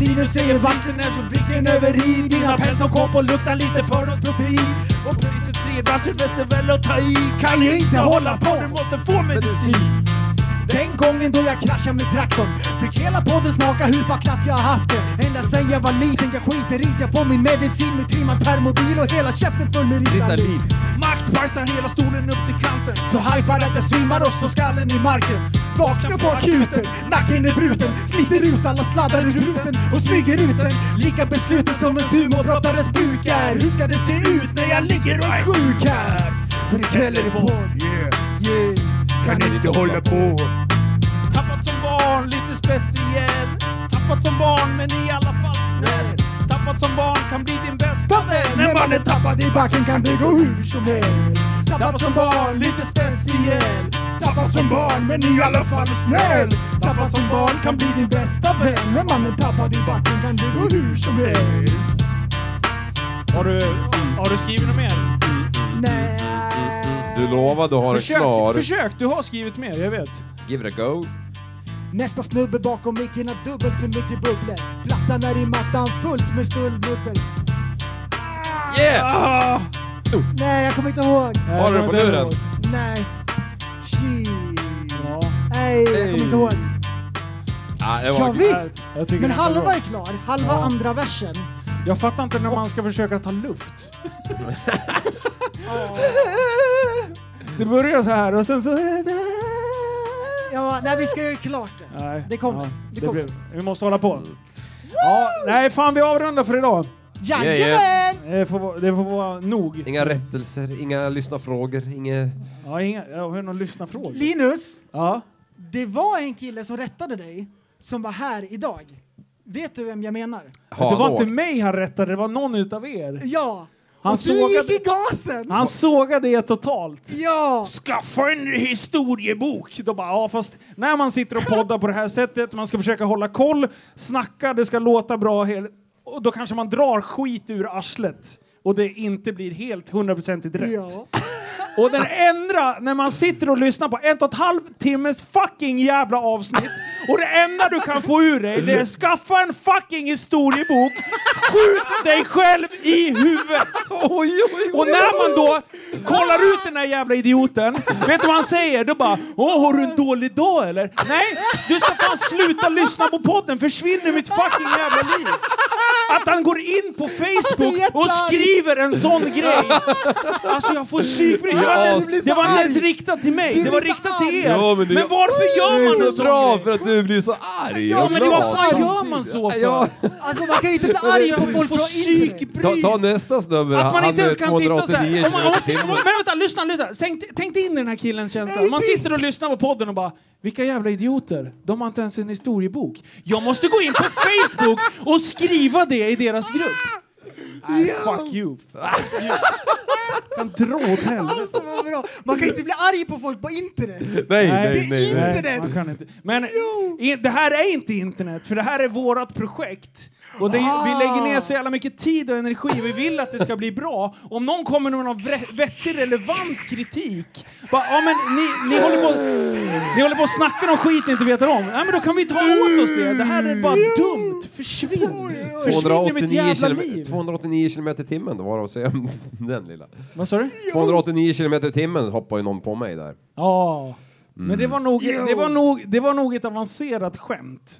S5: Linus säger valsen är som pricken över i Dina pält och kåpor luktar lite fördomsprofil Och priset ser varsel västerväl och ta i Kan ju inte hålla på, du måste få medicin den gången då jag kraschade med traktorn Fick hela podden smaka hur förklapp jag haft det Ända sen jag var liten, jag skiter i Jag får min medicin med trimmad permobil och hela käften full med Ritalin Maktbajsar hela stolen upp till kanten Så hypad att jag svimmar och slår skallen i marken Vaknar på akuten, nacken är bruten Sliter ut alla sladdar ur ruten och smyger ut sen Lika besluten som en sumoprottares buk är Hur ska det se ut när jag ligger och är sjuk här? För ikväll är det podd, yeah, yeah Kan inte hålla på
S4: Tappat som barn, lite speciell. Tappat som barn, men i alla fall snäll. Tappat som barn kan bli din bästa vän.
S5: När man är tappad i backen kan det gå hur som helst Tappad som barn, lite speciell Tappad som barn, men i alla fall snäll Tappad som barn kan bli din bästa vän När man är tappad i backen kan det gå hur som helst
S4: Har du, har du skrivit något mer?
S5: Nej.
S8: Du lovade att ha den
S4: Försök,
S8: klar.
S4: försök, du har skrivit mer, jag vet.
S8: Give it a go.
S5: Nästa snubbe bakom micken har dubbelt så mycket bubblor Plattan är i mattan fullt med stöldmutter
S8: Yeah! Oh.
S4: Ah!
S5: Nej, jag kommer inte ihåg
S4: Nej,
S8: Har du
S4: jag
S8: den på
S4: kommer inte
S8: luren?
S4: ihåg.
S5: Nej Shit Nej, jag kommer inte ihåg
S8: Ah, det
S5: Ja, visst!
S4: Jag tycker
S5: Men
S4: den var
S5: halva
S4: bra.
S5: är klar, halva
S4: Ja.
S5: andra versen.
S4: Jag fattar inte när man ska försöka ta luft. Det börjar så här och sen så...
S5: Ja, nej vi ska göra klart det.
S4: Nej.
S5: Det kommer.
S4: Ja,
S5: det kommer.
S4: blir- vi måste hålla på. Ja, nej, fan vi avrundar för idag.
S5: Jajamän! Yeah,
S4: Det får, vara- det får vara nog.
S8: Inga rättelser, inga lyssnarfrågor, inga...
S4: Ja, inga, jag har ju någon lyssnarfråga.
S5: Linus,
S4: Ja.
S5: det var en kille som rättade dig som var här idag. Vet du vem jag menar?
S4: det var inte mig han rättade, det var någon utav er.
S5: Ja!
S4: Han
S5: och du
S4: sågade-
S5: gick i gasen!
S4: Han sågade er totalt.
S5: Ja!
S4: Skaffa en historiebok! Då bara, ja fast när man sitter och poddar på det här sättet, man ska försöka hålla koll, snacka, det ska låta bra, hel- och då kanske man drar skit ur arslet och det inte blir helt hundraprocentigt rätt.
S5: Ja.
S4: Och den ändra när man sitter och lyssnar på en och ett halv timmes fucking jävla avsnitt och det enda du kan få ur dig det är skaffa en fucking historiebok, skjut dig själv i huvudet! Och när man då kollar ut den här jävla idioten, vet du vad han säger? Då bara Åh, har du en dålig dag eller? Nej, du ska fan sluta lyssna på podden, försvinn ur mitt fucking jävla liv! Att han går in på Facebook och skriver en sån grej! Alltså jag får psykbryt. Det var inte
S8: Du blir
S4: ens-
S8: så
S4: det var inte ens
S8: arg.
S4: riktat till mig, det var riktat till er!
S8: Ja, men, det-
S4: varför
S8: det
S4: gör
S8: är
S4: man en
S8: så
S4: sån
S8: bra
S4: grej?
S8: för att du blir så arg
S4: Ja
S8: och
S4: men det
S8: glad.
S4: var- varför gör man så för?
S8: Ja.
S5: Alltså man kan ju inte bli arg på folk
S4: Får
S5: från internet.
S8: Ta, ta nästa snubbe
S4: Att man
S8: han
S4: inte ens
S8: är
S4: kan titta så här.
S8: 289
S4: Om man, om man sitter, om
S8: kilo.
S4: man, men vänta, lyssna, lyssna. Sänk, tänk dig in i den här killens känsla.
S5: Nej,
S4: Man
S5: tyst.
S4: sitter och lyssnar på podden och bara vilka jävla idioter. De har inte ens en historiebok. Jag måste gå in på Facebook och skriva det i deras grupp. Nej, fuck you. Fuck you. Kan dra åt helvete.
S5: Alltså vad bra. Man kan ju inte bli arg på folk på internet.
S8: Nej,
S5: Det
S8: nej,
S5: är
S8: nej. nej.
S5: internet!
S4: Man kan inte. Men i- det här är inte internet, för det här är vårat projekt. Och det,
S8: Ah.
S4: Vi lägger ner så jävla mycket tid och energi, vi vill att det ska bli bra. Om någon kommer med någon vre- vettig, relevant kritik, bara, ja men ni, ni, håller på, ni håller på och snackar om skit ni inte vet om. Nej men då kan vi ta åt oss det, det här är bara
S5: Mm.
S4: dumt, försvinn! Försvinn i mitt
S8: 289
S4: jävla
S8: km,
S4: liv!
S8: 289 km i timmen, det var det att säga om den lilla.
S4: Vad sa du?
S8: 289 km i timmen hoppar ju någon på mig där.
S4: Ja, men det var, nog,
S5: Jo.
S4: det, var nog, det var nog ett avancerat skämt.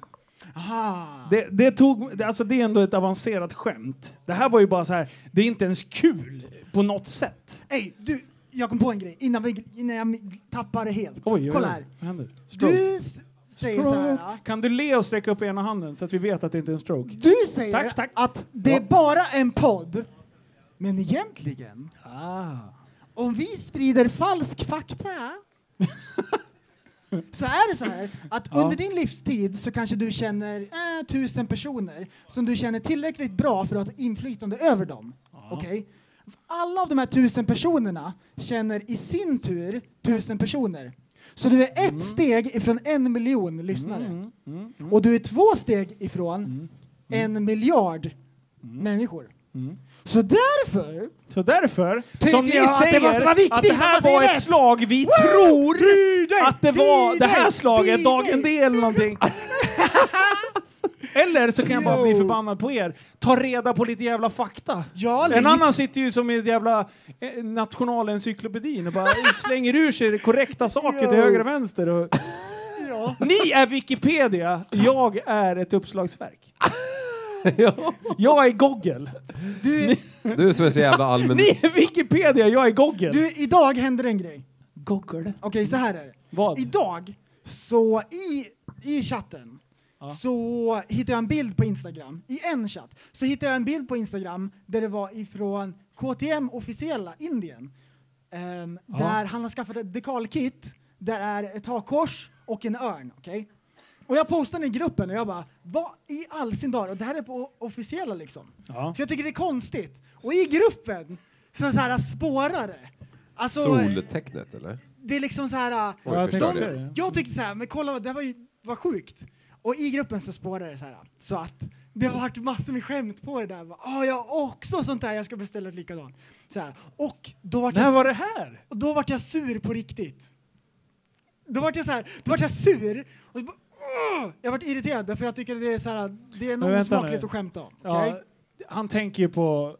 S5: Aha.
S4: Det, det, tog, det- alltså det är ändå ett avancerat skämt. Det här var ju bara så här, det är inte ens kul på något sätt.
S5: Ey, du, jag kom på en grej innan, vi, innan jag tappar det helt.
S4: Oj, oj,
S5: Kolla
S4: oj.
S5: här.
S4: Vad händer? Stroke.
S5: Du s- säger så här.
S4: Stroke. Kan du le och sträcka upp ena handen så att vi vet att det inte är en stroke?
S5: Du säger
S4: Tack, tack.
S5: att det är bara en podd, men egentligen, om vi sprider falsk fakta så är det så här att
S4: Ja.
S5: under din livstid så kanske du känner eh, tusen personer som du känner tillräckligt bra för att ha ett inflytande över dem. Okej? Alla av de här tusen personerna känner i sin tur tusen personer. Så du är ett steg ifrån en miljon lyssnare.
S4: Mm.
S5: Mm. Och du är två steg ifrån en miljard människor. Så därför...
S4: Mm. Så därför,
S5: Tycker
S4: som ni
S5: jag att det
S4: säger,
S5: måste vara viktigt
S4: att det
S5: att
S4: här
S5: man säger
S4: var ett
S5: rätt.
S4: slag, vi
S5: Woo!
S4: tror
S5: Tiden,
S4: att det var det här
S5: tiden,
S4: slaget,
S5: tiden.
S4: dagen D eller någonting. Eller så kan jag bara bli förbannad på er. Ta reda på lite jävla fakta. en
S5: liv.
S4: annan sitter ju som i ett jävla eh, nationalencyklopedin och bara slänger ur sig det korrekta saker till
S5: Jo.
S4: höger och vänster. Och... Ni är Wikipedia, jag är ett uppslagsverk. Jag är Google.
S5: Du,
S8: Du som är så jävla allmän...
S4: Ni är Wikipedia, jag är Google.
S5: Du, idag händer en grej.
S4: Google.
S5: Okej, så här är det.
S4: Vad?
S5: Idag, så i, i chatten, så hittade jag en bild på Instagram. I en chatt så hittade jag en bild på Instagram där det var ifrån KTM officiella Indien. Ehm,
S11: Ja.
S5: Där han har skaffat ett dekalkit. Där är ett hakkors och en örn. Okej? Och jag postade i gruppen och jag bara, vad i all sin dar? Och det här är på officiella liksom.
S4: Ja.
S5: Så jag tycker det är konstigt. Och i gruppen, så, så här spårare. Alltså,
S8: Soltecknet eller?
S5: det är liksom så här...
S8: Oj, jag förstår
S5: de,
S8: det.
S5: jag tyckte så här, men kolla, det här var ju var sjukt. Och i gruppen så spårade det så här. Så att det har varit massor med skämt på det där. Bara, Ah, jag har också sånt där, jag ska beställa ett likadant. Så här. Och då vart
S4: När
S5: jag,
S4: var det här?
S5: Och då vart jag sur på riktigt. Då vart jag så här, då vart jag sur. Och så bara, "Åh!" jag vart irriterad därför jag tycker det är så här, det är
S4: Men
S5: något
S4: vänta
S5: osmakligt
S4: nu.
S5: att skämta om.
S4: Ja,
S5: okej?
S4: Han tänker ju på...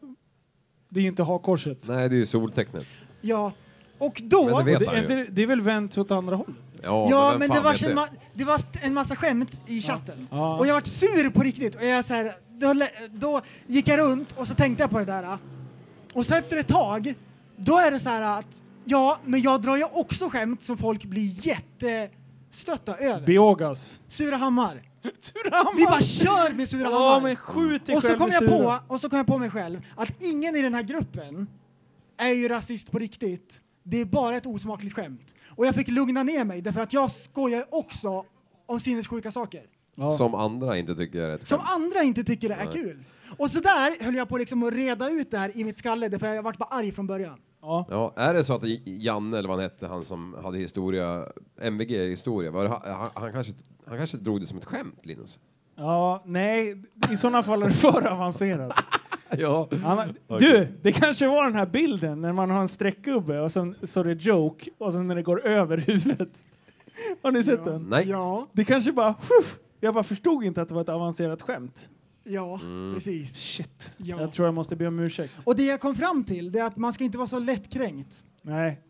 S4: Det är ju inte hakkorset.
S8: Nej, det är ju soltecknet.
S5: ja. Och då...
S8: Men det vet han
S4: är,
S8: ju.
S4: det, det är väl vänt åt andra hållet?
S8: Ja,
S5: Ja,
S8: vem
S5: men
S8: fan
S5: det var,
S8: vet
S5: en ma- det var en massa skämt i chatten.
S4: Ja.
S5: Och jag vart sur på riktigt. Och jag så här, då, lä- då gick jag runt och så tänkte jag på det där. Och så efter ett tag, då är det så här att ja, men jag drar ju också skämt som folk blir jättestötta över.
S4: Biogas.
S5: Surahammar.
S4: Surahammar.
S5: Vi bara kör med Surahammar.
S4: Ja, men skjut dig
S5: och så
S4: själv
S5: kom
S4: i
S5: jag på,
S4: sura.
S5: Och så kom jag på mig själv att ingen i den här gruppen är ju rasist på riktigt. Det är bara ett osmakligt skämt. Och jag fick lugna ner mig därför att jag skojar också om sinnessjuka saker.
S8: du. Som andra inte tycker är rätt
S5: Som andra inte tycker är
S8: Nej.
S5: kul. Och så där höll jag på liksom att reda ut det här i mitt skalle därför jag varit bara arg från början.
S8: Ja, är det så att J- Janne, eller vad han hette, han som hade historia, MVG-historia, var det, han, han- han, kanske, han kanske drog det som ett skämt, Linus?
S4: Ja, nej, i sådana fall är det för avancerat.
S8: Ja.
S4: Han, du, det kanske var den här bilden när man har en streckgubbe och sen så är det joke och sen när det går över huvudet. Har ni sett den?
S8: Nej.
S5: Ja.
S4: Det kanske bara... Pff, jag bara förstod inte att det var ett avancerat skämt.
S5: Ja,
S4: Mm.
S5: precis.
S4: Shit.
S5: Ja.
S4: Jag tror jag måste be om ursäkt.
S5: Och det jag kom fram till det är att man ska inte vara så lättkränkt.
S4: Nej.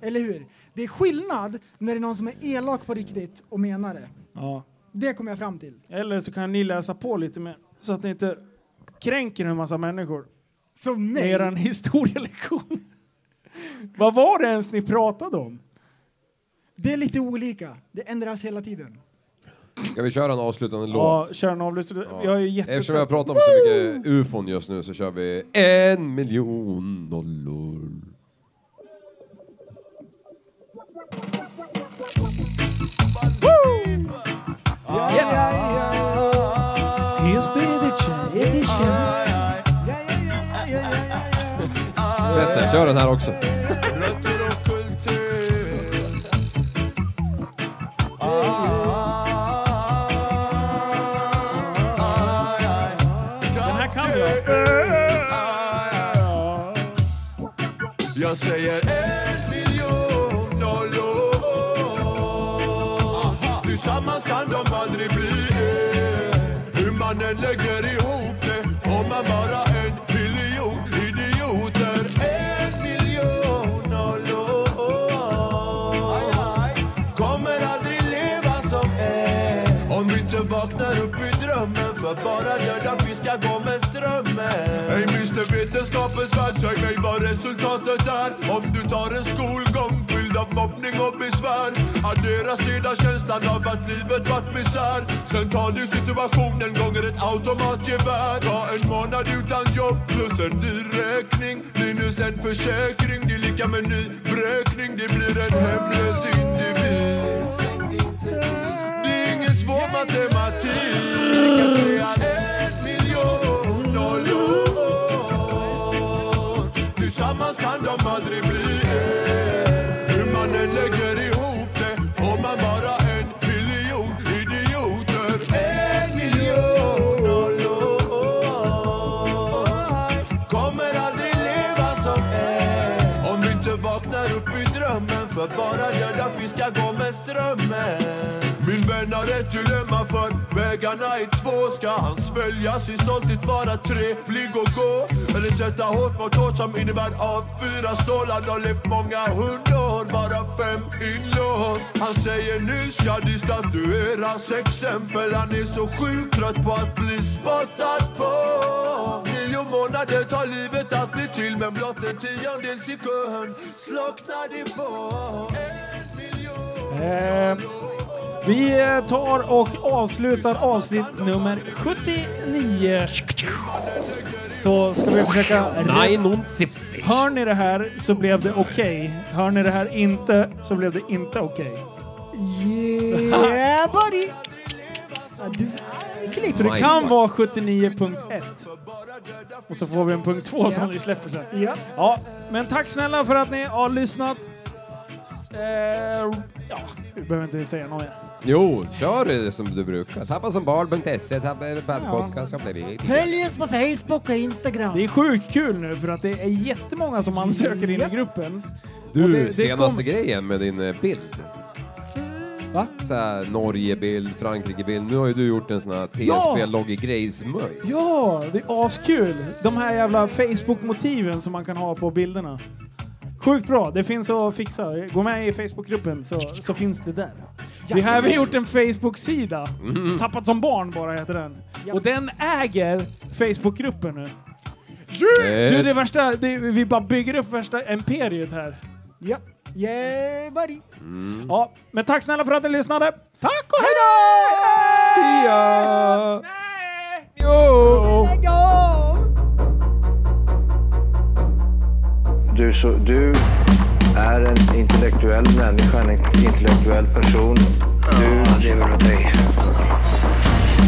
S5: Eller hur? Det är skillnad när det är någon som är elak på riktigt och menar det.
S4: Ja.
S5: Det kom jag fram till.
S4: Eller så kan ni läsa på lite mer så att ni inte kränker en massa människor.
S5: Som mig?
S4: Med er historielektion. Vad var det ens ni pratade om?
S5: Det är lite olika. Det ändras hela tiden.
S8: Ska vi köra en avslutande
S4: Ja,
S8: låt?
S4: kör en avlyssning.
S8: Ja.
S4: Jag är jättetrött.
S8: Eftersom jag pratar om så mycket ufon just nu så kör vi en miljon nollor.
S4: TSB edition.
S8: Festen, kör den här också.
S4: kan
S9: Äh,
S4: jag.
S9: Jag säger en miljon nollor Tillsammans kan de aldrig bli en Hur man än lägger ihop det Har man bara en miljon idioter En miljon nollor Kommer aldrig leva som en Om vi inte vaknar upp i drömmen För bara döda fiskar går med strömmen Ey Mr Vetenskapens värld, säg mig vad resultatet är Om du tar en skolgång fylld av mobbning och besvär Addera sedan känslan av att livet vart misär Sen tar du situationen gånger ett automatgevär Ta en månad utan jobb plus en dyr räkning Minus en försäkring, det är lika med ny vräkning Det blir en hemlös individ Det är ingen svår matematik att säga en miljon nollor Tillsammans kan de aldrig bli en Hur man än lägger ihop det har man bara en miljon idioter En miljon nollor Kommer aldrig leva som en Om vi inte vaknar upp i drömmen För bara döda fiskar går med strömmen min vän har ett dilemma för vägarna är två Ska han svälja sin stolthet, vara trevlig och gå? Eller sätta hårt mot hårt som innebär av fyra stålar och levt många hundra år, bara fem inlåst Han säger nu ska de statueras exempel Han är så sjukt trött på att bli spottad på Nio månader tar livet att bli till men blott en tiondels sekund slocknar det bort
S4: Eh, vi eh, tar och avslutar avsnitt nummer 79. Så ska vi försöka...
S16: Nej,
S4: någon Hör ni det här så blev det okej. Hör ni det här inte så blev det inte okej.
S5: Yeah buddy! Ja, Du, klipp.
S4: Så det kan vara 79.1. Och så får vi en punkt 2 som vi släpper sen.
S5: Ja.
S4: Ja, men tack snälla för att ni har lyssnat. Eh, ja, vi behöver inte säga något mer.
S8: Jo, kör det som du brukar. Tappa som barn.se, E, tappa podcast.
S5: Följ oss på Facebook och Instagram.
S4: Det är sjukt kul nu för att det är jättemånga som ansöker in i gruppen. Och det-
S8: Du,
S4: det
S8: senaste
S4: kom-
S8: grejen med din eh, bild.
S4: Va?
S8: Så här, Norgebild, Frankrikebild. Nu har ju du gjort en sån här
S4: Ja!
S8: TSB-logge-grejsmöj.
S4: Ja, det är askul. De här jävla Facebook-motiven som man kan ha på bilderna. Sjukt bra, det finns att fixa. Gå med i Facebook-gruppen så, så finns det där. Vi har även gjort en Facebook-sida.
S8: Mm.
S4: Tappat som barn bara heter den. Och den äger Facebook-gruppen nu.
S8: Eh.
S4: Du, det värsta, det, vi bara bygger upp värsta imperiet här.
S5: Ja, yeah buddy!
S4: Ja, men tack snälla för att ni lyssnade. Tack och hej
S8: See ya!
S4: Jo!
S5: Lägg av!
S3: Du, så, du är en intellektuell människa, en intellektuell person. Du lever åt dig.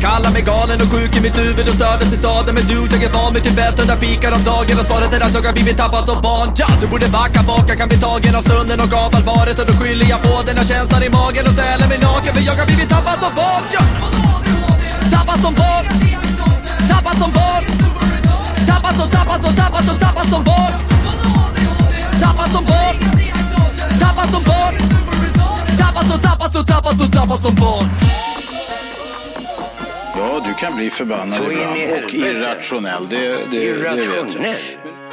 S1: Kallar mig galen och sjuk i mitt huvud och stördes i staden Men du, jag är van vid Tibet och där fikar om dagen Och svaret är att jag har blivit tappad som barn ja, Du borde backa bak, jag kan bli tagen av stunden och av allvaret Och då skyller jag på den här känslan i magen och ställer mig naken För jag har blivit tappad som barn ja. Tappad som barn Tappad som barn Tappad som, tappad som, tappad som, tappad som barn Tappad som barn Tappad som barn Tappad som, tappad som, tappad som, tappad som barn
S2: Ja, du kan bli förbannad
S1: Så in i
S2: ibland och
S1: helvete.
S2: irrationell. Det, det, det vet jag.
S1: Irrationell.